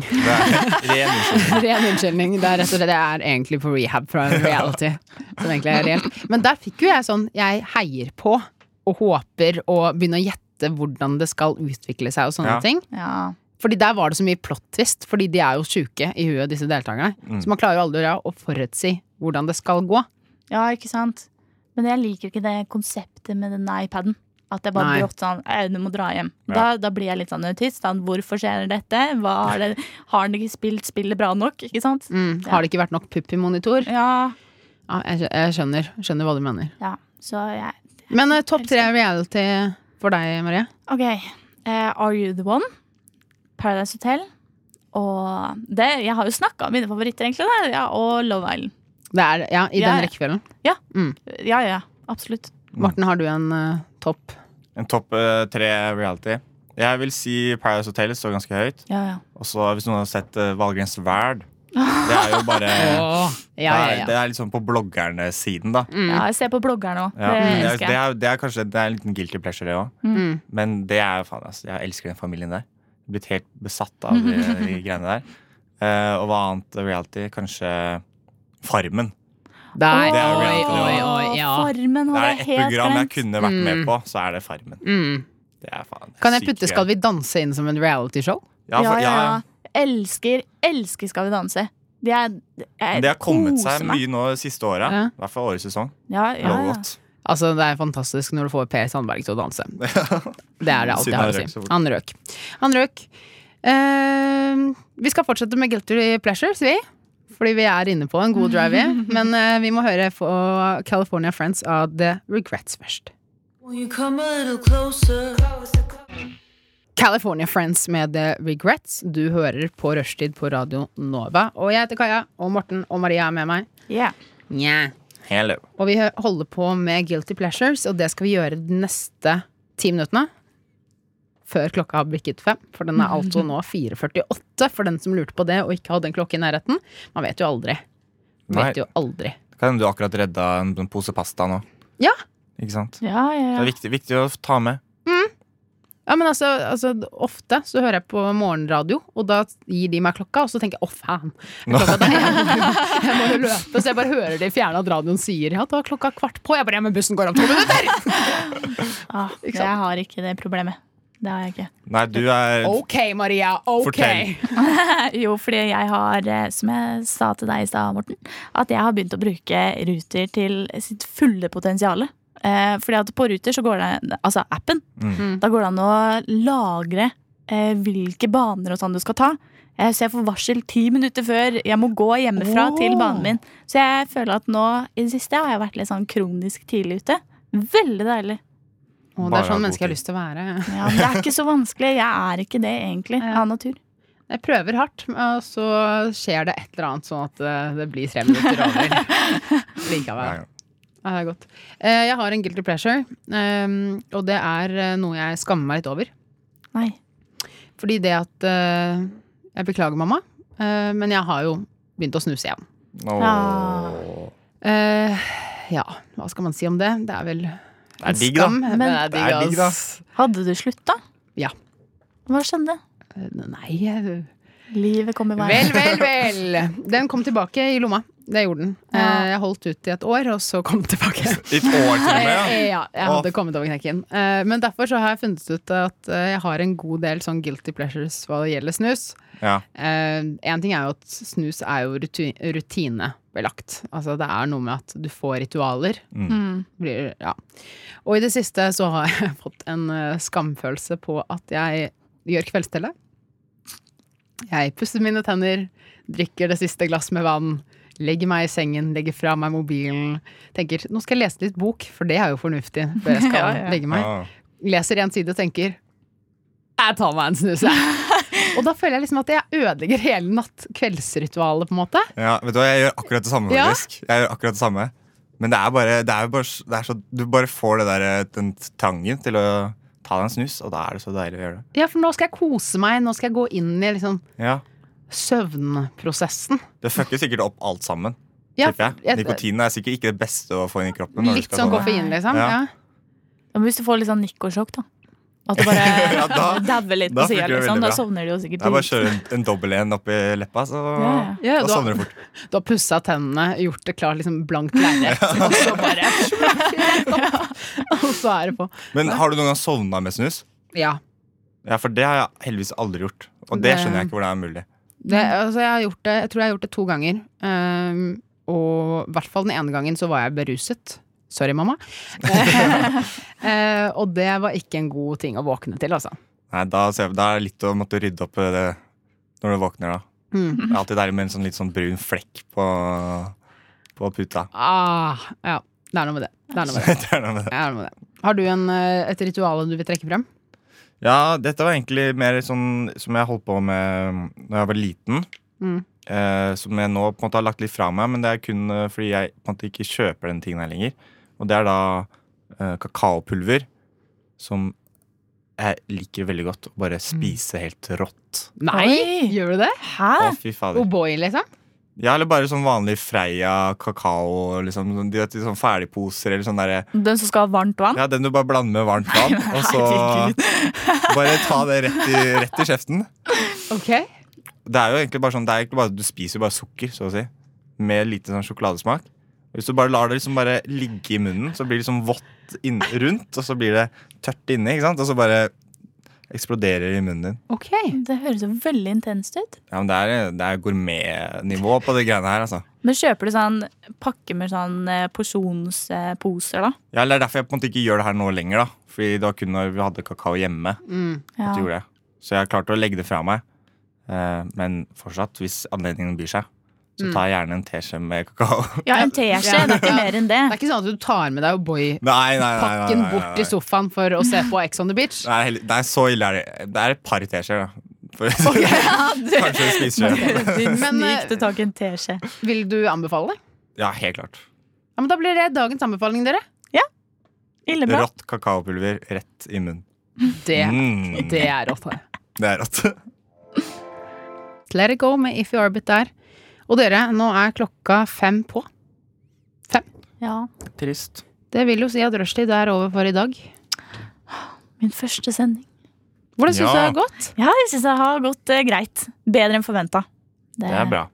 Speaker 5: det er ren unnskyldning.
Speaker 3: Ren unnskyldning. Det er rett og slett jeg er egentlig på rehab fra reality. Som egentlig er reelt. Men der fikk jo jeg sånn Jeg heier på og håper og begynner å gjette hvordan det skal utvikle seg og sånne
Speaker 5: Ja.
Speaker 3: ting.
Speaker 6: Ja.
Speaker 3: Fordi der var det så mye plot twist, fordi de er jo sjuke i huet, disse deltakerne.
Speaker 5: Mm.
Speaker 3: Så man klarer jo aldri å forutsi hvordan det skal gå.
Speaker 6: ja, ikke sant? Men jeg liker ikke det konseptet med denne iPaden. At jeg bare
Speaker 3: Nei.
Speaker 6: blir ofte sånn Aune må dra hjem.
Speaker 5: Ja.
Speaker 6: Da, da blir jeg litt sånn autist. Sånn, hvorfor skjer dette? Hva er det? Har han ikke spilt spillet bra nok? Ikke sant?
Speaker 3: Mm. Har det ikke vært nok pupp i monitor?
Speaker 6: Ja.
Speaker 3: Ja, jeg, skjø- jeg skjønner, skjønner hva du mener.
Speaker 6: ja. Så jeg
Speaker 3: Men eh, topp tre reality for deg, Marie?
Speaker 6: Ok, eh, Are You The One, Paradise Hotel og det, Jeg har jo snakka om mine favoritter, egentlig. Da, ja, og Love Island.
Speaker 3: Det er, ja, I
Speaker 6: Ja,
Speaker 3: den
Speaker 6: ja.
Speaker 3: rekkefølgen.
Speaker 6: Ja, ja, ja, absolutt.
Speaker 3: Morten, har du en eh, topp?
Speaker 5: En topp eh, tre reality. Jeg vil si Paradise Hotel står ganske høyt.
Speaker 6: Ja, ja.
Speaker 5: Og så hvis noen har sett uh, Valgrens Verd Det er jo bare
Speaker 3: ja, ja,
Speaker 5: Det, er,
Speaker 3: ja.
Speaker 5: det er liksom på bloggerne-siden, da.
Speaker 6: ja jeg ser på bloggerne òg.
Speaker 5: Ja. Mm.
Speaker 6: Det
Speaker 5: Det, er,
Speaker 6: elsker
Speaker 5: det,
Speaker 6: jeg.
Speaker 5: er, det er kanskje det er en liten guilty pleasure, det òg.
Speaker 3: Mm.
Speaker 5: Men det er faen, altså, jeg elsker den familien der. Blitt helt besatt av de, de greiene der. Eh, og hva annet reality? Kanskje Farmen.
Speaker 3: Der,
Speaker 5: Det er
Speaker 3: oi,
Speaker 5: reality,
Speaker 3: oi,
Speaker 5: ja.
Speaker 3: oi, ja.
Speaker 6: Farmen
Speaker 5: Det
Speaker 6: har
Speaker 5: er
Speaker 6: jeg
Speaker 5: ett
Speaker 6: helt
Speaker 5: program jeg
Speaker 6: glemt.
Speaker 5: kunne vært med
Speaker 3: Mm.
Speaker 5: på, så er det Farmen.
Speaker 3: Mm.
Speaker 5: Det er faen
Speaker 3: Kan jeg
Speaker 5: sykt
Speaker 3: putte
Speaker 5: gøy.
Speaker 3: 'Skal vi danse' inn som en realityshow?
Speaker 5: Ja, for, ja, ja.
Speaker 6: Elsker, elsker Skal vi danse. Det er jeg
Speaker 5: Men det har kommet
Speaker 6: koser
Speaker 5: seg
Speaker 6: meg.
Speaker 5: mye nå de siste åra.
Speaker 3: Ja.
Speaker 5: I hvert fall årets sesong.
Speaker 6: Ja, ja,
Speaker 5: Lover
Speaker 6: ja.
Speaker 5: godt.
Speaker 3: Altså, det er fantastisk når du får Per Sandberg til å danse. Det er det alt jeg
Speaker 5: Siden
Speaker 3: har
Speaker 5: han
Speaker 3: å
Speaker 5: røk så
Speaker 3: si.
Speaker 5: fort.
Speaker 3: Han røk. Han røk. Eh, vi skal fortsette med Guilty Pleasures, vi. Fordi vi er inne på en god drive, vi. Men eh, vi må høre på California Friends av The Regrets først. California Friends med The Regrets. Du hører på Rushtid på Radio Nova. Og jeg heter Kaja, og Morten og Maria er med meg.
Speaker 6: Yeah.
Speaker 3: Nja.
Speaker 5: Hello.
Speaker 3: Og vi hø- holder på med Guilty Pleasures, og det skal vi gjøre de neste ti minuttene. Før klokka har bikket fem, for den er altså nå 4.48 for den som lurte på det og ikke hadde en klokke i nærheten. Man vet jo aldri.
Speaker 5: Nei.
Speaker 3: Vet jo aldri.
Speaker 5: Kan hende du akkurat redda en, en pose pasta nå.
Speaker 3: Ja.
Speaker 5: Ikke sant?
Speaker 6: Ja, ja,
Speaker 5: Det
Speaker 6: ja.
Speaker 5: er viktig, viktig å ta med.
Speaker 3: Ja, men altså, altså, ofte så hører jeg på morgenradio, og da gir de meg klokka, og så tenker jeg 'å, faen'. er Klokka der, jeg, jeg må jo løpe, så jeg bare hører det i fjerne at radioen sier 'ja, da er klokka kvart på'. Jeg bare 'ja, men bussen går om to minutter'.
Speaker 6: Ah,
Speaker 3: Ikke sant?
Speaker 6: jeg har ikke det problemet. Det har jeg ikke.
Speaker 5: Nei, du er
Speaker 3: Ok, Maria. Ok.
Speaker 5: Fortell.
Speaker 6: Jo, fordi jeg har, eh, som jeg sa til deg i stad, Morten, at jeg har begynt å bruke Ruter til sitt fulle potensial. Eh, fordi at på Ruter så går det Altså appen.
Speaker 5: Mm.
Speaker 6: Da går det an å lagre eh, hvilke baner og sånn du skal ta. Eh, så jeg får varsel ti minutter før jeg må gå hjemmefra til banen min. Så jeg føler at nå i det siste har jeg vært litt sånn kronisk tidlig ute. Veldig deilig.
Speaker 3: Og det er
Speaker 5: Bare ha god
Speaker 3: sånn mennesker har
Speaker 5: tid.
Speaker 3: lyst til å være.
Speaker 6: Ja, men det er ikke så vanskelig. Jeg er ikke det, egentlig,
Speaker 3: Ja.
Speaker 6: av natur.
Speaker 3: Jeg prøver hardt, og så skjer det et eller annet sånn at eh, det blir tre minutter over.
Speaker 5: Ja,
Speaker 3: Likevel.
Speaker 5: ja.
Speaker 3: Ja, det er godt. Eh, Jeg har en guilty pleasure, ehm, og det er eh, noe jeg skammer meg litt over.
Speaker 6: Nei.
Speaker 3: Fordi det at eh, Jeg beklager, mamma, eh, men jeg har jo begynt å snuse igjen.
Speaker 5: Åh.
Speaker 6: Ja.
Speaker 3: Eh, Ja, hva skal man si om det? Det er vel
Speaker 5: Det er digg, da.
Speaker 3: skam. Men det er
Speaker 5: Det er digg,
Speaker 3: digg,
Speaker 5: da.
Speaker 3: ass.
Speaker 6: Hadde du slutta?
Speaker 3: Ja.
Speaker 6: Hva skjedde?
Speaker 3: Eh, Nei, jeg
Speaker 6: Livet kommer meg.
Speaker 3: Vel, vel, vel. Den kom tilbake i lomma. Det gjorde den.
Speaker 6: Ja.
Speaker 3: Eh, Jeg holdt ut i et år, og så kom den tilbake.
Speaker 5: I et år til og med. ja.
Speaker 3: Ja, jeg hadde kommet over knekken. Eh, Men derfor så har jeg funnet ut at eh, jeg har en god del sånn guilty pleasures hva det gjelder snus.
Speaker 5: Ja.
Speaker 3: Eh, en ting er jo at snus er jo ruti- rutinebelagt. Altså det er noe med at du får ritualer.
Speaker 6: Mm.
Speaker 3: Blir, ja. Og i det siste så har jeg fått en eh, skamfølelse på at jeg gjør kveldstellet. Jeg pusser mine tenner, drikker det siste glass med vann, legger meg i sengen, legger fra meg mobilen. Tenker nå skal jeg lese litt bok, for det er jo fornuftig før jeg skal
Speaker 6: Ja, ja.
Speaker 3: legge meg.
Speaker 5: Ah.
Speaker 3: Leser én side og tenker jeg tar meg en snus, jeg. og da føler jeg liksom at jeg ødelegger hele natt-kveldsritualet, på en måte.
Speaker 5: Ja, vet du hva, jeg gjør akkurat det samme,
Speaker 3: Ja.
Speaker 5: faktisk. Jeg gjør akkurat det samme. Men det er bare, det er jo bare, s- det er så, du bare får det der, eh, den trangen til å ta deg en snus, og da er det så deilig å gjøre det.
Speaker 3: Ja, for nå skal jeg kose meg, nå skal jeg gå inn i liksom
Speaker 5: Ja.
Speaker 3: søvnprosessen.
Speaker 5: Det fucker sikkert opp alt sammen.
Speaker 3: Ja,
Speaker 5: tipper jeg.
Speaker 3: jeg-
Speaker 5: Nikotin er sikkert ikke det beste å få inn i kroppen. når du
Speaker 3: Litt
Speaker 5: skal
Speaker 3: sånn
Speaker 5: sove.
Speaker 3: koffein, liksom.
Speaker 5: Ja.
Speaker 3: Ja.
Speaker 6: Ja, men hvis du får litt sånn nikkosjokk, da. At du bare
Speaker 5: Ja, da-
Speaker 6: dauer litt
Speaker 5: da
Speaker 6: på sida,
Speaker 5: funker det
Speaker 6: liksom.
Speaker 5: veldig
Speaker 6: Da
Speaker 5: bra.
Speaker 6: sovner de jo sikkert.
Speaker 5: Det er bare å
Speaker 6: litt.
Speaker 5: kjøre en, en dobbel en oppi leppa, så
Speaker 6: Ja,
Speaker 3: ja. Ja,
Speaker 5: da
Speaker 3: da-
Speaker 5: sovner du fort.
Speaker 3: Du har pussa tennene, gjort det klart, liksom blankt lerret, og så bare Og så er det på.
Speaker 5: Men har du noen gang sovna med snus?
Speaker 3: Ja.
Speaker 5: Ja, for det har jeg heldigvis aldri gjort. Og det
Speaker 3: Det-
Speaker 5: skjønner jeg ikke hvordan er mulig.
Speaker 3: Det, altså, jeg, har gjort det, jeg tror jeg har gjort det to ganger. Ehm, og i hvert fall den ene gangen så var jeg beruset. Sorry, mamma. Eh, og det var ikke en god ting å våkne til, altså.
Speaker 5: Nei, da, ser jeg, da er det litt å måtte rydde opp eh, det når du våkner, da.
Speaker 3: Mm.
Speaker 5: Det er alltid deilig med en sånn litt sånn brun flekk på, på puta.
Speaker 3: Ah, ja. Det er noe med det. Det er noe med det.
Speaker 5: Det er noe med det.
Speaker 3: Det er noe med det. Har du en, eh, et ritual du vil trekke frem?
Speaker 5: Ja, dette var egentlig mer sånn som jeg holdt på med da jeg var liten.
Speaker 3: Mm.
Speaker 5: Eh, som jeg nå på en måte har lagt litt fra meg, men det er kun eh, fordi jeg på en måte ikke kjøper den tingen her lenger. Og det er da eh, kakaopulver, som jeg liker veldig godt å bare spise helt rått.
Speaker 3: Nei!
Speaker 6: Oi.
Speaker 3: Gjør du det?
Speaker 6: Hæ?
Speaker 5: Å, fy fader.
Speaker 3: O'boy, liksom?
Speaker 5: Ja, eller bare sånn vanlig Freia kakao, liksom. sånn- De vet, de sånn ferdigposer eller sånn derre
Speaker 6: Den som skal ha varmt vann?
Speaker 5: Ja, den du bare blander med varmt vann, og så bare ta det rett i, rett i kjeften.
Speaker 3: Ok.
Speaker 5: Det er jo egentlig bare sånn, det er egentlig bare, du spiser jo bare sukker, så å si. Med lite sånn sjokoladesmak. Hvis du bare lar det liksom bare ligge i munnen, så blir det liksom vått inn, rundt, og så blir det tørt inni, ikke sant? Og så bare eksploderer det i munnen din.
Speaker 3: Ok.
Speaker 6: Det høres jo veldig intenst ut.
Speaker 5: Ja, men det er, det er gourmetnivå på det greiene her, altså.
Speaker 6: Men kjøper du sånn pakke med sånn eh, porsjonsposer, da?
Speaker 5: Ja, eller det er derfor jeg på en måte ikke gjør det her nå lenger, da. Fordi det var kun når vi hadde kakao hjemme.
Speaker 3: Mm.
Speaker 6: Ja.
Speaker 5: at jeg gjorde det. Så jeg klarte å legge det fra meg. Eh, men fortsatt, hvis anledningen byr seg, så tar jeg gjerne en teskje med kakao.
Speaker 6: ja, en teskje.
Speaker 3: Ja.
Speaker 6: Det er ikke mer enn det.
Speaker 3: Det er ikke sånn at du tar med deg O'boy
Speaker 5: nei, nei, nei, nei, nei,
Speaker 3: pakken
Speaker 5: nei,
Speaker 3: bort
Speaker 5: nei.
Speaker 3: i sofaen for å se på Ex on the Beach.
Speaker 5: Nei, heller- nei, så ille er det. Det er et par teskjeer, da. For, Kanskje en spiseskje.
Speaker 3: Men,
Speaker 6: Men
Speaker 3: eh,
Speaker 6: gikk du tak i en teskje?
Speaker 3: Vil du anbefale det?
Speaker 5: Ja, helt klart.
Speaker 3: Ja, men Da blir det dagens anbefaling, dere.
Speaker 6: Ille bra.
Speaker 5: Rått kakaopulver rett i munnen.
Speaker 3: Det,
Speaker 5: Mm,
Speaker 3: det er rått. det.
Speaker 5: det er rått.
Speaker 3: Let it go med If You Orbit der. Og dere, nå er klokka fem på.
Speaker 6: Ja.
Speaker 5: Trist.
Speaker 3: Det vil jo si at rushtid er over for i dag.
Speaker 6: Min første sending.
Speaker 3: Hvordan syns
Speaker 5: Ja.
Speaker 3: du det har gått?
Speaker 6: Ja, jeg syns det har gått eh, greit. Bedre enn forventa.
Speaker 5: Det er bra.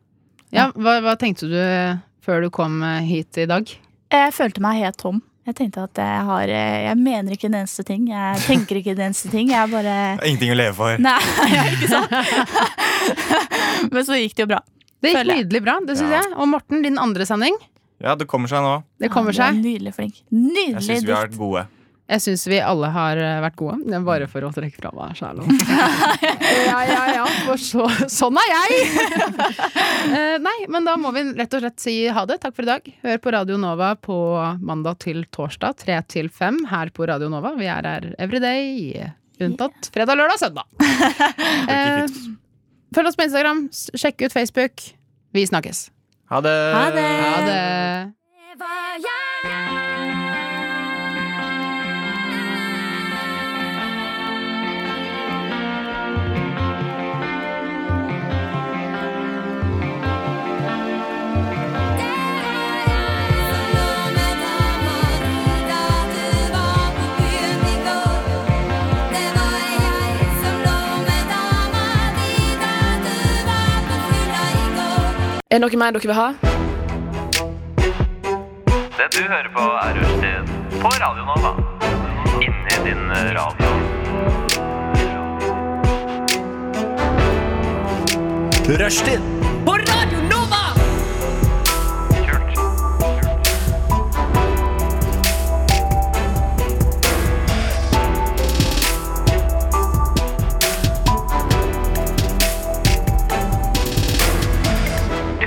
Speaker 3: Ja, hva, hva tenkte du før du kom eh, hit i dag?
Speaker 6: Jeg følte meg helt tom. Jeg tenkte at jeg har eh, Jeg mener ikke en eneste ting. Jeg tenker ikke en eneste ting. Jeg bare
Speaker 5: Det er Ingenting å leve for.
Speaker 6: Nei, ja, ikke sant? Men så gikk det jo bra.
Speaker 3: Det gikk
Speaker 6: Føler jeg.
Speaker 3: nydelig bra, det syns
Speaker 5: Ja.
Speaker 3: jeg. Og Morten, din andre sending.
Speaker 5: Ja, det kommer seg nå.
Speaker 3: Det kommer
Speaker 6: Ah, Ja, du
Speaker 3: seg.
Speaker 6: er Nydelig flink.
Speaker 5: Jeg
Speaker 6: Nydelig
Speaker 5: syns vi har
Speaker 6: dikt.
Speaker 5: vært gode.
Speaker 3: Jeg syns vi alle har eh, vært gode. Det er bare for å trekke fra meg sjæla. ja, ja, ja. For så, sånn er jeg! Eh, nei, men da må vi rett og slett si ha det. Takk for i dag. Hør på Radio Nova på mandag til torsdag, tre til fem her på Radio Nova. Vi er her every day, unntatt fredag, lørdag, søndag. Eh, følg oss på Instagram, s- sjekk ut Facebook. Vi snakkes.
Speaker 5: Ha det.
Speaker 6: Ha det.
Speaker 3: Ha det.
Speaker 8: Det var jeg som lå med dama di da du var Er det noe mer dere vil ha?
Speaker 11: Det du hører på er Rushtid på Radio Nova. Inni din radio.
Speaker 1: Rushtid
Speaker 12: På Radio Nova!
Speaker 10: Du